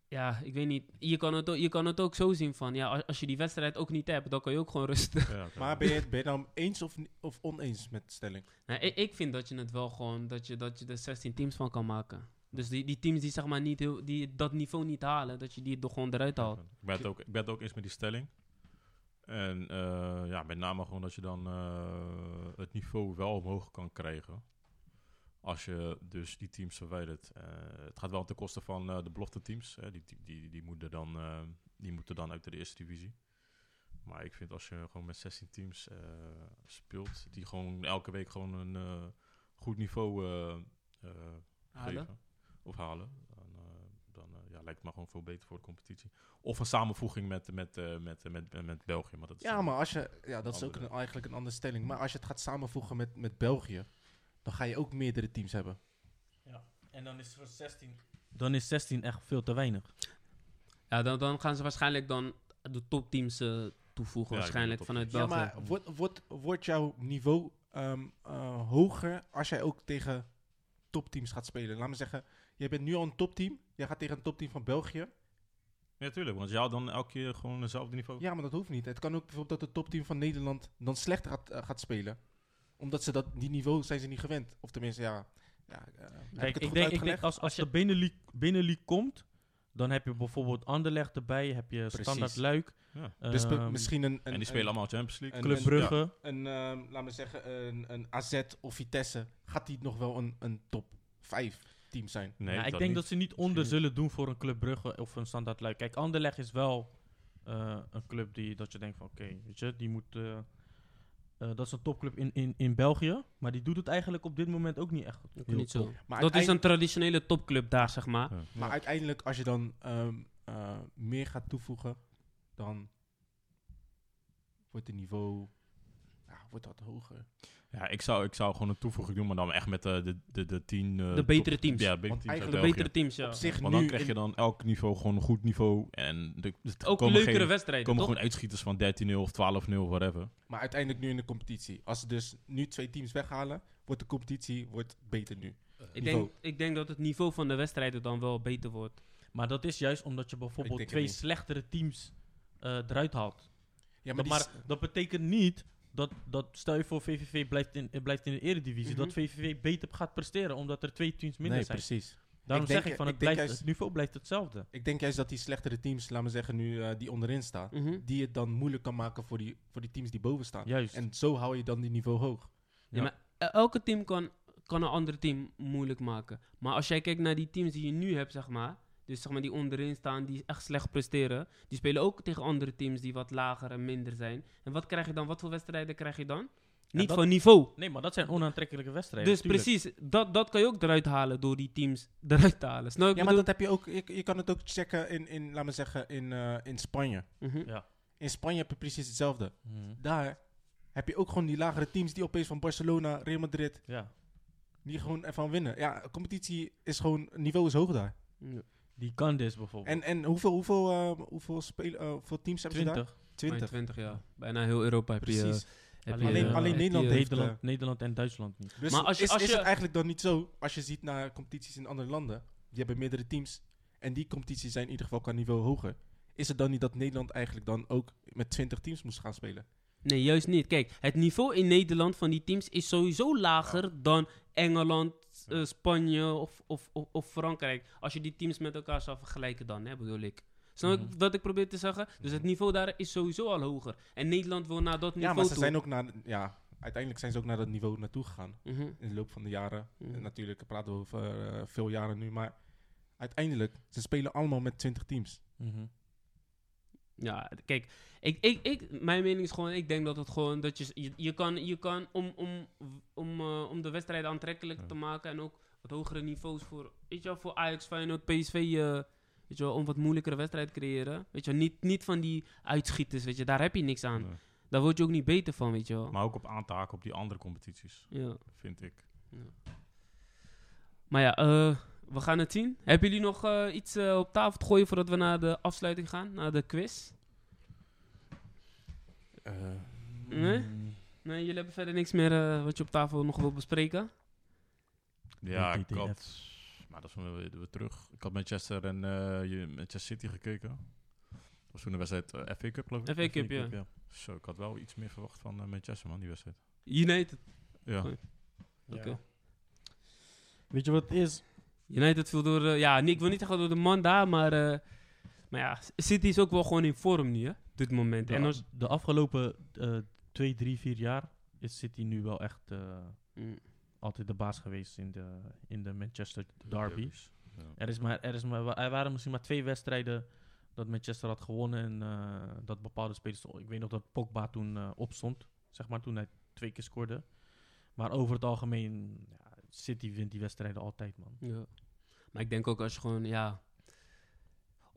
[SPEAKER 1] ja, ik weet niet. Je kan het ook, je kan het ook zo zien van, ja, als, als je die wedstrijd ook niet hebt, dan kan je ook gewoon rustig.
[SPEAKER 4] Ja, oké.
[SPEAKER 2] Maar ben je het ben je nou eens of, ni- of oneens met de stelling?
[SPEAKER 1] Nee, ik, ik vind dat je het wel gewoon, dat je, dat je er 16 teams van kan maken. Dus die, die teams die zeg maar niet heel, die dat niveau niet halen, dat je die er gewoon eruit haalt.
[SPEAKER 4] Ik ben, het ook, ik ben het ook eens met die stelling. En eh, ja, met name gewoon dat je dan eh, het niveau wel omhoog kan krijgen. Als je dus die teams verwijdert. Eh, het gaat wel ten koste van eh, de belofte teams. Hè. Die, die, die, die moeten dan, eh, die moeten dan uit de eerste divisie. Maar ik vind als je gewoon met 16 teams eh, speelt, die gewoon elke week gewoon een eh, goed niveau eh, eh,
[SPEAKER 3] Ah,
[SPEAKER 1] Halen.
[SPEAKER 4] geven of halen, dan, eh, dan eh, ja, lijkt het me gewoon veel beter voor de competitie. Of een samenvoeging met, met, eh, met, eh, met, eh, met België. Maar dat is
[SPEAKER 2] Ja,
[SPEAKER 4] dan-
[SPEAKER 2] maar als je, ja, dat is ook
[SPEAKER 4] Andere.
[SPEAKER 2] een- eigenlijk een andere stelling. Maar als je het gaat samenvoegen met, met België, dan ga je ook meerdere teams hebben.
[SPEAKER 3] En dan is 16. Dan is 16 echt veel te weinig.
[SPEAKER 1] Ja, dan, dan gaan ze waarschijnlijk dan de topteams eh, toevoegen,
[SPEAKER 4] Ja, ik denk
[SPEAKER 1] waarschijnlijk
[SPEAKER 4] de
[SPEAKER 1] vanuit
[SPEAKER 4] topteams.
[SPEAKER 1] België.
[SPEAKER 2] Ja, maar wordt, wordt, wordt jouw niveau ehm, eh, hoger als jij ook tegen topteams gaat spelen? Laat me zeggen, jij bent nu al een topteam. Jij gaat tegen een topteam van België.
[SPEAKER 4] Ja, tuurlijk. Want jij had dan elke keer gewoon hetzelfde niveau.
[SPEAKER 2] Ja, maar dat hoeft niet. Het kan ook bijvoorbeeld dat het topteam van Nederland dan slecht gaat, eh, gaat spelen. Omdat ze dat, die niveau zijn ze niet gewend. Of tenminste, ja... ja eh, heb ik het
[SPEAKER 3] Kijk, ik denk,
[SPEAKER 2] goed
[SPEAKER 3] ik
[SPEAKER 2] uitgelegd?
[SPEAKER 3] denk als, als de binnenleague, binnenleague komt, dan heb je bijvoorbeeld Anderlecht erbij, heb je Standaard
[SPEAKER 2] Precies.
[SPEAKER 3] Luik,
[SPEAKER 4] Ja.
[SPEAKER 2] dus be-
[SPEAKER 3] ehm,
[SPEAKER 2] misschien een... een
[SPEAKER 4] en die spelen allemaal Champions League.
[SPEAKER 2] een-
[SPEAKER 3] Club
[SPEAKER 2] en-
[SPEAKER 3] Brugge.
[SPEAKER 2] een, ehm laat me zeggen, een, een AZ of Vitesse, gaat die nog wel een, een top 5 team zijn?
[SPEAKER 4] Nee,
[SPEAKER 3] ja, ik denk
[SPEAKER 4] niet.
[SPEAKER 3] dat ze niet onder zullen doen voor een Club Brugge of een Standaard Luik. Kijk, Anderlecht is wel eh, een club die dat je denkt van oké, weet je, die moet... eh, eh, dat is een topclub in, in, in België, maar die doet het eigenlijk op dit moment ook niet echt goed.
[SPEAKER 1] Ook niet zo.
[SPEAKER 2] Maar,
[SPEAKER 1] Dat is
[SPEAKER 2] uiteindelijk,
[SPEAKER 1] een traditionele topclub daar, zeg maar.
[SPEAKER 4] Ja.
[SPEAKER 2] maar uiteindelijk, als je dan ehm, eh, meer gaat toevoegen, dan wordt het niveau ja, wordt dat hoger.
[SPEAKER 4] Ja, ik zou, ik zou gewoon een toevoeging doen, maar dan echt met eh, de, de, de tien... eh,
[SPEAKER 1] De betere
[SPEAKER 4] top-
[SPEAKER 1] teams.
[SPEAKER 4] Ja, de betere
[SPEAKER 2] Want
[SPEAKER 4] teams uit
[SPEAKER 1] De
[SPEAKER 2] eigenlijk
[SPEAKER 4] België.
[SPEAKER 1] betere teams, ja.
[SPEAKER 2] Op zich
[SPEAKER 4] Want
[SPEAKER 2] nu
[SPEAKER 4] dan krijg je
[SPEAKER 2] in-
[SPEAKER 4] dan elk niveau gewoon een goed niveau. En de, het
[SPEAKER 1] Ook
[SPEAKER 4] komen
[SPEAKER 1] leukere
[SPEAKER 4] geen-
[SPEAKER 1] wedstrijden,
[SPEAKER 4] komen
[SPEAKER 1] toch?
[SPEAKER 4] gewoon uitschieters van 13-0 of 12-0, whatever.
[SPEAKER 2] maar uiteindelijk nu in de competitie. Als ze dus nu twee teams weghalen, wordt de competitie wordt beter nu.
[SPEAKER 1] Ik
[SPEAKER 2] niveau.
[SPEAKER 1] denk, ik denk dat het niveau van de wedstrijden dan wel beter wordt.
[SPEAKER 3] Maar dat is juist omdat je
[SPEAKER 2] Ik
[SPEAKER 3] bijvoorbeeld
[SPEAKER 2] denk het
[SPEAKER 3] twee
[SPEAKER 2] niet.
[SPEAKER 3] slechtere teams eh, eruit haalt.
[SPEAKER 2] Ja,
[SPEAKER 3] Dat-
[SPEAKER 2] maar,
[SPEAKER 3] Maar,
[SPEAKER 2] die s-
[SPEAKER 3] dat betekent niet dat, dat stel je voor VVV blijft in, eh, blijft in de eredivisie,
[SPEAKER 2] Mhm.
[SPEAKER 3] dat VVV beter gaat presteren omdat er twee teams minder
[SPEAKER 2] nee,
[SPEAKER 3] zijn.
[SPEAKER 2] precies.
[SPEAKER 3] Daarom
[SPEAKER 2] Ik denk-
[SPEAKER 3] zeg ik van
[SPEAKER 2] ik
[SPEAKER 3] het,
[SPEAKER 2] denk
[SPEAKER 3] blijft,
[SPEAKER 2] juist-
[SPEAKER 3] het niveau blijft hetzelfde.
[SPEAKER 2] Ik denk juist dat die slechtere teams, laten we zeggen nu eh, die onderin staan,
[SPEAKER 1] Mhm.
[SPEAKER 2] die Ah, het dan moeilijk kan maken voor die, voor die teams die boven staan.
[SPEAKER 3] Juist.
[SPEAKER 2] En zo hou je dan die niveau hoog.
[SPEAKER 1] Ja, maar eh, elke team kan, kan een ander team moeilijk maken. Maar als jij kijkt naar die teams die je nu hebt, zeg maar. Dus zeg maar die onderin staan, die echt slecht presteren. Die spelen ook tegen andere teams die wat lager en minder zijn. En wat krijg je dan? Wat voor wedstrijden krijg je dan? Niet
[SPEAKER 3] dat-
[SPEAKER 1] van niveau.
[SPEAKER 3] Nee, maar dat zijn onaantrekkelijke wedstrijden.
[SPEAKER 1] Dus
[SPEAKER 3] tuurlijk.
[SPEAKER 1] precies, dat, dat kan je ook eruit halen door die teams eruit te halen. Snap je wat
[SPEAKER 2] Ja,
[SPEAKER 1] ik
[SPEAKER 2] maar
[SPEAKER 1] bedoel?
[SPEAKER 2] dat heb je ook. Je, je kan het ook checken in, in laat maar zeggen, in, eh, in Spanje.
[SPEAKER 1] Mhm.
[SPEAKER 2] In Spanje heb je precies hetzelfde.
[SPEAKER 3] Mhm.
[SPEAKER 2] Daar heb je ook gewoon die lagere teams die opeens van Barcelona, Real Madrid,
[SPEAKER 3] Ja.
[SPEAKER 2] die gewoon ervan winnen. Ja, competitie is gewoon, niveau is hoog daar.
[SPEAKER 1] Ja.
[SPEAKER 3] Die Candice bijvoorbeeld.
[SPEAKER 2] En, en hoeveel, hoeveel, eh, hoeveel, speel, eh, hoeveel teams hebben ze daar?
[SPEAKER 3] 20.
[SPEAKER 1] Maar
[SPEAKER 2] 20.
[SPEAKER 1] 20 jaar. Bijna heel Europa heb je...
[SPEAKER 2] Precies.
[SPEAKER 1] heb
[SPEAKER 3] Alleen-
[SPEAKER 1] je,
[SPEAKER 3] alleen-
[SPEAKER 1] eh,
[SPEAKER 3] alleen
[SPEAKER 1] heb je-
[SPEAKER 2] Nederland heeft-
[SPEAKER 3] Nederland,
[SPEAKER 2] eh,
[SPEAKER 3] Nederland en Duitsland niet.
[SPEAKER 2] Dus
[SPEAKER 1] Maar als je-
[SPEAKER 2] is,
[SPEAKER 1] als
[SPEAKER 2] is
[SPEAKER 1] je-
[SPEAKER 2] het eigenlijk dan niet zo, als je ziet naar competities in andere landen, die hebben meerdere teams en die competities zijn in ieder geval qua niveau hoger. Is het dan niet dat Nederland eigenlijk dan ook met 20 teams moest gaan spelen?
[SPEAKER 1] Nee, juist niet. Kijk, het niveau in Nederland van die teams is sowieso lager dan Engeland, eh, Spanje of, of, of, of Frankrijk. Als je die teams met elkaar zou vergelijken dan, hè, bedoel ik. Snap je
[SPEAKER 3] Mhm.
[SPEAKER 1] wat ik probeer te zeggen? Dus het niveau daar is sowieso al hoger. En Nederland wil naar dat
[SPEAKER 2] Mhm. Ja,
[SPEAKER 1] niveau
[SPEAKER 2] maar ze
[SPEAKER 1] toe.
[SPEAKER 2] zijn ook naar, ja, uiteindelijk zijn ze ook naar dat niveau naartoe gegaan
[SPEAKER 1] Mhm.
[SPEAKER 2] in de loop van de jaren.
[SPEAKER 1] Mhm.
[SPEAKER 2] En natuurlijk praten we over eh, veel jaren nu, maar uiteindelijk, ze spelen allemaal met 20 teams.
[SPEAKER 3] Mhm.
[SPEAKER 1] Ja, kijk, ik, ik, ik, mijn mening is gewoon, ik denk dat het gewoon, dat je, je, je kan, je kan om, om, om, eh, om de wedstrijd aantrekkelijk
[SPEAKER 4] Ja.
[SPEAKER 1] te maken en ook wat hogere niveaus voor, weet je wel, voor Ajax, Feyenoord, PSV, eh, weet je wel, om wat moeilijkere wedstrijd te creëren. Weet je wel, niet, niet van die uitschieters, weet je, daar heb je niks aan.
[SPEAKER 4] Nee.
[SPEAKER 1] Daar word je ook niet beter van, weet je wel.
[SPEAKER 4] Maar ook op aan te haken op die andere competities,
[SPEAKER 1] ja.
[SPEAKER 4] vind ik.
[SPEAKER 1] maar ja, eh, we gaan het zien. Hebben jullie nog eh, iets eh, op tafel te gooien voordat we naar de afsluiting gaan, naar de quiz? Nee? Nee, jullie hebben verder niks meer eh, wat je op tafel nog wil bespreken?
[SPEAKER 4] Ja, ik
[SPEAKER 3] DTF.
[SPEAKER 4] had... Maar dat is wel weer, weer terug. Ik had Manchester en eh, je- Manchester City gekeken. Dat was toen de wedstrijd eh, FA Cup, geloof ik.
[SPEAKER 1] FA Cup, ja.
[SPEAKER 4] Zo, ik had wel iets meer verwacht van eh, Manchester, man, die wedstrijd.
[SPEAKER 1] United.
[SPEAKER 4] Ja.
[SPEAKER 1] Goed. Oké.
[SPEAKER 3] Weet je wat het is?
[SPEAKER 1] United viel door... eh, ja, nee, ik wil niet zeggen door de man daar, maar... eh, maar ja, City is ook wel gewoon in vorm nu, hè? Op dit moment.
[SPEAKER 3] De,
[SPEAKER 1] En als...
[SPEAKER 3] de afgelopen eh, twee, drie, vier jaar is City nu wel echt eh,
[SPEAKER 1] Mm.
[SPEAKER 3] altijd de baas geweest in de, in de Manchester derby.
[SPEAKER 4] derbies. Ja.
[SPEAKER 3] Er, is maar, er, is maar, wa- er waren misschien maar twee wedstrijden dat Manchester had gewonnen en eh, dat bepaalde spelers... Ik weet nog dat Pogba toen eh, opstond, zeg maar, toen hij twee keer scoorde. Maar over het algemeen, ja, City wint die wedstrijden altijd, man.
[SPEAKER 1] Ja. Maar ik denk ook als je gewoon, ja...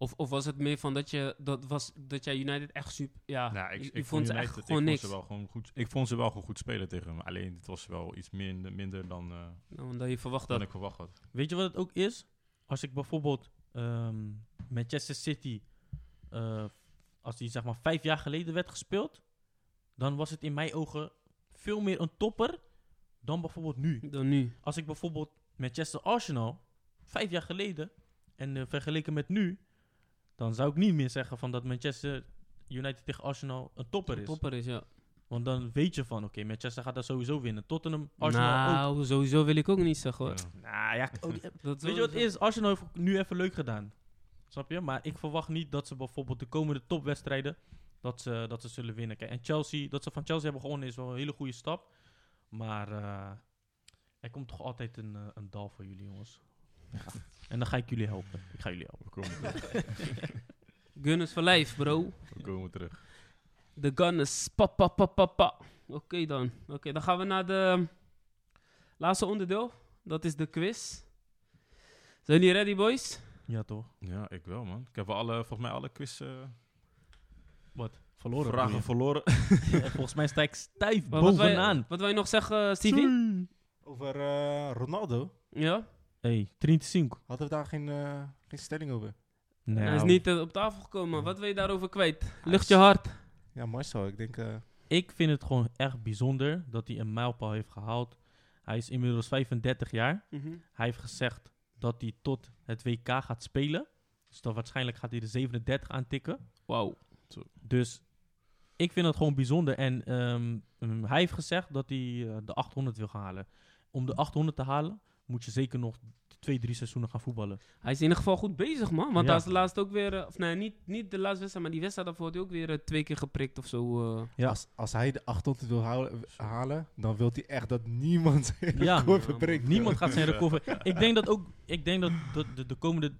[SPEAKER 1] Of, of was het meer van dat, je, dat, was, dat jij United echt super... Ja,
[SPEAKER 4] Nou, ik,
[SPEAKER 1] je-
[SPEAKER 4] ik
[SPEAKER 1] je Ah, vond ze
[SPEAKER 4] United-
[SPEAKER 1] echt gewoon
[SPEAKER 4] ik
[SPEAKER 1] niks.
[SPEAKER 4] Vond ze wel gewoon goed, ik vond ze wel gewoon goed spelen tegen hem. Alleen het was wel iets minder, minder dan, eh,
[SPEAKER 1] Nou, Omdat je verwacht
[SPEAKER 4] dan
[SPEAKER 1] dat...
[SPEAKER 4] ik verwacht had.
[SPEAKER 3] Weet je wat het ook is? Als ik bijvoorbeeld ehm, Manchester City, eh, als die zeg maar vijf jaar geleden werd gespeeld, dan was het in mijn ogen veel meer een topper dan bijvoorbeeld nu.
[SPEAKER 1] Dan nu.
[SPEAKER 3] Als ik bijvoorbeeld Manchester Arsenal, vijf jaar geleden, en eh, vergeleken met nu, dan zou ik niet meer zeggen van dat Manchester United tegen Arsenal een topper is.
[SPEAKER 1] Topper is, ja.
[SPEAKER 3] Want dan weet je van, oké, Manchester gaat dat sowieso winnen. Tottenham, Arsenal ook.
[SPEAKER 1] nou, sowieso wil ik ook niet zeggen, hoor.
[SPEAKER 4] Ja.
[SPEAKER 3] Nou ja, ook,
[SPEAKER 1] Dat
[SPEAKER 3] Weet je wat het
[SPEAKER 1] sowieso.
[SPEAKER 3] is? Arsenal heeft nu even leuk gedaan. Snap je? Maar ik verwacht niet dat ze bijvoorbeeld de komende topwedstrijden... Dat ze, dat ze zullen winnen. Kijk, en Chelsea, dat ze van Chelsea hebben gewonnen is wel een hele goede stap. Maar eh, er komt toch altijd een, eh, een dal voor jullie, jongens. En dan ga ik jullie helpen. Ik ga jullie helpen.
[SPEAKER 4] We komen terug.
[SPEAKER 1] Gunners for life, bro.
[SPEAKER 4] We komen terug.
[SPEAKER 1] De Gunners. Pa, pa, pa, pa, pa. Oké dan. Oké, dan gaan we naar de ehm, laatste onderdeel. Dat is de quiz. Zijn jullie ready, boys?
[SPEAKER 3] Ja, toch?
[SPEAKER 4] Ja, ik wel, man. Ik heb wel alle, volgens mij alle quiz eh,
[SPEAKER 3] Wat? Verloren?
[SPEAKER 4] vragen
[SPEAKER 3] bedoel
[SPEAKER 4] verloren.
[SPEAKER 3] je? Eh, Volgens mij sta ik stijf
[SPEAKER 1] Wat- wat wij-
[SPEAKER 3] bovenaan.
[SPEAKER 1] Wat wil je nog zeggen, eh, Stevie?
[SPEAKER 2] Over eh, Ronaldo
[SPEAKER 1] Ja?
[SPEAKER 3] hey, 35.
[SPEAKER 2] hadden we daar geen, eh, geen stelling over.
[SPEAKER 3] Nou,
[SPEAKER 1] Hij is niet eh, op tafel gekomen. Wat wil je daarover kwijt? Lucht
[SPEAKER 2] oh. is-
[SPEAKER 1] je hart.
[SPEAKER 2] Ja, Marcel, ik denk... eh,
[SPEAKER 3] Ik vind het gewoon echt bijzonder dat hij een mijlpaal heeft gehaald. Hij is inmiddels 35 jaar.
[SPEAKER 2] Mhm.
[SPEAKER 3] Hij heeft gezegd dat hij tot het WK gaat spelen. Dus dan waarschijnlijk gaat hij de 37 aantikken.
[SPEAKER 1] Wauw.
[SPEAKER 3] Dus ik vind dat gewoon bijzonder. En ehm, mm, hij heeft gezegd dat hij eh, de 800 wil gaan halen. Om de 800 te halen moet je zeker nog twee, drie seizoenen gaan voetballen.
[SPEAKER 1] Hij is in ieder geval goed bezig, man. Want
[SPEAKER 3] Ja.
[SPEAKER 1] hij is laatst ook weer... eh, Of nee, niet, niet de laatste wedstrijd, maar die wedstrijd daarvoor had hij ook weer eh, twee keer geprikt of zo. eh.
[SPEAKER 3] Ja.
[SPEAKER 2] Als, als hij de 800 wil halen, halen, dan wil hij echt dat niemand zijn
[SPEAKER 3] Ja.
[SPEAKER 2] record
[SPEAKER 1] Ja,
[SPEAKER 2] verbreekt.
[SPEAKER 3] Niemand gaat zijn record ver- Ik denk dat ook, ik denk dat de, de, de komende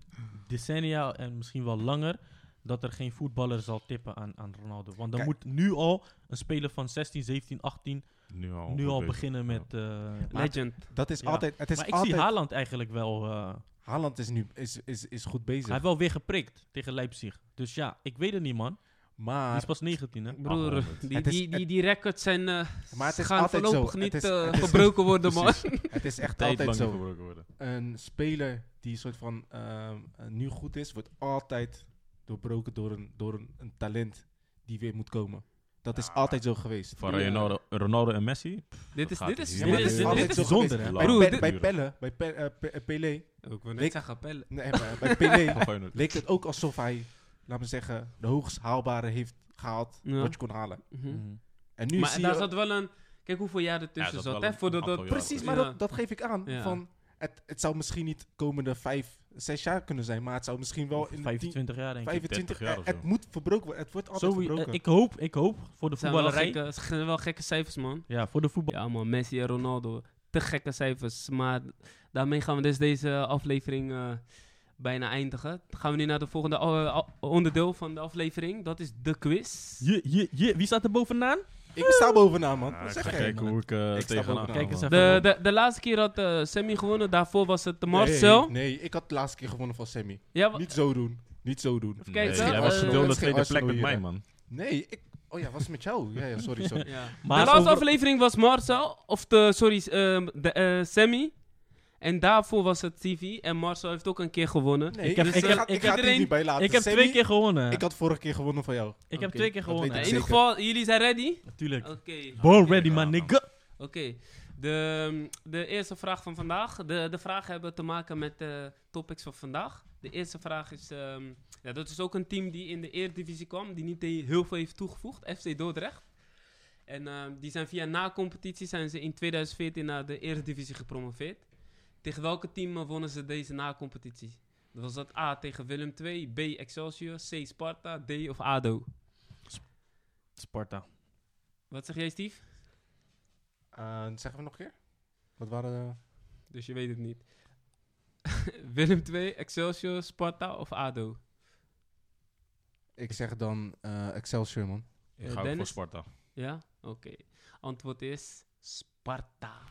[SPEAKER 3] decennia en misschien wel langer, dat er geen voetballer zal tippen aan, aan Ronaldo. Want dan
[SPEAKER 2] Kijk.
[SPEAKER 3] moet nu al een speler van 16, 17, 18
[SPEAKER 4] Nu
[SPEAKER 2] Oh,
[SPEAKER 4] al.
[SPEAKER 3] nu al
[SPEAKER 4] bezig.
[SPEAKER 3] beginnen met... eh, maar
[SPEAKER 1] Legend.
[SPEAKER 2] Dat is
[SPEAKER 3] Ja.
[SPEAKER 2] altijd... Het is
[SPEAKER 3] maar ik
[SPEAKER 2] altijd
[SPEAKER 3] zie Haaland eigenlijk wel... eh,
[SPEAKER 2] Haaland is nu is, is, is goed
[SPEAKER 3] hij heeft
[SPEAKER 2] bezig.
[SPEAKER 3] wel weer geprikt tegen Leipzig. Dus ja, ik weet het niet, man.
[SPEAKER 2] Maar
[SPEAKER 3] Die is pas 19, hè?
[SPEAKER 1] Broer,
[SPEAKER 4] 800.
[SPEAKER 1] die,
[SPEAKER 2] Oh, Het is-
[SPEAKER 1] die, die,
[SPEAKER 2] het-
[SPEAKER 1] die records zijn, eh,
[SPEAKER 2] Maar het is
[SPEAKER 1] gaan
[SPEAKER 2] altijd
[SPEAKER 1] voorlopig
[SPEAKER 2] zo.
[SPEAKER 1] niet
[SPEAKER 2] Het is-
[SPEAKER 1] eh,
[SPEAKER 2] het is-
[SPEAKER 1] gebroken worden, man.
[SPEAKER 4] Precies.
[SPEAKER 2] Het is echt
[SPEAKER 4] Tijd
[SPEAKER 2] altijd
[SPEAKER 4] lang niet
[SPEAKER 2] zo.
[SPEAKER 4] gebroken worden.
[SPEAKER 2] Een speler die soort van ehm, eh, nu goed is, wordt altijd doorbroken door een, door een, een talent die weer moet komen. Dat is
[SPEAKER 3] Ah.
[SPEAKER 4] Ja.
[SPEAKER 2] altijd zo geweest.
[SPEAKER 4] Van
[SPEAKER 1] Ja.
[SPEAKER 4] Ronaldo, Ronaldo en Messi.
[SPEAKER 1] Dit is,
[SPEAKER 4] gaat
[SPEAKER 1] dit
[SPEAKER 4] het
[SPEAKER 1] is,
[SPEAKER 4] hier
[SPEAKER 1] dit
[SPEAKER 2] niet.
[SPEAKER 1] is,
[SPEAKER 2] Ja, maar
[SPEAKER 1] dit
[SPEAKER 2] dit
[SPEAKER 1] is...
[SPEAKER 2] is-
[SPEAKER 4] Lang
[SPEAKER 2] Bij,
[SPEAKER 1] Broer,
[SPEAKER 2] Pe-
[SPEAKER 1] dit-
[SPEAKER 2] bij
[SPEAKER 4] duren.
[SPEAKER 2] Pelle, bij Pe- eh, Pe- eh, Pelé,
[SPEAKER 1] Ik wil
[SPEAKER 2] Dit-
[SPEAKER 1] net zeggen, pellen.
[SPEAKER 2] nee, maar bij Pelé
[SPEAKER 4] Gewoon het-
[SPEAKER 2] leek het ook alsof hij, laat me zeggen, de hoogst haalbare heeft gehaald
[SPEAKER 1] Ja.
[SPEAKER 2] wat je kon halen.
[SPEAKER 1] Mhm.
[SPEAKER 3] Mhm.
[SPEAKER 2] En nu
[SPEAKER 1] Maar
[SPEAKER 2] zie
[SPEAKER 1] daar
[SPEAKER 2] je...
[SPEAKER 1] zat wel een... Kijk hoeveel jaar er tussen
[SPEAKER 4] zat
[SPEAKER 1] zat,
[SPEAKER 4] wel
[SPEAKER 1] hè?
[SPEAKER 4] een
[SPEAKER 1] Voordat dat...
[SPEAKER 4] aantal jaar
[SPEAKER 2] Precies,
[SPEAKER 4] Ja.
[SPEAKER 2] maar dat, dat geef ik aan.
[SPEAKER 1] Ja.
[SPEAKER 2] Van, het, het zou misschien niet komende vijf, zes jaar kunnen zijn, maar het zou misschien wel in de tien-
[SPEAKER 3] 25 jaar, denk ik.
[SPEAKER 2] 25
[SPEAKER 4] 30 jaar
[SPEAKER 2] eh,
[SPEAKER 4] of zo.
[SPEAKER 2] Het moet verbroken worden. Het wordt altijd
[SPEAKER 3] Zo,
[SPEAKER 2] verbroken.
[SPEAKER 3] eh, ik, hoop, ik hoop voor de
[SPEAKER 1] Het zijn wel
[SPEAKER 3] voetballerij...
[SPEAKER 1] gekke, het zijn wel gekke cijfers, man.
[SPEAKER 3] Ja, voor de voetbal...
[SPEAKER 1] Ja, man. Messi en Ronaldo. Te gekke cijfers. Maar daarmee gaan we dus deze aflevering eh, bijna eindigen. Dan gaan we nu naar de volgende eh, a- onderdeel van de aflevering. Dat is de quiz.
[SPEAKER 3] Je, je, je, wie staat er bovenaan?
[SPEAKER 2] Ik sta bovenaan, man.
[SPEAKER 4] Ah,
[SPEAKER 2] Wat
[SPEAKER 4] ik
[SPEAKER 2] zeg
[SPEAKER 4] ga
[SPEAKER 2] jij?
[SPEAKER 4] kijken hoe ik eh,
[SPEAKER 2] Ik sta
[SPEAKER 4] tegenaan
[SPEAKER 2] bovenaan.
[SPEAKER 4] ga,
[SPEAKER 3] Kijk eens
[SPEAKER 4] man.
[SPEAKER 3] even.
[SPEAKER 1] De,
[SPEAKER 3] op.
[SPEAKER 1] de, de laatste keer had eh Sammy gewonnen. Daarvoor was het Marcel.
[SPEAKER 2] Nee, nee, ik had de laatste keer gewonnen van Sammy.
[SPEAKER 1] Ja, wa-
[SPEAKER 2] Niet zo doen. Niet zo doen.
[SPEAKER 1] Even kijken,
[SPEAKER 4] Nee, jij
[SPEAKER 1] eh,
[SPEAKER 4] was geduldig
[SPEAKER 2] dat is geen
[SPEAKER 4] tweede plek
[SPEAKER 2] Arsenal
[SPEAKER 4] met
[SPEAKER 2] hier,
[SPEAKER 4] mij,
[SPEAKER 2] hè.
[SPEAKER 4] man.
[SPEAKER 2] Nee, ik... Oh ja, was het met jou? Ja, ja sorry, sorry.
[SPEAKER 1] ja.
[SPEAKER 3] Maar
[SPEAKER 1] de laatste
[SPEAKER 3] over-
[SPEAKER 1] aflevering was Marcel. Of de, sorry, ehm, de, eh, Sammy. En daarvoor was het TV. En Marcel heeft ook een keer gewonnen.
[SPEAKER 2] Nee,
[SPEAKER 3] Ik heb-
[SPEAKER 2] dus
[SPEAKER 3] ik
[SPEAKER 2] ik,
[SPEAKER 3] heb-
[SPEAKER 2] ga, ik
[SPEAKER 3] ik
[SPEAKER 2] ga
[SPEAKER 1] heb
[SPEAKER 2] het hier
[SPEAKER 1] erin-
[SPEAKER 2] niet bij laten.
[SPEAKER 3] Ik heb
[SPEAKER 2] Sammy,
[SPEAKER 3] twee keer gewonnen.
[SPEAKER 2] Ik had vorige keer gewonnen van jou.
[SPEAKER 3] Ik
[SPEAKER 1] Oké,
[SPEAKER 3] heb twee keer
[SPEAKER 2] dat weet
[SPEAKER 3] gewonnen.
[SPEAKER 1] in
[SPEAKER 2] ik
[SPEAKER 1] ieder
[SPEAKER 2] zeker.
[SPEAKER 1] geval, jullie zijn ready?
[SPEAKER 3] Natuurlijk.
[SPEAKER 1] Oké.
[SPEAKER 3] Born ready,
[SPEAKER 4] Ja,
[SPEAKER 3] my
[SPEAKER 4] man.
[SPEAKER 3] nigga.
[SPEAKER 1] Oké, de, de eerste vraag van vandaag. De, de vragen hebben te maken met de topics van vandaag. De eerste vraag is, ehm, ja, dat is ook een team die in de Eredivisie kwam, die niet he- heel veel heeft toegevoegd, FC Dordrecht. En ehm, die zijn via na-competitie zijn ze in 2014 naar de Eredivisie gepromoveerd. Tegen welke team eh, wonnen ze deze na-competitie? Dat was dat A tegen Willem II, B Excelsior, C Sparta, D of ADO.
[SPEAKER 3] Sparta.
[SPEAKER 1] Wat zeg jij Steve?
[SPEAKER 2] Eh, zeggen we nog een keer? Wat waren... eh, de-
[SPEAKER 1] Dus je weet het niet. Willem 2, Excelsior, Sparta of ADO?
[SPEAKER 2] Ik zeg dan eh, Excelsior, man.
[SPEAKER 1] Eh,
[SPEAKER 4] Ik ga ook voor
[SPEAKER 1] Dennis?
[SPEAKER 4] Sparta.
[SPEAKER 1] Ja? Oké. Antwoord is Sparta.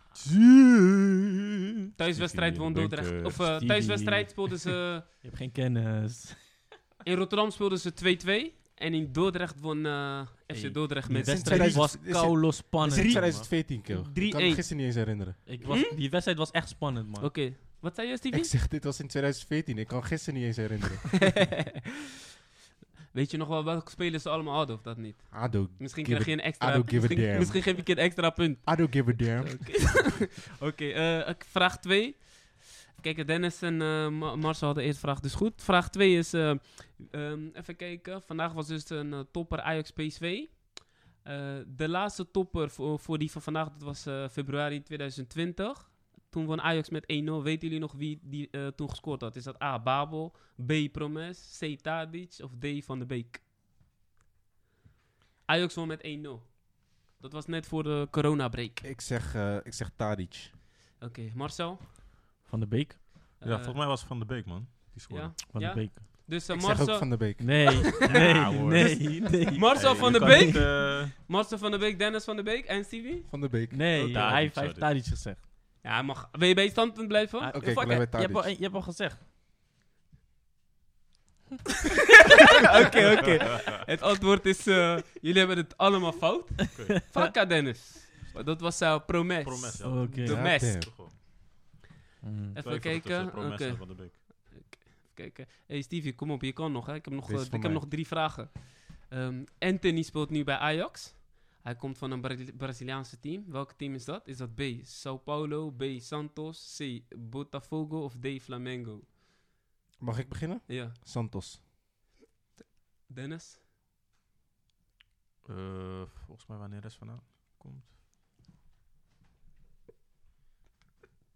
[SPEAKER 1] Thuiswedstrijd
[SPEAKER 4] Zit hier
[SPEAKER 1] won
[SPEAKER 4] in de
[SPEAKER 1] Dordrecht.
[SPEAKER 4] bunker.
[SPEAKER 1] Of eh,
[SPEAKER 3] Stevie.
[SPEAKER 1] thuiswedstrijd speelden ze...
[SPEAKER 3] Je hebt geen kennis.
[SPEAKER 1] In Rotterdam speelden ze 2-2. En in Dordrecht won eh,
[SPEAKER 3] Hey,
[SPEAKER 1] FC Dordrecht
[SPEAKER 3] Die
[SPEAKER 1] met 3-1.
[SPEAKER 3] wedstrijd
[SPEAKER 2] best- 2000
[SPEAKER 3] was
[SPEAKER 2] is het-
[SPEAKER 3] koude
[SPEAKER 2] Het
[SPEAKER 3] spannend.
[SPEAKER 2] is in
[SPEAKER 3] man.
[SPEAKER 2] 2014, Kill. Ik kan me
[SPEAKER 1] 3-1.
[SPEAKER 2] gisteren niet eens herinneren.
[SPEAKER 3] Ik was, die wedstrijd was echt spannend, man.
[SPEAKER 1] Oké. Wat zei je,
[SPEAKER 2] Ik
[SPEAKER 1] Stevie?
[SPEAKER 2] zeg, dit was in 2014. Ik kan gisteren niet eens herinneren.
[SPEAKER 1] weet je nog wel welke spelers ze allemaal hadden of dat niet?
[SPEAKER 2] Ado,
[SPEAKER 1] Misschien
[SPEAKER 2] Give
[SPEAKER 1] krijg je een
[SPEAKER 2] I
[SPEAKER 1] extra...
[SPEAKER 2] don't give a
[SPEAKER 1] Misschien,
[SPEAKER 2] damn.
[SPEAKER 1] misschien geef ik je een extra punt.
[SPEAKER 2] Ado give a damn.
[SPEAKER 1] Oké, Oké, eh, ik- vraag 2. Kijk, Dennis en eh, Ma- Marcel hadden eerst vraag, dus goed. Vraag 2 is, eh, ehm, even kijken. Vandaag was dus een eh, topper Ajax PSV. Eh, de laatste topper voor, voor die van vandaag, dat was eh, februari 2020. Toen won Ajax met 1-0. Weten jullie nog wie die eh, toen gescoord had? Is dat A, Babel, B, Promes, C, Tadic of D, Van de Beek? Ajax won met 1-0. Dat was net voor de coronabreak.
[SPEAKER 2] Ik zeg, eh, ik zeg Tadic.
[SPEAKER 1] Oké, Marcel.
[SPEAKER 3] Van de Beek.
[SPEAKER 4] Ja,
[SPEAKER 1] Eh,
[SPEAKER 4] volgens mij was het Van de Beek, man. Die scoorde.
[SPEAKER 1] ja.
[SPEAKER 3] Van
[SPEAKER 1] Ja?
[SPEAKER 3] de Beek.
[SPEAKER 1] Dus eh,
[SPEAKER 2] Ik zeg
[SPEAKER 1] Marcel,
[SPEAKER 2] ook
[SPEAKER 1] van...
[SPEAKER 2] Van de Beek.
[SPEAKER 3] Nee, nee,
[SPEAKER 4] Ja, hoor.
[SPEAKER 3] nee, nee.
[SPEAKER 1] Marcel
[SPEAKER 4] Hey,
[SPEAKER 1] van
[SPEAKER 4] je
[SPEAKER 1] de
[SPEAKER 4] kan
[SPEAKER 1] Beek.
[SPEAKER 4] niet, eh,
[SPEAKER 1] Marcel van der Beek, Dennis van der Beek en Stevie.
[SPEAKER 2] Van de Beek.
[SPEAKER 3] Nee,
[SPEAKER 4] Oh, Tadic,
[SPEAKER 3] hij heeft- hij
[SPEAKER 4] sorry.
[SPEAKER 3] heeft daar iets gezegd.
[SPEAKER 1] Ja, hij mag. Wil je bij je standpunt blijven?
[SPEAKER 3] Ah,
[SPEAKER 2] Oké,
[SPEAKER 3] fuck
[SPEAKER 2] ik blijf
[SPEAKER 3] it.
[SPEAKER 2] bij
[SPEAKER 3] je, hebt al,
[SPEAKER 2] Tadic.
[SPEAKER 3] je hebt al gezegd.
[SPEAKER 1] Oké, oké. Het antwoord is: eh, jullie hebben het allemaal fout.
[SPEAKER 4] Oké.
[SPEAKER 1] Fakka Dennis. Maar Dat was eh promes.
[SPEAKER 4] Promes, ja.
[SPEAKER 3] Oké.
[SPEAKER 1] De
[SPEAKER 2] Ja,
[SPEAKER 1] mes.
[SPEAKER 2] damn.
[SPEAKER 4] Toch wel.
[SPEAKER 3] Mm.
[SPEAKER 1] Even
[SPEAKER 4] Twijfel
[SPEAKER 1] kijken.
[SPEAKER 4] tussen
[SPEAKER 1] Oké,
[SPEAKER 4] Promes en Van de Beek.
[SPEAKER 1] even kijken. Hey Stevie, kom op, je kan nog. Hè? Ik heb nog,
[SPEAKER 2] Dit is
[SPEAKER 1] eh,
[SPEAKER 2] van
[SPEAKER 1] ik heb
[SPEAKER 2] mij.
[SPEAKER 1] nog drie vragen. Ehm, Anthony speelt nu bij Ajax. Hij komt van een Brazili- Braziliaanse team. Welk team is dat? Is dat B. Sao Paulo, B. Santos, C. Botafogo of D. Flamengo?
[SPEAKER 2] Mag ik beginnen?
[SPEAKER 1] Ja,
[SPEAKER 2] Santos.
[SPEAKER 1] Dennis?
[SPEAKER 4] Eh, volgens mij wanneer de rest vandaan komt.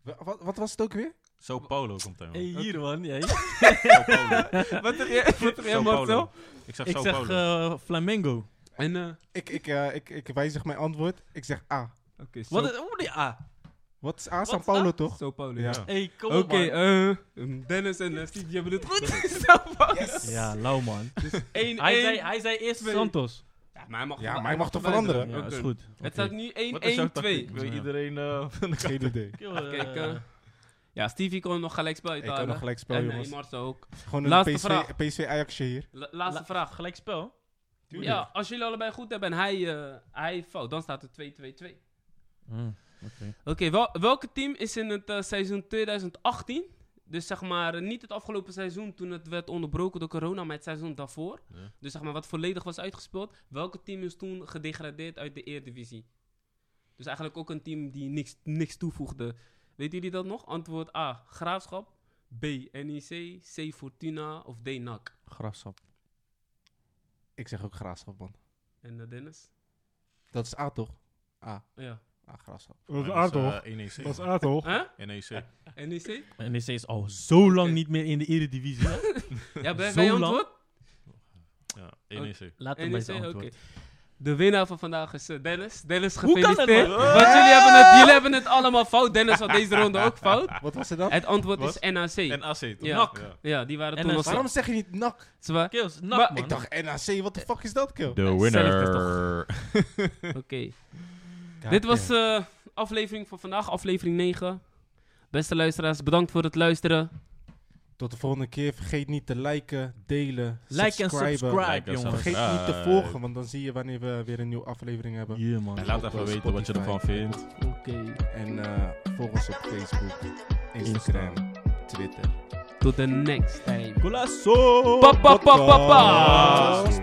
[SPEAKER 2] Wa- Wat, wat was het ook weer?
[SPEAKER 4] Sao Paulo komt hij, man.
[SPEAKER 3] Hey, hier man, jij.
[SPEAKER 4] Sao Paulo.
[SPEAKER 1] Wat heb jij, wat heb jij
[SPEAKER 4] Sao
[SPEAKER 1] Marcel?
[SPEAKER 4] Paulo. Ik zeg
[SPEAKER 3] Ik
[SPEAKER 4] Sao
[SPEAKER 3] zeg
[SPEAKER 4] Paulo.
[SPEAKER 3] eh, Flamengo.
[SPEAKER 1] En, eh,
[SPEAKER 2] Ik, ik, eh, ik, ik wijzig mijn antwoord. Ik zeg A.
[SPEAKER 1] oké, Sao-
[SPEAKER 3] Wat is... Oh, die A.
[SPEAKER 2] Wat is A? Sao
[SPEAKER 3] is
[SPEAKER 2] Paulo
[SPEAKER 3] A?
[SPEAKER 2] toch?
[SPEAKER 1] Sao Paulo.
[SPEAKER 2] Ja.
[SPEAKER 1] ja.
[SPEAKER 3] Hey, kom op
[SPEAKER 1] Oké,
[SPEAKER 3] man.
[SPEAKER 1] eh, um, Dennis en eh, Steve, die hebben het goed. Sao Paulo.
[SPEAKER 2] eh,
[SPEAKER 3] Ja, lauw man.
[SPEAKER 1] 1
[SPEAKER 3] Hij zei, hij zei eerst
[SPEAKER 1] Twee.
[SPEAKER 3] Santos.
[SPEAKER 1] Ja, maar hij mag,
[SPEAKER 2] Ja,
[SPEAKER 1] wel-
[SPEAKER 2] maar hij mag toch
[SPEAKER 1] wel
[SPEAKER 2] veranderen?
[SPEAKER 1] veranderen.
[SPEAKER 3] Ja,
[SPEAKER 1] Oké.
[SPEAKER 3] is goed. Oké.
[SPEAKER 1] Het staat nu 1-1-2.
[SPEAKER 4] Wat is jouw tactiek? Wil
[SPEAKER 3] Ja.
[SPEAKER 4] iedereen... eh, van de
[SPEAKER 2] Geen
[SPEAKER 4] kant-
[SPEAKER 2] idee.
[SPEAKER 3] Ik wil,
[SPEAKER 1] Even
[SPEAKER 3] eh,
[SPEAKER 1] kijken. Ja, Stevie kon nog gelijk spelen.
[SPEAKER 2] Ik kan nog gelijk spelen,
[SPEAKER 1] En eh,
[SPEAKER 2] jongens.
[SPEAKER 1] Marcel ook.
[SPEAKER 2] Gewoon een
[SPEAKER 1] Laatste
[SPEAKER 2] PSV,
[SPEAKER 1] vraag.
[SPEAKER 2] PSV Ajaxje hier.
[SPEAKER 1] La- laatste
[SPEAKER 3] La-
[SPEAKER 1] vraag.
[SPEAKER 3] Gelijk spel.
[SPEAKER 1] Ja, als jullie allebei goed hebben en hij, eh, hij fout, dan staat het 2-2-2. Oké, wel, welke team is in het eh, seizoen 2018, dus zeg maar eh, niet het afgelopen seizoen toen het werd onderbroken door corona, maar het seizoen daarvoor,
[SPEAKER 4] Ja.
[SPEAKER 1] dus zeg maar wat volledig was uitgespeeld, welke team is toen gedegradeerd uit de Eredivisie? Dus eigenlijk ook een team die niks, niks toevoegde. Weten jullie dat nog? Antwoord A, Graafschap, B, NEC, C, Fortuna of D, NAC.
[SPEAKER 3] Grassap.
[SPEAKER 2] Ik zeg ook graafschap, man.
[SPEAKER 1] En eh, Dennis?
[SPEAKER 2] Dat is A toch? A.
[SPEAKER 1] Ja.
[SPEAKER 2] A, graafschap.
[SPEAKER 5] Dat is
[SPEAKER 4] Maar
[SPEAKER 5] A
[SPEAKER 4] dat is,
[SPEAKER 5] toch?
[SPEAKER 4] eh, NEC.
[SPEAKER 5] Dat is A toch?
[SPEAKER 1] Huh?
[SPEAKER 4] NEC.
[SPEAKER 1] NEC?
[SPEAKER 3] En NEC is al zo lang niet meer in de Eredivisie. hè?
[SPEAKER 1] Ja, ben
[SPEAKER 3] Zo
[SPEAKER 1] ben je
[SPEAKER 3] lang?
[SPEAKER 1] antwoord?
[SPEAKER 4] Ja, NEC.
[SPEAKER 3] Laat hem bij
[SPEAKER 1] NEC,
[SPEAKER 3] zijn
[SPEAKER 1] oké.
[SPEAKER 3] antwoord.
[SPEAKER 1] De winnaar van vandaag is eh, Dennis. Dennis,
[SPEAKER 3] Hoe kan het, nou?
[SPEAKER 1] gefeliciteerd.
[SPEAKER 3] man?
[SPEAKER 1] Want jullie hebben, het, jullie hebben het allemaal fout. Dennis had deze ronde ook fout.
[SPEAKER 2] Wat was het dan?
[SPEAKER 1] Het antwoord
[SPEAKER 4] Wat?
[SPEAKER 1] is NAC.
[SPEAKER 4] En AC toch?
[SPEAKER 1] Ja.
[SPEAKER 3] NAC.
[SPEAKER 4] Ja.
[SPEAKER 1] ja, die waren toen
[SPEAKER 3] NAC.
[SPEAKER 1] nog
[SPEAKER 2] Waarom zeg je niet NAC?
[SPEAKER 1] zwaar.
[SPEAKER 3] Kills, NAC
[SPEAKER 1] Maar
[SPEAKER 3] man.
[SPEAKER 2] Ik dacht NAC, wat de fuck is dat, kill?
[SPEAKER 4] De
[SPEAKER 3] winner.
[SPEAKER 1] Oké. Dit was eh aflevering van vandaag, aflevering 9. Beste luisteraars, bedankt voor het luisteren.
[SPEAKER 2] Tot de volgende keer. Vergeet niet te liken, delen,
[SPEAKER 3] Like en
[SPEAKER 2] subscriben.
[SPEAKER 3] subscribe, jongens.
[SPEAKER 2] Vergeet niet te volgen, want dan zie je wanneer we weer een nieuwe aflevering hebben.
[SPEAKER 3] Hier, man.
[SPEAKER 4] En laat even weten wat je ervan vindt.
[SPEAKER 1] Oké.
[SPEAKER 2] En eh volg ons op Facebook, Instagram, Twitter.
[SPEAKER 1] Tot de next time.
[SPEAKER 3] Golazo!
[SPEAKER 1] Pa, pa, pa, pa, pa.
[SPEAKER 2] Podcast.